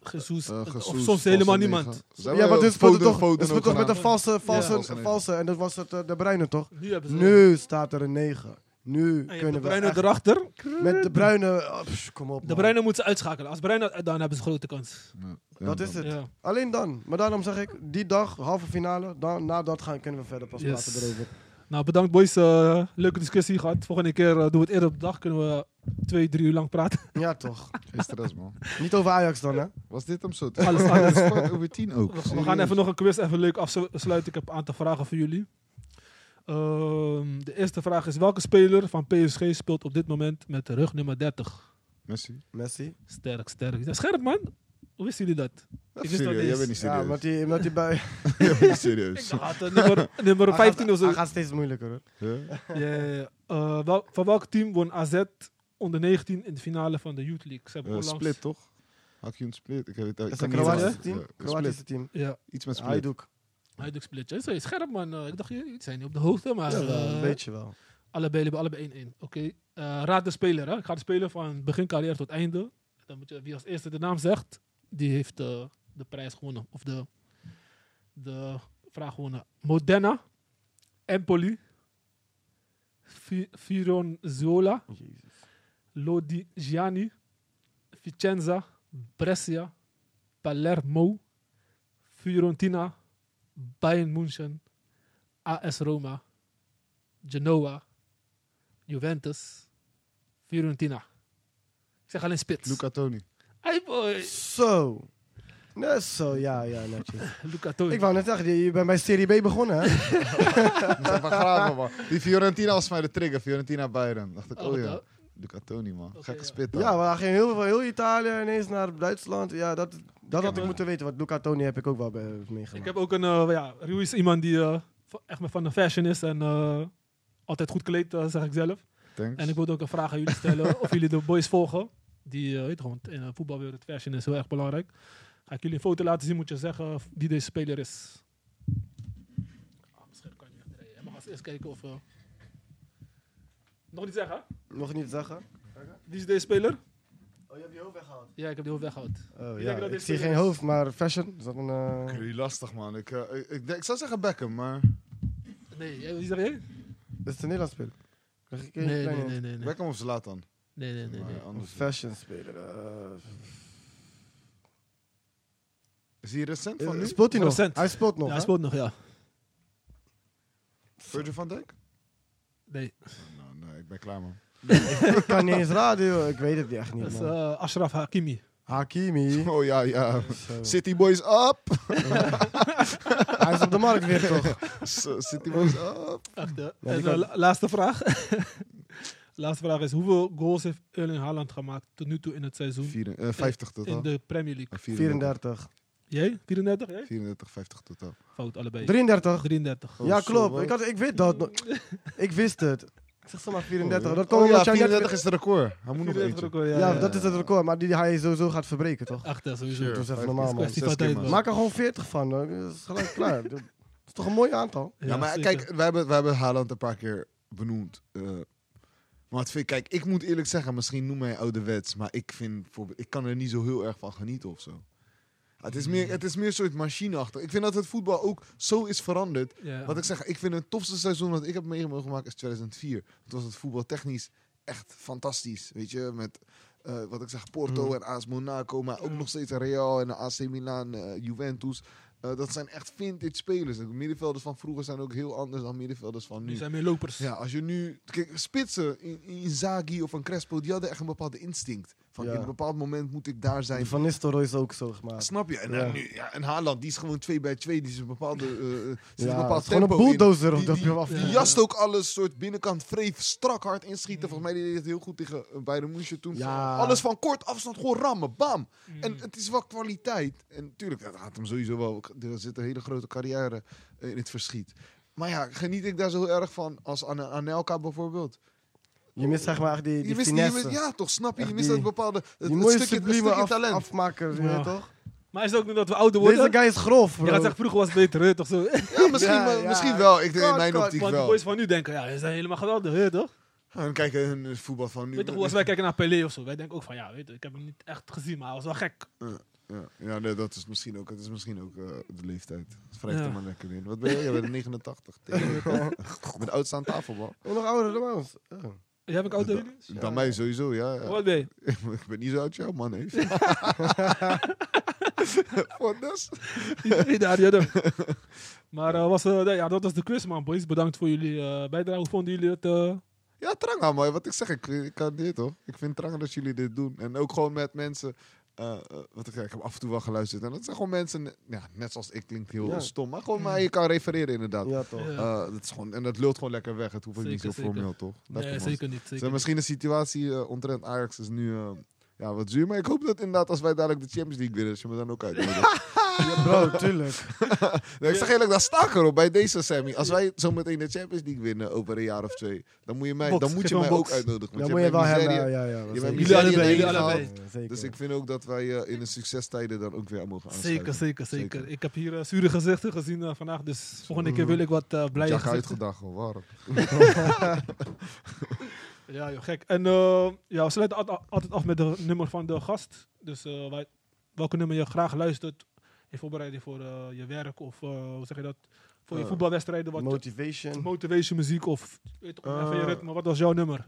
Jesus, Eh, Jesus of was soms een helemaal negen. niemand. Zijn ja, we- maar dit speelde Foden- toch, Foden dit speelde ook toch met een gedaan. valse, valse, Ja. valse. En dat was het, eh, De Bruyne toch? Nu hebben ze... Nu staat er een 9. Nu En Ah, je hebt kunnen de we Bruyne echt- erachter. Met De Bruyne... oh, pff, kom op, De man. Bruyne moeten ze uitschakelen. Als Bruyne, dan hebben ze grote kans. Ja, Dat man. is het. Ja. Alleen dan. Maar daarom zeg ik, die dag, halve finale, dan, na dat gaan, kunnen we verder pas Yes. praten erover. Nou, bedankt boys. Eh, leuke discussie gehad. Volgende keer eh, doen we het eerder op de dag. Kunnen we twee, drie uur lang praten. Ja, toch. Geen stress, man. Niet over Ajax dan, hè? Was dit hem zo? Alles anders. Sport over tien ook. We, we gaan even nog een quiz even leuk afsluiten. Ik heb een aantal vragen voor jullie. Ehm, de eerste vraag is: welke speler van PSG speelt op dit moment met rug nummer 30? Messi. Messi. Sterk, sterk. Ja, scherp man. Hoe wisten jullie dat? Dat wist is dat serieus. eens. Jij bent niet Ja, serieus. omdat hij, omdat hij bij... Jij bent niet Ik serieus. dacht eh, nummer, nummer Dus- Hij 15 gaat- of zo. Hij gaat steeds moeilijker, hoor. Ja? Ja, ja, ja. Eh, wel- van welk team won AZ onder 19 in de finale van de Youth League? Ze hebben Eh, onlangs- Split, toch? Hakjoen Split. Ik weet het ik kan Is dat niet Kroatische zeggen. team? Ja, Split. Kroatische team. Ja, Iets met Split. Hajduk. Huidelijk Split. Ja, zo is scherp man. Eh, ik dacht, jullie zijn niet op de hoogte, maar Ja, eh, een beetje wel. allebei hebben allebei 1-1. Oké, Eh, raad de speler. Hè? Ik ga de speler van begin carrière tot einde. Dan moet je, wie als eerste de naam zegt, die heeft eh, de prijs gewonnen. Of de, de vraag gewonnen. Modena, Empoli, Fi- Fiorenzola, Lodigiani, Vicenza, Brescia, Palermo, Fiorentina, Bayern München, AS Roma, Genoa, Juventus, Fiorentina. Ik zeg alleen spits. Luca Toni. Hey boy. Zo. Nee, zo, ja, ja, netjes. Luca Toni. Ik wou net zeggen, je je bent bij Serie B begonnen, hè? Dat is even graven, man. Die Fiorentina was mij de trigger. Fiorentina Bayern. Dacht ik, Oh, oh ja. dat- Luca Toni, man. Oké, Gekke ja. spit, Ja, maar hij ging heel, veel- heel Italië ineens naar Duitsland. Ja, dat, dat had ik een- moeten weten, want Luca Toni heb ik ook wel bij- Ik meegemaakt. heb ook een, eh, ja, Rui is iemand die eh, va- echt maar van de fashion is en eh, altijd goed kleedt, eh, zeg ik zelf. Thanks. En ik wilde ook een vraag aan jullie stellen of jullie de boys volgen. Die, eh, weet je, want in eh, voetbalwereld fashion is heel erg belangrijk. Ga ik jullie een foto laten zien, moet je zeggen of wie deze speler is. Ah, misschien kan je niet echt rijden. Hij mag als eerst kijken of... eh, Nog niet zeggen, hè? Nog niet zeggen? Wie is deze speler? Oh, je hebt je hoofd weggehaald. Ja, ik heb die hoofd weggehouden. Ik Oh, ja. denk dat Ik dit zie voor geen de- hoofd, maar fashion. Is dat een... eh, Jullie lastig, man. Ik, eh, ik, ik, denk- ik zou zeggen Beckham, maar... Nee, jij- wie zeg jij? Is het een Nederlands speler? Krijg ik een Nee, nee, kleine- nee, nee. Nee, nee, Beckham of Zlatan? nee. nee, nee, Maar nee. Een anders- fashion speler. eh. Is hij recent van nu? speelt eh, hij nog? Recent. Hij speelt Ja, nog, hij hè? speelt nog, ja. Virgil van Dijk? Nee. Nou, nee, ik ben klaar, man. Ik kan niet eens raden, joh. Ik weet het echt Dat niet, is man. eh, Ashraf Hakimi. Hakimi. Oh ja, ja. Zo. City Boys up! Hij is op de markt weer, toch? Zo, City Boys up! Echt, eh. die en, kan- eh, la- laatste vraag. laatste vraag is: hoeveel goals heeft Erling Haaland gemaakt tot nu toe in het seizoen Vier, eh, 50 in totaal. de Premier League? Eh, 34. Jij? 34? Jij? 34, 50 totaal. Fout, allebei. 33? 33. Oh, Ja, zo, klopt. wat? Ik, had, ik weet dat. nog. Ik wist het. Ik zeg zomaar 34. Dat Oh komt ja, omdat jij net- 34 is het record. Hij moet nog 34 eentje. ook al, ja, Ja, ja, dat is het record. Maar die hij sowieso gaat verbreken, toch? Achter, sowieso. Oh. Sure. Dat is even Vijf normaal, keer man. zes Kwestie van keer, tijd, man. man. Maak er gewoon 40 van. hoor. Dat is gelijk klaar. Dat is toch een mooi aantal? Ja, maar zeker. kijk, we hebben, we hebben Haaland een paar keer benoemd. eh. maar het vind, kijk, ik moet eerlijk zeggen, misschien noem mij ouderwets, maar ik, vind, bijvoorbeeld- ik kan er niet zo heel erg van genieten of zo. Het is meer, het is meer een soort machineachtig. Ik vind dat het voetbal ook zo is veranderd. Ja. Wat ik zeg, ik vind het tofste seizoen dat ik heb meegemaakt is 2004. Toen was het voetbaltechnisch echt fantastisch. Weet je, met eh, wat ik zeg, Porto Mhm. en AS Monaco, maar ook nog steeds Real en AC Milan, eh, Juventus. Eh, dat zijn echt vintage spelers. De middenvelders van vroeger zijn ook heel anders dan middenvelders van Nu nu. zijn meer lopers. Ja, als je nu... Kijk, spitsen, in, in Inzaghi of een Crespo, die hadden echt een bepaald instinct. Van, Ja. in een bepaald moment moet ik daar zijn. Die Van Nistelrooy is ook zo gemaakt. Snap je? En, Ja. en nu, ja, en Haaland, die is gewoon twee bij twee. Die is een bepaalde. eh, eh, zit Ja, een het bepaald is gewoon een tempo in. bulldozer op Die- dat die- je af- Die Ja. jast ook alles, soort binnenkant vreef, strak hard inschieten. Volgens mij deed hij het heel goed tegen eh, Bayern München toen. Ja. Alles van kort afstand, gewoon rammen, bam. En het is wel kwaliteit. En tuurlijk, dat gaat hem sowieso wel. Er zit een hele grote carrière eh, in het verschiet. Maar ja, geniet ik daar zo heel erg van als An- Anelka bijvoorbeeld. Je mist zeg maar echt die, Je die mist, je finesse. mist- ja, toch, snap je? Echt Je mist die- dat bepaalde. Het, die het mooie stukje, het sublieme stukje af- talent. afmaker, je Ja. weet toch? Maar is het ook nu dat we ouder Deze worden? guy is grof, bro. Je gaat zeggen, vroeger was het beter, hè, toch zo? ja, misschien, Ja, wel- ja. misschien wel. Ik denk in Kan, mijn kan. optiek Want de wel. boys van nu denken, ja, ze zijn helemaal geweldig, hè, toch? Ja, En kijken hun eh, voetbal van nu. Weet toch, hoe als wij kijken naar Pelé of zo, wij denken ook van, ja, weet je, ik heb hem niet echt gezien, maar hij was wel gek. Ja, ja nee, dat is misschien ook, het is misschien ook eh, de leeftijd. Het wrijft Ja. er maar lekker in. Wat ben jij? Jij bent 89. Met de oudste aan tafel, man. Oh, nog ouder dan ons. Oh. Jij heb ik oud Da- Dan mij sowieso, ja. ja. Wat ben je? Ik ben niet zo oud als jou, man. hè. Wat is? Iedereen daar, ja, dan. Maar eh, was, eh, nee, ja, dat was de quiz, man, boys. Bedankt voor jullie eh, bijdrage. Hoe vonden jullie het? eh? Ja, Tranga, maar wat ik zeg, ik, ik kan dit hoor. Ik vind Tranga dat jullie dit doen. En ook gewoon met mensen. eh, eh, wat ik, ik heb af en toe wel geluisterd. En dat zijn gewoon mensen, ja, net zoals ik, klinkt heel Ja. stom. Maar Mm. gewoon, maar je kan refereren inderdaad. Ja, toch. Ja. Eh, dat is gewoon, en dat lult gewoon lekker weg. Het hoeft ook niet zo Zeker, zeker. formeel, toch? Lekker, nee, man. zeker niet. Dus Zeker misschien de situatie eh, omtrent Ajax is nu eh, ja, wat zuur. Maar ik hoop dat inderdaad als wij dadelijk de Champions League winnen, dat je me dan ook uitnodigt. Bro, tuurlijk. nee, ik zeg eerlijk, daar sta ik erop bij deze Sammy. Als wij zo meteen de Champions League winnen over een jaar of twee, dan moet je mij, Box, dan moet geef je hem mij een box. ook uitnodigen. want Dan je moet je hebt wel met hebben. Nigeria- Ja, ja, ja. bent zeker. Jullie allebei, Ja, jullie allebei. ja, zeker. Dus ik vind ook dat wij eh, in de succestijden dan ook weer aan mogen aansluiten. Zeker, zeker, zeker. Ik heb hier eh, zure gezichten gezien eh, vandaag, dus volgende Mhm. keer wil ik wat eh blije Ja, gezichten. uitgedacht, hoor. warm. Ja, joh, gek. En eh, ja, we sluiten al- al- altijd af met de nummer van de gast. Dus eh, wij- welke nummer je graag luistert in voorbereiding voor eh, je werk of eh, hoe zeg je dat? Voor je Eh, voetbalwedstrijden, wat Motivation. motivation muziek of weet toch, even je Eh, ritme. Wat was jouw nummer?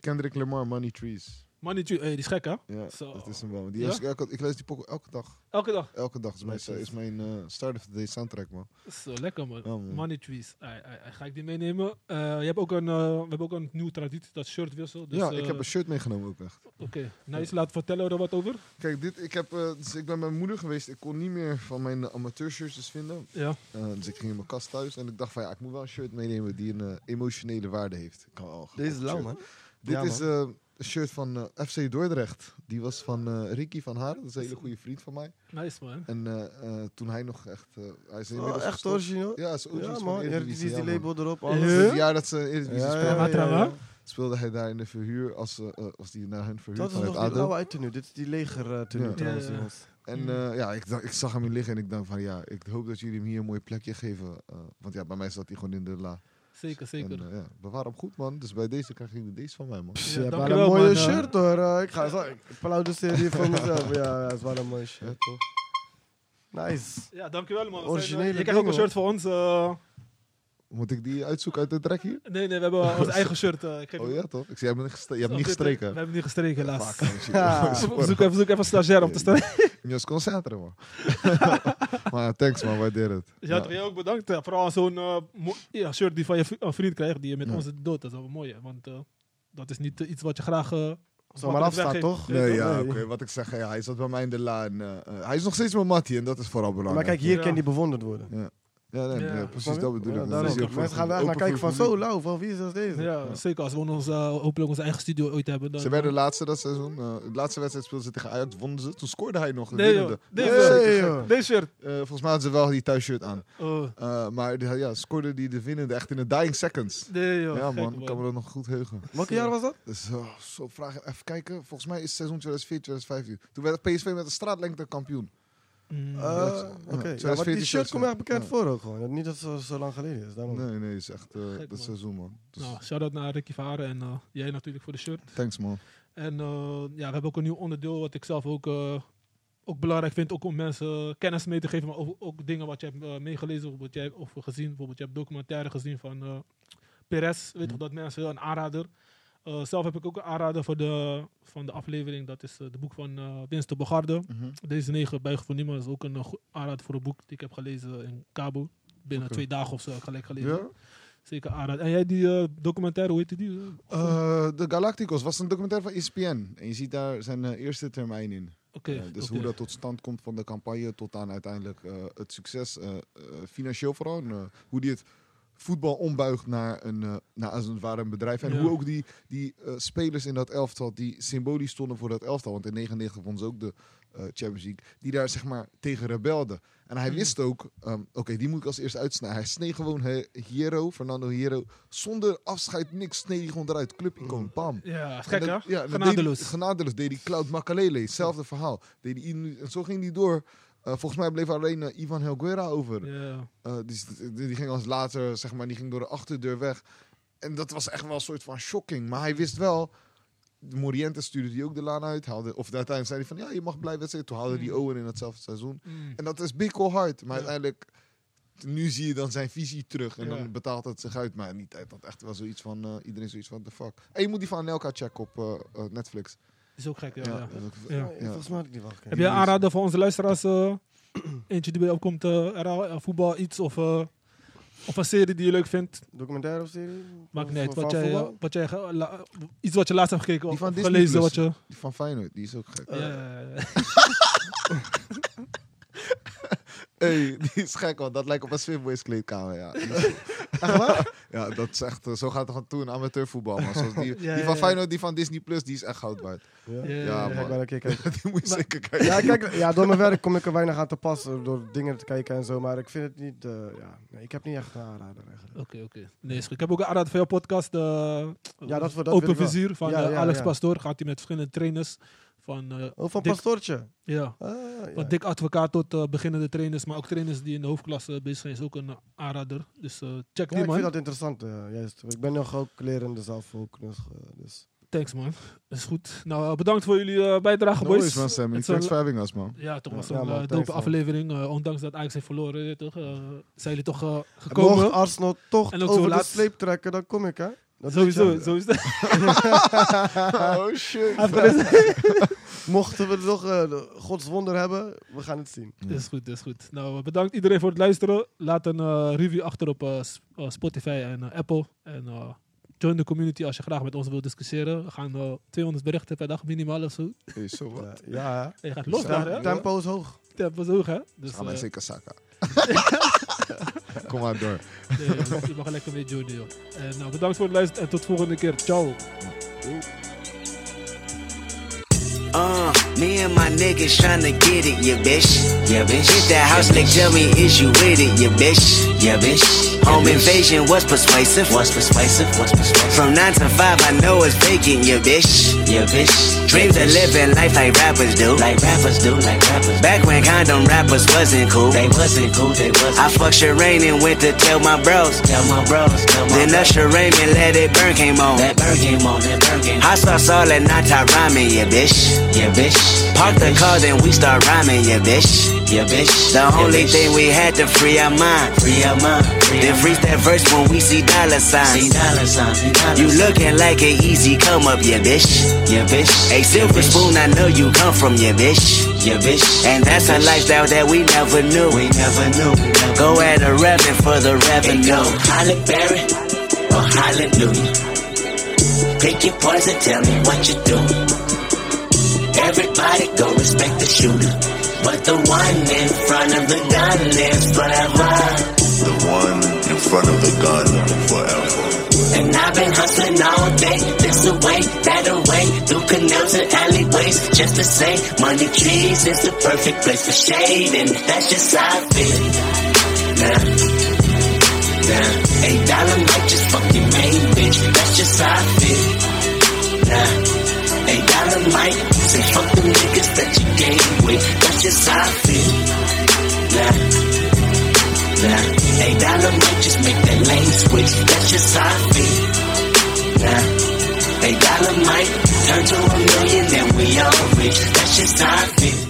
Kendrick Lamar, Money Trees. Money Tree, eh, die is gek hè? Ja, Zo. dat is hem wel. Die Ja? luister ik elke- ik luister die pokken elke dag. Elke dag. Elke dag is mijn, is mijn eh, start of the day soundtrack, man. Zo, lekker man. Ja, man. Money Trees. Ai, ai, ai, ga ik die meenemen? Eh, je hebt ook een, eh, we hebben ook een nieuwe traditie, dat shirtwissel. Dus, ja, eh, ik heb een shirt meegenomen ook echt. Oké, nice. Laat vertellen we er wat over. Kijk, dit, ik, heb, eh, dus ik ben bij mijn moeder geweest. Ik kon niet meer van mijn eh, amateurshirtjes vinden. Ja. Eh, dus ik ging in mijn kast thuis. En ik dacht van ja, ik moet wel een shirt meenemen die een eh, emotionele waarde heeft. Ik kan wel een Deze is lauw, shirt. man. Dit Ja, is eh, een shirt van eh, FC Dordrecht. Die was van eh, Ricky van Haren. Dat is een hele goede vriend van mij. Nice man. En eh, eh, toen hij nog echt... eh, hij is inmiddels Oh, echt gestopt. origineel. Ja, is Ja, origineel van man. de Eredivisie, Eredivisie, ja, die man. label erop. Ja. Alles. Het jaar dat ze in de Eredivisie Ja, ja, speelden, Matra, ja, hè? ja. speelde hij daar in de verhuur. Als, eh, eh, als die naar hun verhuurd Dat is vanuit nog die ADO. blauwe uittenue. Dit is die leger eh, tenue Ja. trouwens, Ja, ja. jongens. En Mm. eh, ja, ik, dacht- ik zag hem hier liggen en ik dacht van ja, ik hoop dat jullie hem hier een mooi plekje geven. eh, want ja, bij mij zat hij gewoon in de la. Zeker, En zeker. eh, ja, bewaar hem goed man. Dus bij deze krijg je deze van mij man. Pff, Ja, je hebt wel dankjewel, een mooie man. shirt hoor. Eh, ik ga zo, ik applaudeer hier voor mezelf. Ja, ja, het is wel een mooie Ja, shirt. toch? Nice. Ja, dankjewel man. Originele je krijgt ook een dingen, shirt voor ons. eh. Moet ik die uitzoeken uit de trek hier? nee, nee, we hebben ons eigen shirt. eh, ik geef Oh ja toch? Ik zie, jij hebt niet, gestre- je hebt niet We gestreken. hebben niet gestreken, helaas. Vaak, man, shit. Ja. Zoek even, zoek even een stagiair op te staan. Je moet concentreren man. maar thanks man, waardeer het. Ja, toch, jij ook bedankt. eh, Vooral aan zo'n eh, mo- ja, shirt die van je v- een vriend krijgt, die je met Ja. ons dood. Dat is wel mooi, hè, want eh, dat is niet eh, iets wat je graag... eh, Zomaar makkelijk afstaan, weggeeft. toch? Nee, ja, Nee. oké. Wat ik zeg, ja, hij zat bij mij in de la. En, eh, eh, hij is nog steeds mijn mattie en dat is vooral Maar belangrijk. kijk, hier Ja. kan die bewonderd worden. ja, nee, Ja. ja, Snap precies je? dat bedoel Ja, ik. daarom. Dat is hier voor- Mensen gaan daar naar open kijken voor van zo publiek. lauw, van wie is dat deze? Ja, zeker. Als we ons, eh, hopelijk onze eigen studio ooit hebben. Dan, Ze werden laatste dat seizoen. eh, de laatste wedstrijd speelden ze tegen Ajax, wonnen ze. Toen scoorde hij nog. de Nee, joh. winnende. Nee, Ja, joh. zeker gek. joh. Deze shirt. Eh, volgens mij hadden ze wel die thuisshirt aan. Oh, Eh, maar die- ja, scoorde die de winnende echt in de dying seconds. nee, joh. ja gek, man, ik kan me dat nog goed heugen. Welk jaar was dat? Dus oh, zo vragen, even kijken. Volgens mij is het seizoen 2014, 2015. Toen werd PSV met een straatlengte kampioen. Mm. Eh, dat is- Oké, ja, ja, maar die 2014 shirt komt me echt bekend ja. voor ook gewoon. Niet dat het zo, zo lang geleden is. Daarom. Nee, nee, is echt eh, Gek, dat man. seizoen man. Dus, Nou, shout-out naar Ricky Varen en eh, jij natuurlijk voor de shirt. Thanks man. En eh, ja, we hebben ook een nieuw onderdeel wat ik zelf ook, eh, ook belangrijk vind. Ook om mensen kennis mee te geven, maar ook, ook dingen wat je hebt eh, meegelezen of, wat jij, of gezien. Bijvoorbeeld, je hebt documentaire gezien van eh Perez. Mm. Weet toch dat mensen een aanrader. Eh, zelf heb ik ook een aanrader voor de, van de aflevering. Dat is het boek van eh Winston Bogarde. Mhm. Deze negen buigen voor niemand is ook een eh, go- aanrader voor een boek die ik heb gelezen in Cabo. Binnen Oké. twee dagen of zo heb ik gelijk gelezen. Ja? Zeker aanrader. En jij die eh, documentaire, hoe heette die? Eh, Eh, de Galacticos was een documentaire van E ESPN. En je ziet daar zijn eh, eerste termijn in. Oké. Ja, dus oké. hoe dat tot stand komt van de campagne tot aan uiteindelijk eh, het succes, eh, eh, financieel vooral. En, eh, hoe die het voetbal ombuigt naar een, eh, naar als het ware een bedrijf. En Ja. hoe ook die, die eh, spelers in dat elftal, die symbolisch stonden voor dat elftal. Want in 99 won ze ook de eh, Champions League, die daar zeg maar tegen rebelden. En Mm. hij wist ook, ehm, oké, die moet ik als eerst uitsnijden. Hij sneed gewoon He- Hierro, Fernando Hierro, zonder afscheid, niks, sneed hij gewoon eruit. Mm. Clubicoon, bam. Ja, gek En hè? dat- Ja, dat Genadeloos. Deed, genadeloos deed die Cloud Makalele, hetzelfde verhaal. Deed die, in- en zo ging die door. Eh, volgens mij bleef alleen eh, Ivan Helguera over. Ja. Eh, die, die ging als later, zeg maar, die ging door de achterdeur weg. En dat was echt wel een soort van shocking. Maar hij wist wel, de Morientes stuurde die ook de laan uit. Haalde, of uiteindelijk zei hij van, ja, je mag blijven wedstrijden. Toen haalde die Owen in hetzelfde seizoen. Mm. En dat is bikkel hard. Maar Ja. uiteindelijk, nu zie je dan zijn visie terug. En Ja. dan betaalt het zich uit. Maar in die tijd had echt wel zoiets van, eh, iedereen zoiets van, the fuck. En je moet die van Anelka checken op eh, eh, Netflix. Is ook gek, ja. ja. dat is ook- Ja. Ja, Volgens mij had ik die wel gekeken. Heb jij aanraden voor onze luisteraars? eh, eentje die bij je opkomt, eh, RL, eh, voetbal, iets of, eh, of een serie die je leuk vindt? Documentaire of serie? Maakt niet Van- uit. van Wat jij, eh, voetbal? wat jij, ge- la- iets wat je laatst hebt gekeken Die of van of Disney gelezen. Plus. Wat je, Die van Feyenoord, die is ook gek. Eh, ja, ja, ja. Hey, die is gek, want dat lijkt op een Swimboys kleedkamer, ja. Ja, dat is echt, eh, zo gaat het van toe in amateurvoetbal. Maar zoals die, Ja, die ja, van ja. Feyenoord, die van Disney Plus, die is echt goud waard. Ja, Ja, ja, ja, ga ik wel een keer kijken. Die moet je Maar- zeker kijken. Ja, kijk, ja, door mijn werk kom ik er weinig aan te pas eh, door dingen te kijken en zo, maar ik vind het niet, eh, ja, nee, ik heb niet echt een aanrader eigenlijk. Oké, oké. Nee, is goed. Ik heb ook een aanrader van jouw podcast. eh, Ja, dat we- dat wil Open ik wel. Vizier van Ja, eh, ja, Alex ja. Pastoor. Gaat hij met verschillende trainers. Van, eh, Oh, van Dik- Pastoortje? ja, Ah, ja. van dik advocaat tot eh, beginnende trainers. Maar ook trainers die in de hoofdklasse bezig zijn. Is ook een eh, aanrader. Dus eh, check Ja, die ik vind man. dat interessant, eh, juist. Ik ben nog ook lerende zelf ook, dus, eh, dus. Thanks man. Is goed. Nou, eh, bedankt voor jullie eh, bijdrage No boys. worries, man, Sammy. Het is Thanks een- for having us, man. Ja, toch was Ja, een man, eh, thanks, dope man. aflevering. eh, ondanks dat Ajax heeft verloren, eh, toch, eh, zijn jullie toch eh, Mocht gekomen. Arsenal toch En ook zo over de laat- sleep trekken, dan kom ik, hè? Dat Sowieso, weet je. sowieso. Oh, shit. Mochten we toch eh, de Gods wonder hebben, we gaan het zien. Is goed, is goed. Nou, eh, bedankt iedereen voor het luisteren. Laat een eh, review achter op eh, S- eh, Spotify en eh, Apple. En eh, join de community als je graag met ons wilt discussiëren. We gaan eh, 200 berichten per dag minimaal of zo. Hey, so what? Ja, ja, hè. En je gaat los daar, hè? Tem- tempo is hoog. Tempo is hoog, hè? Dus Ga mij eh, zeker zakken. Kom maar door. nee, joh, je mag lekker mee joinen, joh. En, nou, bedankt voor het luisteren en tot volgende keer. Ciao. Uh, me and my niggas tryna get it, ya bitch. Yeah, bitch. Hit that house, nigga, tell me, is you with it, ya bitch. Yeah, bitch. Home invasion was persuasive. Was persuasive, was persuasive. From nine to five, I know it's vacant, ya bitch. Yeah, bitch. Dreams of living life like rappers do. Like rappers do, like rappers. Back when condom rappers wasn't cool. They wasn't cool, they wasn't. I fucked Shireen and went to tell my bros. Tell my bros, tell my Then Usher Raymond let it burn came on. That burn came on, that burn came on. Hot sauce all and not rhyming, yeah, bitch. Yeah, bitch. Park the car, then we start rhyming, yeah, bitch. Yeah, bitch. The only thing we had to free our mind. Free our mind. Then freeze that verse when we see dollar signs. See dollar signs. you looking like an easy come up, yeah, bitch. Yeah, bitch. A silver spoon, I know you come from, yeah, bitch. Yeah, bitch. And that's a lifestyle that we never knew. We never knew. Go at a revenue for the revenue. Go Holly Berry or Hallelujah. Pick your poison, tell me what you do. Everybody go respect the shooter. But the one in front of the gun lives forever. The one in front of the gun forever. And I've been hustling all day, this away, that away, through canals and alleyways, just to say, money trees is the perfect place for shade, and that's just how I feel. Nah, nah, a dollar might just fuck your main bitch, that's just how I feel. Nah, a dollar might say fuck the niggas that you game with, that's just how I feel. Nah. Nah, eight dollar might just make that lane switch. That's just how I feel. Nah, eight dollar might turn to a million and we all rich. That's just how I feel.